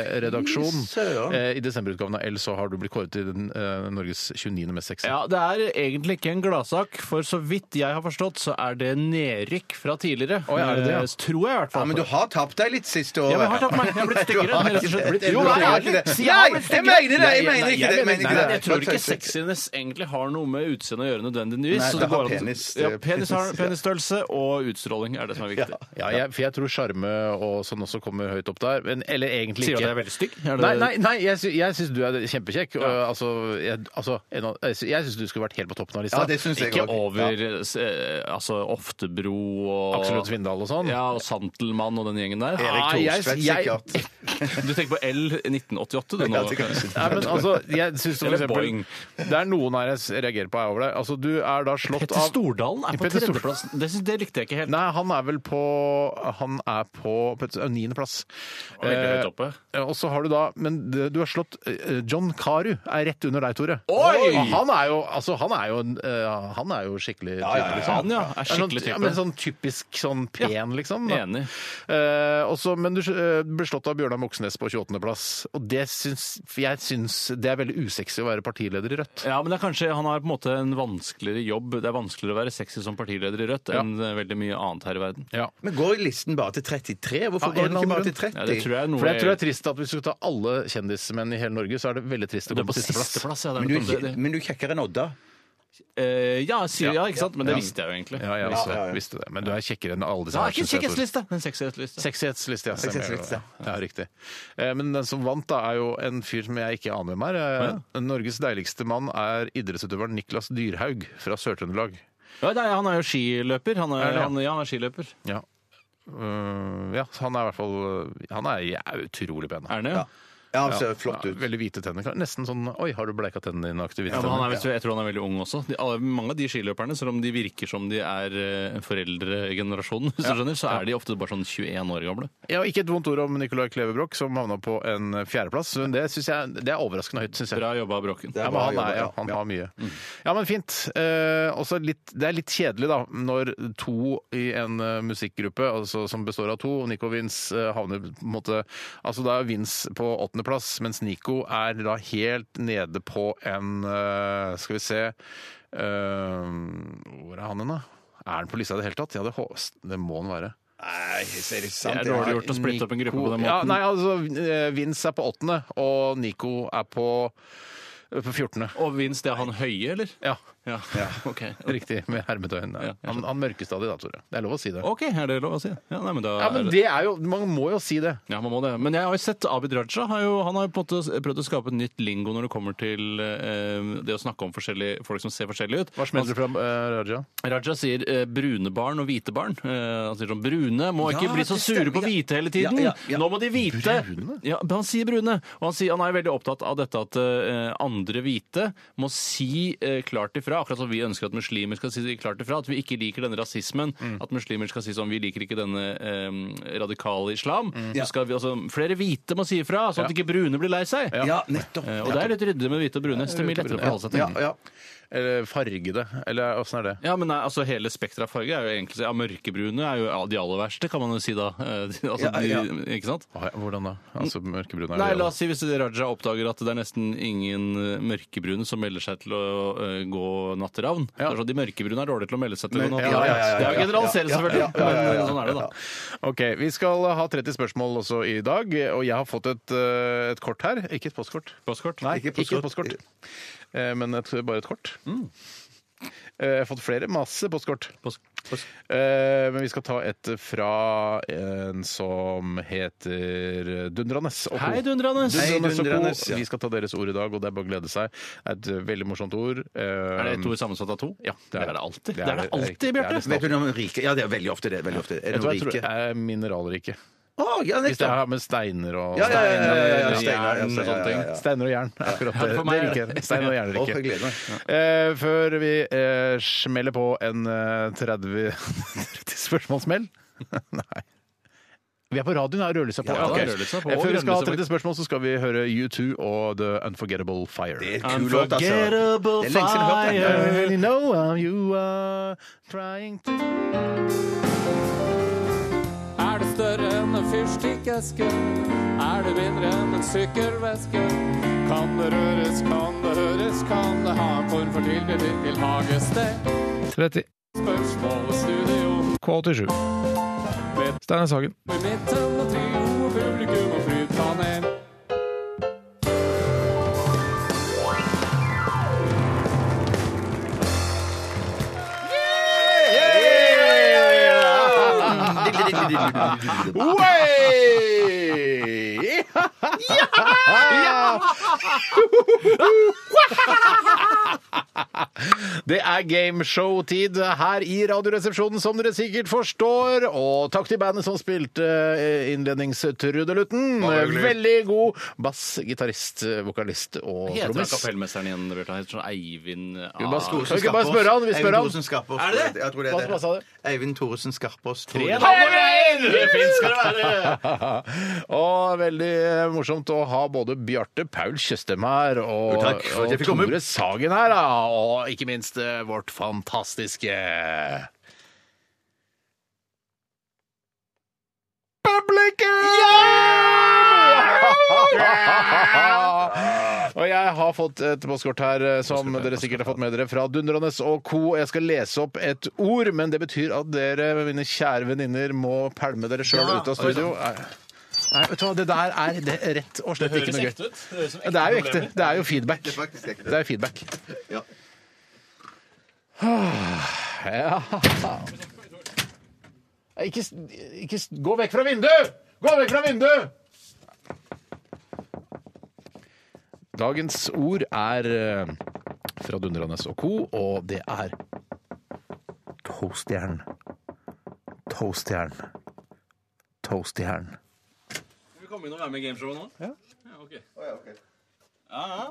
Speaker 1: L-redaksjon.
Speaker 2: Fy søren.
Speaker 1: Eh, I desemberutgaven av L så har du blitt kåret til den, eh, Norges 29. mest sexy.
Speaker 3: Ja, Det er egentlig ikke en gladsak, for så vidt jeg har forstått, så er det nedrykk fra tidligere.
Speaker 1: Å, ja, er det det, ja?
Speaker 3: Eh, Tror jeg, i hvert
Speaker 2: Ja,
Speaker 3: fall.
Speaker 2: men du har tapt deg litt siste året.
Speaker 3: Ja, men jeg har tatt meg. Jeg har blitt styggere,
Speaker 2: Du har
Speaker 3: rett og slett.
Speaker 2: ikke det.
Speaker 3: Blitt- Jo,
Speaker 2: Du har
Speaker 3: nei,
Speaker 2: ikke
Speaker 3: jeg-
Speaker 2: det.
Speaker 3: Si, jeg
Speaker 2: Nei,
Speaker 3: har blitt
Speaker 2: jeg
Speaker 3: styggere.
Speaker 2: mener det! Jeg
Speaker 3: Nei,
Speaker 2: mener
Speaker 3: nei,
Speaker 2: ikke det. Jeg mener
Speaker 3: mener- nei,
Speaker 2: ikke
Speaker 3: nei,
Speaker 2: det.
Speaker 3: Jeg tror ikke sexiness egentlig har noe med utseendet å gjøre nødvendigvis.
Speaker 2: Nei,
Speaker 3: så
Speaker 2: det
Speaker 3: det
Speaker 2: har
Speaker 3: går an-
Speaker 2: penis, det-
Speaker 3: Ja, penis har penisstørrelse, og utstråling er det som er viktig.
Speaker 1: Ja, jeg, for jeg tror sjarme og sånn også kommer høyt opp der. Men, eller egentlig
Speaker 3: Sier
Speaker 1: ikke.
Speaker 3: du at jeg er veldig stygg? Er det-
Speaker 1: Nei, nei, nei jeg, sy jeg syns du er kjempekjekk. og,
Speaker 3: Ja.
Speaker 1: Altså, jeg, altså, en av, jeg sy- jeg syns du skulle vært helt på toppen av lista.
Speaker 2: Ja, det syns jeg
Speaker 3: Ikke
Speaker 2: også.
Speaker 3: over
Speaker 2: Ja.
Speaker 3: eh, s- eh, altså, Oftebro og
Speaker 1: Aksel Lund Svindal og sånn.
Speaker 3: Ja, og Santelmann og den gjengen der.
Speaker 1: Erik Thorstvedt,
Speaker 3: jeg- jeg-
Speaker 2: sikkert.
Speaker 3: Du tenker på L1988, du
Speaker 2: Ja,
Speaker 3: nå.
Speaker 2: det kan du si.
Speaker 1: Nei, men altså, jeg synes for
Speaker 3: Eller
Speaker 1: eksempel,
Speaker 3: Boeing.
Speaker 1: Det er noen her jeg reagerer på er over deg. Altså, du er da slått
Speaker 3: Petter
Speaker 1: av
Speaker 3: Stordalen er på
Speaker 1: Petter Stordalen.
Speaker 3: tredjeplass. Det, synes- det likte jeg ikke helt.
Speaker 1: Nei, han er vel på Han er på, på et- niendeplass.
Speaker 3: var veldig høyt oppe.
Speaker 1: Eh, og så har du da Men det- du har slått eh, John Carew er rett under deg, Tore.
Speaker 3: Oi!
Speaker 1: Og han er jo, altså, han er jo, en, eh, han er jo skikkelig type. liksom.
Speaker 3: Han, ja, er skikkelig
Speaker 1: sånn, ja,
Speaker 3: type.
Speaker 1: men sånn typisk sånn pen, liksom. da.
Speaker 3: Enig.
Speaker 1: Eh, og så- men du eh, ble slått av Bjørnar Moxnes på 28.-plass. Og det syns for jeg syns det er veldig usexy å være partileder i Rødt.
Speaker 3: Ja, men det er kanskje, Han har på en måte en vanskeligere jobb. Det er vanskeligere å være sexy som partileder i Rødt
Speaker 1: Ja.
Speaker 3: enn eh, veldig mye annet her i verden.
Speaker 1: Ja.
Speaker 2: Men går listen bare til 33? Hvorfor
Speaker 1: Av
Speaker 2: går
Speaker 1: en
Speaker 2: den
Speaker 1: eller
Speaker 2: ikke bare
Speaker 1: annen
Speaker 2: til
Speaker 3: Ja, det
Speaker 2: 30?
Speaker 3: tror jeg er noe
Speaker 1: For jeg tror det er trist at hvis du skal ta alle kjendismenn i hele Norge, så er det veldig trist å
Speaker 3: det er
Speaker 1: komme
Speaker 3: på
Speaker 1: på sisteplass.
Speaker 3: sisteplass. Ja, det
Speaker 2: Men
Speaker 3: er
Speaker 2: du,
Speaker 3: nettopp
Speaker 2: er kje-
Speaker 3: det.
Speaker 2: men du er kjekkere enn Odda.
Speaker 3: Eh, ja, sier, ja, ikke sant? Men det
Speaker 1: Ja.
Speaker 3: visste jeg jo egentlig.
Speaker 1: Ja, jeg
Speaker 3: Visste
Speaker 1: visste,
Speaker 3: jeg.
Speaker 2: ja.
Speaker 1: visste det. Men du er kjekkere enn alle disse
Speaker 3: Det
Speaker 1: her.
Speaker 3: er ikke en
Speaker 1: synes jeg, Tore.
Speaker 3: kjekkhetssliste, men sexighetsliste.
Speaker 1: Sexighetsliste, ja.
Speaker 2: Sexighetsliste,
Speaker 1: stemmer det. Ja, riktig. Eh, Men den som vant, da, er jo en fyr som jeg ikke aner hvem er. Eh, Norges deiligste mann er idrettsutøveren Niklas Dyrhaug fra Sør-Trøndelag.
Speaker 3: Ja, nei, han er jo skiløper. Han
Speaker 1: Er
Speaker 3: er,
Speaker 1: det, ja?
Speaker 3: han, ja, han er skiløper.
Speaker 1: Ja. Eh, ja, han er i hvert fall eh, Han er ja, utrolig pen.
Speaker 3: Er han det? Ja.
Speaker 2: Ja, han ser flott
Speaker 1: Ja,
Speaker 2: ut.
Speaker 1: Veldig hvite tenner. Nesten sånn Oi, har du bleika tennene dine-aktig? hvite
Speaker 3: men han er,
Speaker 1: tenner.
Speaker 3: vel- jeg tror han er veldig ung også. De, alle, mange av de skiløperne, selv om de virker som de er eh, foreldregenerasjonen, hvis du skjønner, så er de ofte bare sånn 21 år gamle.
Speaker 1: Ja, ikke et vondt ord om Nicolai Klevebrok, som havna på en fjerdeplass. Men det, synes jeg, det er overraskende høyt, syns jeg.
Speaker 3: Bra jobba, Bråken.
Speaker 2: er
Speaker 1: Ja, men
Speaker 2: bra
Speaker 1: han,
Speaker 2: jobba,
Speaker 1: er, ja,
Speaker 2: ja. Mm.
Speaker 1: han
Speaker 2: Ja.
Speaker 1: har mye. Ja, men fint. Eh, også litt, det er litt kjedelig, da, når to i en eh, musikkgruppe altså, som består av to, og Nico og Vince eh, havner på en måte Altså da er Vince på åttendeplass, mens Nico er da helt nede på en eh, Skal vi se eh, Hvor er han hen, da? Er han på lista i det hele tatt? Ja, det, hå- det må han være.
Speaker 2: Nei, ser det
Speaker 3: Det
Speaker 2: sant
Speaker 3: er dårlig gjort å splitte opp en gruppe på den måten.
Speaker 1: Ja, nei, altså, eh, Vince er på åttende, og Nico er på, eh, på fjortende.
Speaker 3: Og Vince, det er han høye, eller?
Speaker 1: Ja.
Speaker 3: Ja, ok.
Speaker 1: Riktig, med hermetøyen.
Speaker 3: Ja,
Speaker 1: Ja.
Speaker 3: jeg
Speaker 1: Han, han mørker stadig da, Tore. Det er lov å si det.
Speaker 3: Ok, er det lov å si? Ja, nei, men da
Speaker 1: Ja, men
Speaker 3: er det-
Speaker 1: det er jo, Man må jo si det.
Speaker 3: Ja, man må det. Men jeg har jo sett Abid Raja. Har jo, han har jo på en måte prøvd å skape et nytt lingo når det kommer til eh, det å snakke om forskjellige, folk som ser forskjellige ut.
Speaker 1: Hva smeller du fra, eh, Raja?
Speaker 3: Raja sier eh, brune barn og hvite barn. Eh, han sier sånn Brune må ikke
Speaker 2: Ja,
Speaker 3: bli så
Speaker 2: det
Speaker 3: sure
Speaker 2: stemmer.
Speaker 3: på hvite hele tiden!
Speaker 2: Ja, ja, ja.
Speaker 3: Nå må de hvite!
Speaker 1: Brune?
Speaker 3: Ja, men han sier brune. Og han, sier, han er veldig opptatt av dette at eh, andre hvite må si eh, klart ifra ifra, akkurat som vi ønsker at muslimer skal si klart ifra. At vi ikke liker denne rasismen.
Speaker 2: Mm.
Speaker 3: At muslimer skal si sånn Vi liker ikke denne eh, radikale islam.
Speaker 2: Mm.
Speaker 3: Så skal vi, altså, flere hvite må si ifra, sånn at ikke brune blir lei seg.
Speaker 2: Ja, nettopp.
Speaker 3: Eh, Og det er litt ryddig med hvite og brune. Så det er mye lettere å forholde seg til.
Speaker 2: Ja, ja.
Speaker 1: Eller fargede. Eller åssen er det?
Speaker 3: Ja, men nei, altså Hele spekteret av farge er jo egentlig ja, Mørkebrune er jo ja, de aller verste, kan man jo si da. Eh, Altså,
Speaker 2: Ja, ja.
Speaker 3: De, ikke sant?
Speaker 1: Ah, ja, Hvordan da? Altså mørkebrun er
Speaker 3: Nei,
Speaker 1: det
Speaker 3: la oss si Hvis Raja oppdager at det er nesten ingen eh, mørkebrune som melder seg til å eh, gå natteravn
Speaker 1: Ja.
Speaker 3: altså, De mørkebrune er dårlige til å melde seg til å
Speaker 1: Men-
Speaker 3: gå
Speaker 1: ja,
Speaker 3: natteravn.
Speaker 1: ja, ja, ja,
Speaker 3: Det er jo
Speaker 1: ja,
Speaker 3: generalisere,
Speaker 2: ja, ja,
Speaker 3: selvfølgelig,
Speaker 2: ja, ja, ja, ja,
Speaker 3: men
Speaker 2: ja.
Speaker 3: sånn er det, da.
Speaker 1: Ok, Vi skal ha 30 spørsmål også i dag, og jeg har fått et, eh, et kort her. Ikke et postkort.
Speaker 3: Postkort?
Speaker 1: Nei, ikke
Speaker 2: Ikke
Speaker 1: et postkort,
Speaker 2: postkort.
Speaker 1: Eh, men et, bare et kort. Eh, Jeg har fått flere, masse postkort.
Speaker 3: Post- post-
Speaker 1: Eh, Men vi skal ta et fra en som heter Dundranes. og co.
Speaker 3: Hei, Dundranes!
Speaker 2: Hei,
Speaker 1: Dundranes og co.
Speaker 2: Dundranes, ja.
Speaker 1: Vi skal ta deres ord i dag, og det er bare å glede seg. Det er et veldig morsomt ord.
Speaker 3: Er det ett ord sammensatt av to?
Speaker 1: Um, Ja,
Speaker 3: det er det alltid. Det er det alltid,
Speaker 1: det er
Speaker 3: Bjarte.
Speaker 1: nesten
Speaker 2: Vet du noe om rike? Ja, det er veldig ofte det. Veldig ofte. Er
Speaker 1: Jeg
Speaker 2: det
Speaker 1: tror
Speaker 2: noe
Speaker 1: jeg tror det
Speaker 2: rike?
Speaker 1: er mineralrike.
Speaker 2: Å, ja,
Speaker 1: Hvis det
Speaker 2: nettopp!
Speaker 1: har med steiner og
Speaker 2: Ja, ja, ja, ja, ja, ja,
Speaker 1: steiner,
Speaker 2: steiner, ja,
Speaker 1: jern og sånne
Speaker 2: ja, ja, ja.
Speaker 1: ting. Steiner og jern. Akkurat
Speaker 3: Ja,
Speaker 1: det.
Speaker 3: for meg
Speaker 1: Det
Speaker 3: er
Speaker 1: liker
Speaker 3: det.
Speaker 1: jeg. Steiner og
Speaker 2: Å, jeg
Speaker 1: jernrike.
Speaker 2: gleder meg.
Speaker 1: Eh, før vi eh, smeller på en eh, 30 30 spørsmålssmell Nei. Vi er på radioen, her, rødlyset er på.
Speaker 3: Ja, da er
Speaker 1: Ok.
Speaker 3: rødlyset på,
Speaker 1: Eh,
Speaker 3: og
Speaker 1: Før vi skal ha
Speaker 3: grønnlyset på.
Speaker 1: 30 spørsmål, så skal vi høre U2 og The Unforgettable Fire.
Speaker 2: Det er en kul låt, altså.
Speaker 3: Unforgettable
Speaker 2: Det er lenge siden jeg har hørt den.
Speaker 1: I
Speaker 3: fire.
Speaker 1: really know how you are trying to
Speaker 12: Er det større enn en fyrstikkeske? Er det mindre enn en sykkelveske? Kan det røres, kan det høres, kan det ha en form for tilknytning til hagested?
Speaker 13: 30.
Speaker 12: Spørsmål og studio
Speaker 13: K87. Steinar Sagen.
Speaker 12: i midten og trio og publikum og flypanel.
Speaker 1: Way! Det er gameshow-tid her i Radioresepsjonen, som dere sikkert forstår. Og takk til bandet som spilte eh, innledningstrudelutten. Veldig god bass, gitarist, vokalist og
Speaker 3: Heter han
Speaker 1: trommis.
Speaker 3: kapellmesteren igjen, Bjarte? Han heter sånn Eivind ah.
Speaker 1: Jo, bare sko-
Speaker 2: Thoresen
Speaker 1: Kan vi ikke bare
Speaker 2: Skarpaas.
Speaker 1: spørre han? Vi spør
Speaker 2: Eivind
Speaker 1: han.
Speaker 2: Thoresen Skarpaas.
Speaker 3: Er det det?
Speaker 2: Jeg tror det
Speaker 1: Hva-
Speaker 2: er
Speaker 1: hva sa du?
Speaker 2: det. Eivind Thoresen Skarpaas. tror
Speaker 3: Tre
Speaker 2: jeg.
Speaker 3: da, Eivind! Det finnes skal det være!
Speaker 1: og veldig morsomt å ha både Bjarte Paul Tjøstheim her og,
Speaker 2: Jo, takk for at
Speaker 1: og
Speaker 2: jeg fikk komme.
Speaker 1: Tore Sagen her, da. og ikke minst eh, vårt fantastiske Publikum! Og jeg har fått et postkort her eh, som dere sikkert har fått med dere fra Dundranes og co. Jeg skal lese opp et ord, men det betyr at dere, mine kjære venninner, må pælme dere sjøl ut av studio. Nei, vet du hva, det der er det er rett og slett ikke noe gøy.
Speaker 3: ut. Det høres ut som
Speaker 1: Det er jo ekte. Det er jo feedback.
Speaker 2: Det er faktisk ekte.
Speaker 1: Det er jo feedback. Ah,
Speaker 2: Ja.
Speaker 1: Ja. Ikke, s- ikke s- Gå vekk fra vinduet! Gå vekk fra vinduet! Dagens ord er eh, fra Dundranes og co., og det er Toastjern. Toastjern. Toastjern.
Speaker 3: Skal vi komme inn og være med i gameshowet nå? Ja. ok. Ja, ja.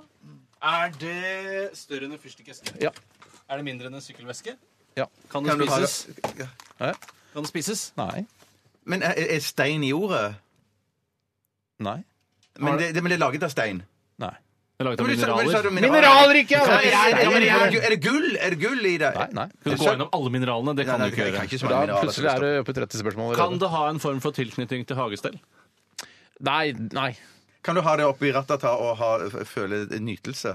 Speaker 3: Er det større enn en fyrstikkeske?
Speaker 1: Ja.
Speaker 3: Er det mindre enn en sykkelveske?
Speaker 1: Ja.
Speaker 3: Kan den
Speaker 2: du ha
Speaker 3: spises?
Speaker 2: det?
Speaker 1: Hæ?
Speaker 3: Kan den spises?
Speaker 1: Eh, Nei.
Speaker 2: Men er, er stein i ordet?
Speaker 1: Nei.
Speaker 2: Men det, det, men det er laget av stein.
Speaker 1: Nei.
Speaker 3: Det er laget
Speaker 2: Men
Speaker 3: av
Speaker 2: du sa- men du sa
Speaker 3: mineraler.
Speaker 2: det var
Speaker 1: Mineralrike!
Speaker 2: Ja,
Speaker 1: ja,
Speaker 2: men Er, er,
Speaker 1: men-
Speaker 2: er, er, er, det gull? Er det gull i det?
Speaker 1: Nei, nei.
Speaker 3: Kan du gå innom alle mineralene? Det
Speaker 2: Nei,
Speaker 3: kan
Speaker 2: nei,
Speaker 3: du ikke
Speaker 2: jeg kan
Speaker 3: gjøre.
Speaker 2: ikke
Speaker 1: For
Speaker 2: svare
Speaker 1: Da
Speaker 2: mineraler,
Speaker 1: plutselig er
Speaker 2: skal
Speaker 1: du
Speaker 2: jeg
Speaker 1: oppe i 30 spørsmål
Speaker 3: Kan
Speaker 1: allerede.
Speaker 3: det ha en form for tilknytning til hagestell?
Speaker 1: Nei, nei.
Speaker 2: stå. Kan du ha det oppi ratata og ha, føle nytelse?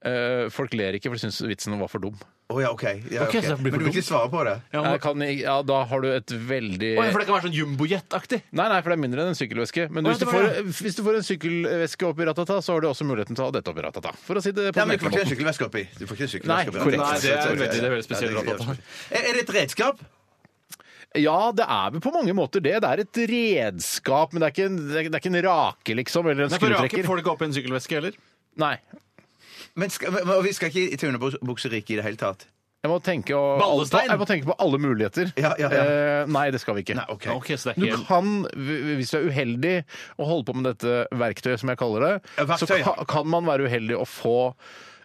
Speaker 1: Eh, folk ler ikke, for de syns vitsen var for dum.
Speaker 2: Å ja, OK. Ja,
Speaker 3: Ok,
Speaker 2: ok.
Speaker 3: så det blir
Speaker 2: Men du vil
Speaker 3: for
Speaker 2: ikke svare på det?
Speaker 3: Ja,
Speaker 1: Jeg kan, ikke- ja, da har du et veldig
Speaker 3: Oi, for det kan være sånn jumbojet-aktig.
Speaker 1: Nei, nei, for det er mindre enn en sykkelveske. Men
Speaker 3: Å,
Speaker 1: hvis du,
Speaker 3: det
Speaker 1: får,
Speaker 3: var
Speaker 1: hvis du får en sykkelveske oppi ratata, så har du også muligheten til å ha dette oppi ratata. For å si det
Speaker 2: Nei,
Speaker 1: på den
Speaker 2: men Du får ikke
Speaker 1: enkle
Speaker 2: en
Speaker 1: måten.
Speaker 2: sykkelveske oppi. Du får ikke en
Speaker 1: Nei,
Speaker 2: sykkelveske oppi.
Speaker 1: korrekt.
Speaker 3: Nei, det er veldig- det er veldig spesielt
Speaker 2: Ja, det er-
Speaker 3: ratata.
Speaker 2: Er er det et redskap?
Speaker 1: Ja, det er vel på mange måter det. Det er et redskap, men det er ikke en, det er, det er ikke en rake, liksom, eller en
Speaker 3: Nei, for raker
Speaker 1: skrutrekker.
Speaker 3: får du ikke opp i en sykkelveske heller.
Speaker 1: Nei.
Speaker 2: Men skal, men- men vi skal ikke til underbukseriket i det hele tatt?
Speaker 1: Jeg må, tenke og,
Speaker 3: Ballestein!
Speaker 1: jeg må tenke på alle muligheter.
Speaker 2: Ja, ja, ja.
Speaker 1: Eh, nei, det skal vi ikke.
Speaker 2: Nei, OK.
Speaker 3: Ok, så det er
Speaker 1: Du
Speaker 3: helt...
Speaker 1: kan, hvis du er uheldig og holder på med dette verktøyet, som jeg kaller det,
Speaker 2: Ja, verktøy,
Speaker 1: så ka, kan man være uheldig og få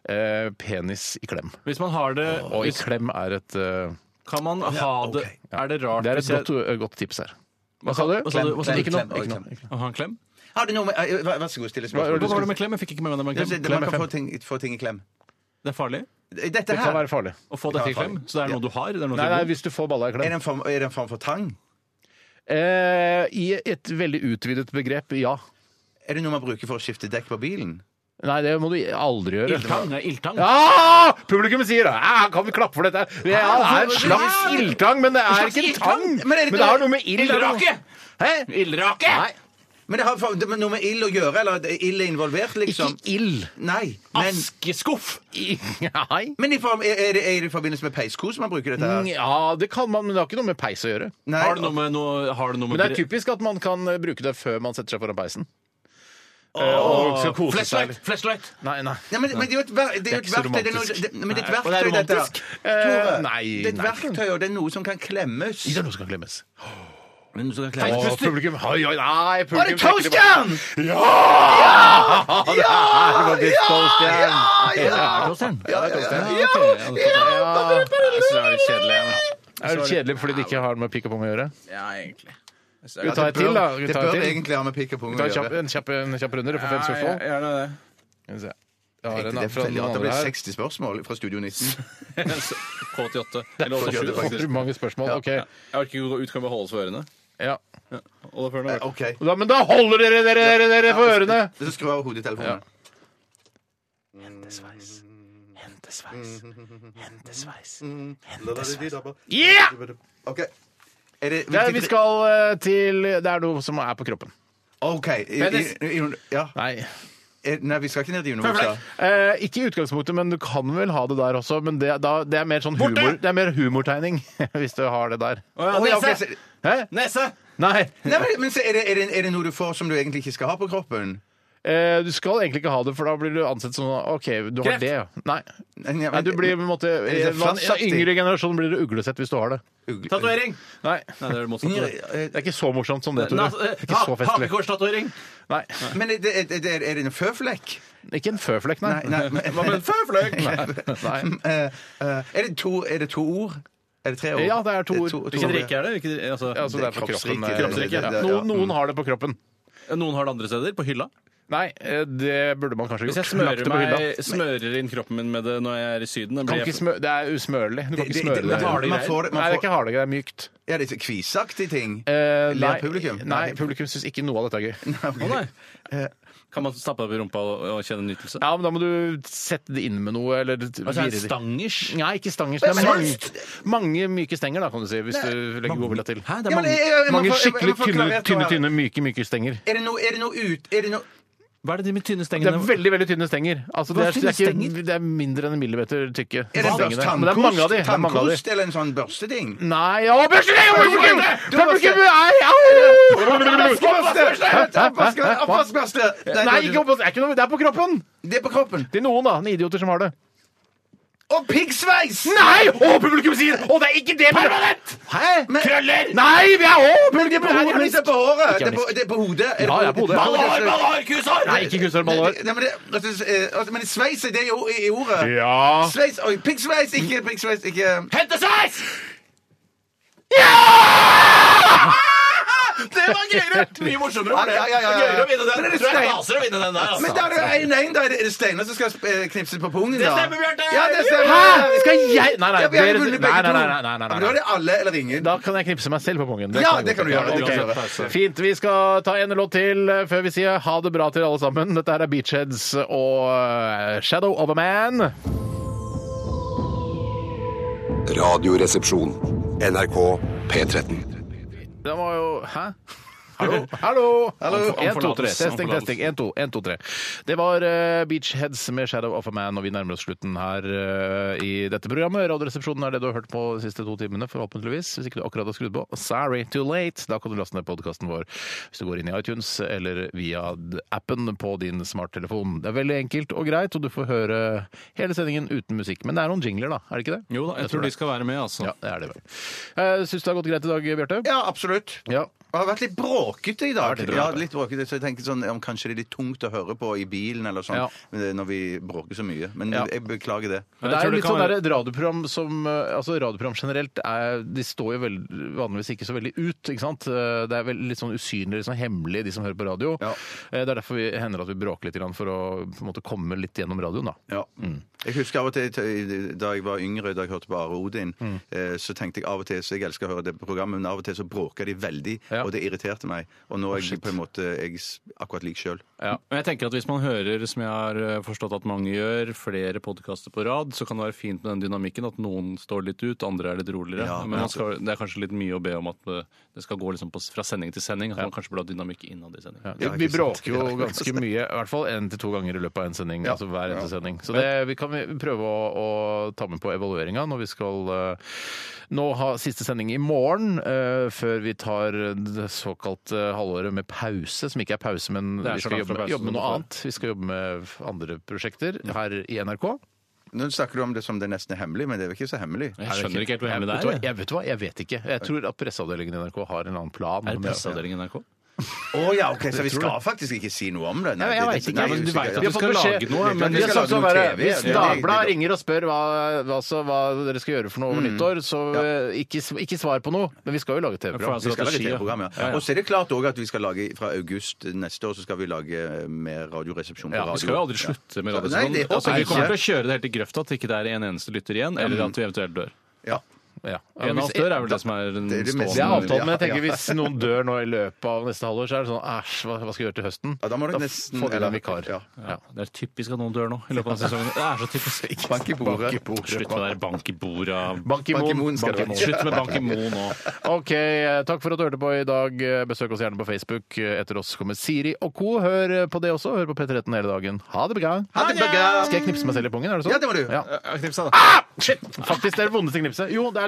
Speaker 1: eh, penis i klem.
Speaker 3: Hvis man har det
Speaker 1: Og i
Speaker 3: hvis,
Speaker 1: klem er et eh,
Speaker 3: Kan man ha det Er det rart
Speaker 1: Det er
Speaker 3: hvis
Speaker 1: et
Speaker 3: jeg
Speaker 1: godt, eh, godt tips her. Hva sa du?
Speaker 3: Hva sa du? Hva sa du?
Speaker 1: Ikke noe.
Speaker 2: Klem,
Speaker 1: Ikke
Speaker 2: klem.
Speaker 1: noe. Ikke noe.
Speaker 3: Å ha en klem?
Speaker 2: Har det noe med eh, Vær vær så god, stille
Speaker 1: Hva
Speaker 2: spørsmål.
Speaker 1: var det
Speaker 3: Hva var det med klem? Jeg fikk ikke med meg det med
Speaker 2: Ja, så
Speaker 3: klem.
Speaker 2: det- Man kan få ting, få ting i klem.
Speaker 3: Det er farlig
Speaker 2: Dette
Speaker 1: Det kan
Speaker 2: her
Speaker 1: være farlig.
Speaker 3: å få dette i klem. Så det er noe du har? Det er noe
Speaker 1: Nei, nei,
Speaker 3: du
Speaker 1: hvis du får balla i
Speaker 2: er
Speaker 1: klem.
Speaker 2: det en form, er det en form for tang?
Speaker 1: Eh, I et veldig utvidet begrep, ja.
Speaker 2: Er det noe man bruker for å skifte dekk på bilen?
Speaker 1: Nei, det må du aldri gjøre.
Speaker 3: Ildtang? Det er ildtang.
Speaker 1: Ja! Publikum sier det. Ja, kan vi klappe for dette? Ja, det er en slags ildtang, men det er ikke en tang. Men det har noe med ild
Speaker 3: Ildrake!
Speaker 1: Hæ?
Speaker 3: Ildrake!
Speaker 1: Nei,
Speaker 2: Men det har for- det har noe med ild å gjøre? Eller at ild er involvert,
Speaker 1: ikke
Speaker 2: liksom?
Speaker 1: ild.
Speaker 2: Nei. Men,
Speaker 3: Askeskuff!
Speaker 1: Nei.
Speaker 2: men i form, er, er, det, er det i forbindelse med peiskos man bruker dette? her?
Speaker 1: Mm, Ja, det kan man, men det har ikke noe med peis å gjøre.
Speaker 2: Nei,
Speaker 3: Har det noe med noe har det noe med
Speaker 1: Men det er typisk at man kan eh, bruke det før man setter seg foran peisen. Eh, og skal kose seg.
Speaker 3: Flashlight! Flashlight!
Speaker 1: Nei, nei.
Speaker 2: Nei, men, men det er jo et, ver det er jo et
Speaker 1: ikke så
Speaker 2: verktøy det er noe,
Speaker 1: romantisk.
Speaker 2: det, Men det er et verktøy,
Speaker 1: Nei, og det er
Speaker 2: dette.
Speaker 1: romantisk.
Speaker 2: her. Tore,
Speaker 1: Eh, nei,
Speaker 2: det er et
Speaker 1: nei.
Speaker 2: verktøy, og det er noe som kan klemmes.
Speaker 1: Det er noe som kan glemmes.
Speaker 2: Men noe som kan
Speaker 1: Å,
Speaker 2: klemmes.
Speaker 1: publikum Oi, oi, nei,
Speaker 2: Var
Speaker 1: publikum
Speaker 2: det
Speaker 1: trekker tilbake.
Speaker 2: toasteren?
Speaker 1: Ja! Ja! Ja!
Speaker 3: Ja, ok.
Speaker 10: Jeg synes det er litt kjedelig.
Speaker 1: Er det kjedelig fordi det ikke har noe med pikk og pung å gjøre?
Speaker 10: Ja, egentlig. Jeg synes
Speaker 1: Vi
Speaker 10: det er-
Speaker 1: tar et til, da. Vi
Speaker 2: Det
Speaker 1: tar
Speaker 2: bør
Speaker 1: et til.
Speaker 2: egentlig ha med pikk og pung
Speaker 1: Vi tar
Speaker 2: å
Speaker 1: en kjapp,
Speaker 2: gjøre.
Speaker 1: en kjapp, en kjapp runde du, for fem
Speaker 10: Ja,
Speaker 1: spørsmål.
Speaker 10: jeg- gjerne det.
Speaker 1: Skal vi se. Jeg har
Speaker 2: Det
Speaker 1: en
Speaker 2: er
Speaker 1: her fra
Speaker 2: forferdelig at
Speaker 1: noen
Speaker 2: det
Speaker 1: andre
Speaker 2: blir
Speaker 1: her.
Speaker 2: 60 spørsmål fra Studio 19.
Speaker 3: 88. Eller 87,
Speaker 1: For
Speaker 3: faktisk.
Speaker 1: mange spørsmål. Ok.
Speaker 3: Jeg orker ikke å gå ut, kan jeg bare holde oss for ørene.
Speaker 1: Ja.
Speaker 3: Hold deg for ørene.
Speaker 2: OK.
Speaker 1: Da, men da holder dere dere, dere, dere for ørene!
Speaker 2: Så skru av hodetelefonen. Mm.
Speaker 1: Yeah!
Speaker 2: OK. Er det,
Speaker 1: Det er, vi skal eh, til Det er noe som er på kroppen.
Speaker 2: OK. I, i, i, ja.
Speaker 1: Nei.
Speaker 2: Eh, Nei, vi skal ikke ned i underbuksa.
Speaker 1: Eh, ikke i utgangspunktet, men du kan vel ha det der også. Men det, da, det er mer sånn humor, det er mer humortegning, hvis du har det der.
Speaker 2: Å, ja, ok, så-
Speaker 1: Hæ?
Speaker 10: Nese!
Speaker 1: Nei.
Speaker 2: Nei, men, men så er, det, er, det, er det noe du får som du egentlig ikke skal ha på kroppen?
Speaker 1: Eh, du skal egentlig ikke ha det, for da blir du ansett som OK, du har
Speaker 10: Kreft.
Speaker 1: det, ja. Nei.
Speaker 2: Nei, jeg
Speaker 1: Nei,
Speaker 2: vet-
Speaker 1: du blir på en måte
Speaker 2: det
Speaker 1: eh, man- I
Speaker 2: flassaktig?
Speaker 1: yngre generasjon blir du uglesett hvis du har det.
Speaker 2: Ugle-
Speaker 10: Tatovering!
Speaker 1: Nei.
Speaker 3: Nei, det er det motsatte.
Speaker 2: Eh,
Speaker 1: Det er ikke så morsomt som det, Tore.
Speaker 10: Nas-
Speaker 1: Det
Speaker 10: eh,
Speaker 1: er Ikke så
Speaker 10: ha-
Speaker 1: festlig.
Speaker 10: Hakekorstatovering!
Speaker 1: Nei.
Speaker 2: Men er det, er det, er det en føflekk?
Speaker 1: Ikke en føflekk, nei.
Speaker 2: Nei, nei, men-
Speaker 1: føflekk? Nei.
Speaker 2: Eh, eh, Er det to, er det to ord? Er det tre ord?
Speaker 1: Ja, det er to ord.
Speaker 3: Hvilket rike er det? Hvilket, altså,
Speaker 1: sånn. Ja, så det er på
Speaker 2: kroppsrike.
Speaker 1: kroppen.
Speaker 2: Kroppsrike,
Speaker 1: eh,
Speaker 2: ja.
Speaker 1: ja. Noen, noen har det på kroppen.
Speaker 3: Noen har det andre steder? På hylla?
Speaker 1: Nei, eh, det burde man kanskje
Speaker 3: Hvis jeg
Speaker 1: gjort. Lagt
Speaker 3: smører,
Speaker 1: det på
Speaker 3: meg,
Speaker 1: hylla.
Speaker 3: smører inn kroppen min med det når jeg er i Syden da
Speaker 1: Kan
Speaker 3: blir
Speaker 1: ikke
Speaker 3: jeg...
Speaker 1: smø det er usmørlig. Du kan ikke
Speaker 2: det-
Speaker 1: smøre
Speaker 2: det-
Speaker 1: det.
Speaker 2: det-
Speaker 3: harde
Speaker 2: man
Speaker 3: greier.
Speaker 2: får det- man
Speaker 1: Nei, det er
Speaker 2: får-
Speaker 1: ikke harde greier, det er mykt.
Speaker 2: Ja, det er kvisaktige ting.
Speaker 1: Eh,
Speaker 2: Ler
Speaker 1: nei,
Speaker 2: publikum?
Speaker 1: Nei, publikum syns ikke noe av dette er gøy.
Speaker 3: Å, nei. Kan man stappe opp i rumpa og, og kjenne nytelse?
Speaker 1: Ja, men da må du sette det inn med noe, eller
Speaker 3: Altså,
Speaker 1: vire
Speaker 3: er det
Speaker 1: det
Speaker 3: stangers?
Speaker 1: Nei, ikke stangers. Det er mange, mange myke stenger, da, kan du si, hvis du legger godvilja til.
Speaker 3: Hæ, det
Speaker 2: Ja,
Speaker 3: er
Speaker 2: men jeg-
Speaker 3: mange...
Speaker 2: jeg- jeg må
Speaker 1: Mange
Speaker 2: få- jeg- jeg må
Speaker 1: skikkelig
Speaker 2: få
Speaker 1: tynne,
Speaker 2: klarhet nå
Speaker 1: tynne,
Speaker 2: her.
Speaker 1: tynne, myke, myke stenger.
Speaker 2: Er det noe, er det noe ut... Er det noe
Speaker 3: Hva er det de med tynne
Speaker 1: Det
Speaker 3: stengene
Speaker 1: er veldig veldig tynne stenger. Altså, det,
Speaker 3: Hva
Speaker 1: er, det,
Speaker 3: tynne
Speaker 1: er ikke,
Speaker 3: stenger?
Speaker 1: det er mindre enn en millimeter tykke.
Speaker 2: er det en slags
Speaker 1: stengene. Men det er mange av de.
Speaker 2: tannkost?
Speaker 1: Det er mange av de.
Speaker 2: Tannkost eller en sånn børsteting?
Speaker 1: Nei Å, børste deg!
Speaker 2: Du må
Speaker 1: Publikum!
Speaker 2: se-
Speaker 1: Publikum! Nei, au!
Speaker 2: Oppvaskbørste!
Speaker 1: Hæ? Hæ?
Speaker 2: Oppvaskbørste!
Speaker 1: Nei, ikke opp, det er ikke noe, det er på kroppen!
Speaker 2: Det er på kroppen.
Speaker 1: Det er noen, da. Noen idioter som har det.
Speaker 2: Og piggsveis!
Speaker 1: Nei! Å, publikum sier Å, det er ikke det! Permanent! Hæ?
Speaker 2: Men-
Speaker 1: Krøller! Nei, vi er òg publikum!
Speaker 2: Men
Speaker 1: er
Speaker 2: det er
Speaker 1: ironisk.
Speaker 2: på håret! Det
Speaker 1: Ikke
Speaker 2: er på,
Speaker 1: ironisk.
Speaker 2: det er på hodet. Er
Speaker 1: Ja, det er på hodet.
Speaker 2: Hodet, så-
Speaker 1: Nei, ikke kunsthår,
Speaker 2: Nei,
Speaker 1: malhår.
Speaker 2: det- men, det, altså, eh, altså, men sveis det er jo i i ordet.
Speaker 1: Ja
Speaker 2: Sveis, oi, piggsveis, ikke piggsveis, ikke
Speaker 10: Hentesveis! Ja! Det var gøyere! Mye morsommere. var det.
Speaker 2: Ja, ja, ja, ja.
Speaker 10: Gøyere å vinne
Speaker 2: Men er
Speaker 10: den.
Speaker 2: det
Speaker 10: Tror jeg
Speaker 2: stein?
Speaker 10: haser å vinne den der,
Speaker 2: Men da
Speaker 10: altså.
Speaker 2: er det jo 1-1, da. Er det- Er det Steinar som skal eh, knipse på pungen, da? Det
Speaker 10: stemmer, Bjarte!
Speaker 2: Ja, det stemmer!
Speaker 1: Hæ? Skal jeg Nei, nei.
Speaker 2: Ja, vi har jo
Speaker 1: dere-
Speaker 2: vunnet
Speaker 1: nei,
Speaker 2: begge
Speaker 1: nei,
Speaker 2: to.
Speaker 1: nei, nei, nei,
Speaker 2: Ja, men
Speaker 1: nei,
Speaker 2: Da er
Speaker 1: nei.
Speaker 2: det alle eller ingen.
Speaker 1: Da kan jeg knipse meg selv på pungen.
Speaker 2: Ja,
Speaker 1: jeg
Speaker 2: det kan
Speaker 1: godt
Speaker 2: du gjøre. Det kan du
Speaker 1: ok.
Speaker 2: gjøre.
Speaker 1: Fint. Vi skal ta en låt til eh, før vi sier ha det bra til alle sammen. Dette her er Beachheads og eh, Shadow of a Man.
Speaker 11: Radioresepsjon. NRK P13.
Speaker 1: Den var jo Hæ? Hallo? Hallo! Altså,
Speaker 3: Hallo.
Speaker 1: En, to, tre.
Speaker 3: Omforlatelse,
Speaker 1: Testing,
Speaker 3: omforlatelse.
Speaker 1: testing. En, to, en, to, tre. Det var eh, Beachheads med 'Shadow of a Man', og vi nærmer oss slutten her eh, i dette programmet. Radioresepsjonen er det du har hørt på de siste to timene, forhåpentligvis. Hvis ikke du akkurat har skrudd på. Sorry, too late. Da kan du laste ned podkasten vår hvis du går inn i iTunes eller via d- appen på din smarttelefon. Det er veldig enkelt og greit, og du får høre hele sendingen uten musikk. Men det er noen jingler, da? Er det ikke det?
Speaker 3: Jo da, jeg tror de skal være med,
Speaker 1: Eh,
Speaker 3: altså.
Speaker 1: Ja, det er det vel. Uh, Syns du det har gått greit i dag, Bjarte?
Speaker 2: Ja, absolutt.
Speaker 1: Ja.
Speaker 2: Det har vært litt bråkete i dag.
Speaker 1: Det har vært litt
Speaker 2: Ja,
Speaker 1: bråkete.
Speaker 2: litt bråkete, så jeg tenker sånn, om Kanskje det er litt tungt å høre på i bilen eller sånn,
Speaker 1: Ja.
Speaker 2: men det er når vi bråker så mye. Men
Speaker 1: Ja.
Speaker 2: jeg beklager det.
Speaker 1: Men det er jo litt sånn der, et radioprogram som eh, altså radioprogram generelt er, de står jo veld, vanligvis ikke så veldig ut. ikke sant? Eh, Det er vel litt sånn usynlig, litt sånn hemmelig, de som hører på radio. Eh, Det er derfor vi hender at vi bråker litt grann for å på en måte komme litt gjennom radioen. da.
Speaker 2: Ja.
Speaker 3: Mm.
Speaker 2: Jeg husker av og til til- da jeg var yngre, da jeg hørte på Are Odin,
Speaker 3: Mm.
Speaker 2: eh, så tenkte jeg av og til så jeg elsker å høre det programmet, men av og til så bråka de veldig, og det irriterte meg. Og nå er jeg på en måte jeg s- akkurat lik sjøl.
Speaker 3: Men jeg tenker at Hvis man hører, som jeg har eh, forstått at mange gjør, flere podkaster på rad, så kan det være fint med den dynamikken at noen står litt ut, andre er litt roligere.
Speaker 2: Ja,
Speaker 3: men
Speaker 2: ja.
Speaker 3: man skal, det er kanskje litt mye å be om at eh, det skal gå liksom på, fra sending til sending. At man kanskje burde ha dynamikk innad i sending.
Speaker 1: Vi, vi bråker jo ganske mye, i hvert fall én til to ganger i løpet av en sending. altså hver eneste sending. Så det vi kan vi prøve å, å ta med på evalueringa når vi skal eh, nå ha siste sending i morgen, eh, før vi tar det såkalte halvåret med pause, som ikke er pause, men
Speaker 3: Det er
Speaker 1: vi
Speaker 3: så
Speaker 1: skal
Speaker 3: langt fra
Speaker 1: jobbe, med-
Speaker 3: pause
Speaker 1: jobbe med
Speaker 3: som
Speaker 1: noe
Speaker 3: det er.
Speaker 1: annet. Vi skal jobbe med andre prosjekter her i NRK.
Speaker 2: Nå snakker du om det som det nesten er hemmelig, men det er vel ikke så hemmelig?
Speaker 3: Jeg skjønner ikke helt hvor hemmelig det
Speaker 1: Vet du
Speaker 3: er.
Speaker 1: hva? Jeg vet, du hva? jeg vet ikke. Jeg tror at presseavdelingen i NRK har en eller annen plan.
Speaker 3: Er det presseavdelingen i NRK?
Speaker 2: Å ja, ok, så vi
Speaker 1: Jeg tror
Speaker 2: skal
Speaker 1: det.
Speaker 2: faktisk ikke si noe om det?
Speaker 1: Nei, jeg vet ikke.
Speaker 2: nei,
Speaker 3: men du
Speaker 2: usikker,
Speaker 3: vet
Speaker 2: ja.
Speaker 3: at du skal
Speaker 1: beskjed-
Speaker 3: lage
Speaker 2: Vi skal
Speaker 3: noe, men
Speaker 1: Vi har
Speaker 2: lage
Speaker 1: sagt sånn
Speaker 2: noe
Speaker 1: bare,
Speaker 2: TV,
Speaker 1: Hvis
Speaker 2: ja.
Speaker 1: Dagbladet ringer og spør hva, hva, så, hva dere skal gjøre for noe over
Speaker 2: Mm.
Speaker 1: nyttår, så eh, ikke, s- ikke svar på noe. Men vi skal jo lage TV-program.
Speaker 2: Vi skal lage TV-program, ja.
Speaker 1: Ja, ja.
Speaker 2: Og så er det klart også at vi skal lage fra august neste år så skal vi lage eh, mer Radioresepsjon på
Speaker 3: Ja,
Speaker 2: radio.
Speaker 3: vi skal jo aldri slutte med
Speaker 2: Ja.
Speaker 3: radioresepsjonen.
Speaker 2: Nei, det håper jeg
Speaker 3: altså, vi kommer til
Speaker 2: ikke.
Speaker 3: å kjøre det helt i grøfta til ikke det er en eneste lytter igjen, eller at vi eventuelt dør.
Speaker 2: Ja.
Speaker 1: Ja.
Speaker 3: En av oss dør er vel det som er den
Speaker 2: Det er det mest-
Speaker 1: Det er
Speaker 3: stående
Speaker 1: avtalen, men jeg tenker hvis noen dør nå i løpet av neste halvår, så er det sånn æsj, hva, hva skal vi gjøre til høsten?
Speaker 2: Ja, da må du
Speaker 1: f-
Speaker 2: nesten-
Speaker 1: får vi
Speaker 2: eller-
Speaker 1: en vikar.
Speaker 2: ja.
Speaker 1: Ja.
Speaker 3: Det er typisk at noen dør nå i løpet av sesongen. Det er så typisk.
Speaker 2: Bank i bordet.
Speaker 3: Slutt med det der bank i bordet.
Speaker 1: Bank i
Speaker 2: Bank i
Speaker 1: moen.
Speaker 2: moen skal
Speaker 1: Bank
Speaker 2: det
Speaker 1: i moen.
Speaker 2: være.
Speaker 3: Slutt med bank i mo nå.
Speaker 1: Ok, eh, takk for at du hørte på i dag. Eh, Besøk oss gjerne på Facebook. Eh, Etter oss kommer Siri og co. Hør eh, på det også. Hør på P13 hele dagen. Ha det bra.
Speaker 2: Ha det bra.
Speaker 1: Skal jeg knipse meg selv i pungen? Er det sånn?
Speaker 2: Ja, det må du.
Speaker 1: Ja. Ah!
Speaker 3: Knipsa, da.
Speaker 1: Shit! Faktisk, det er det vondeste knipset. Jo, det er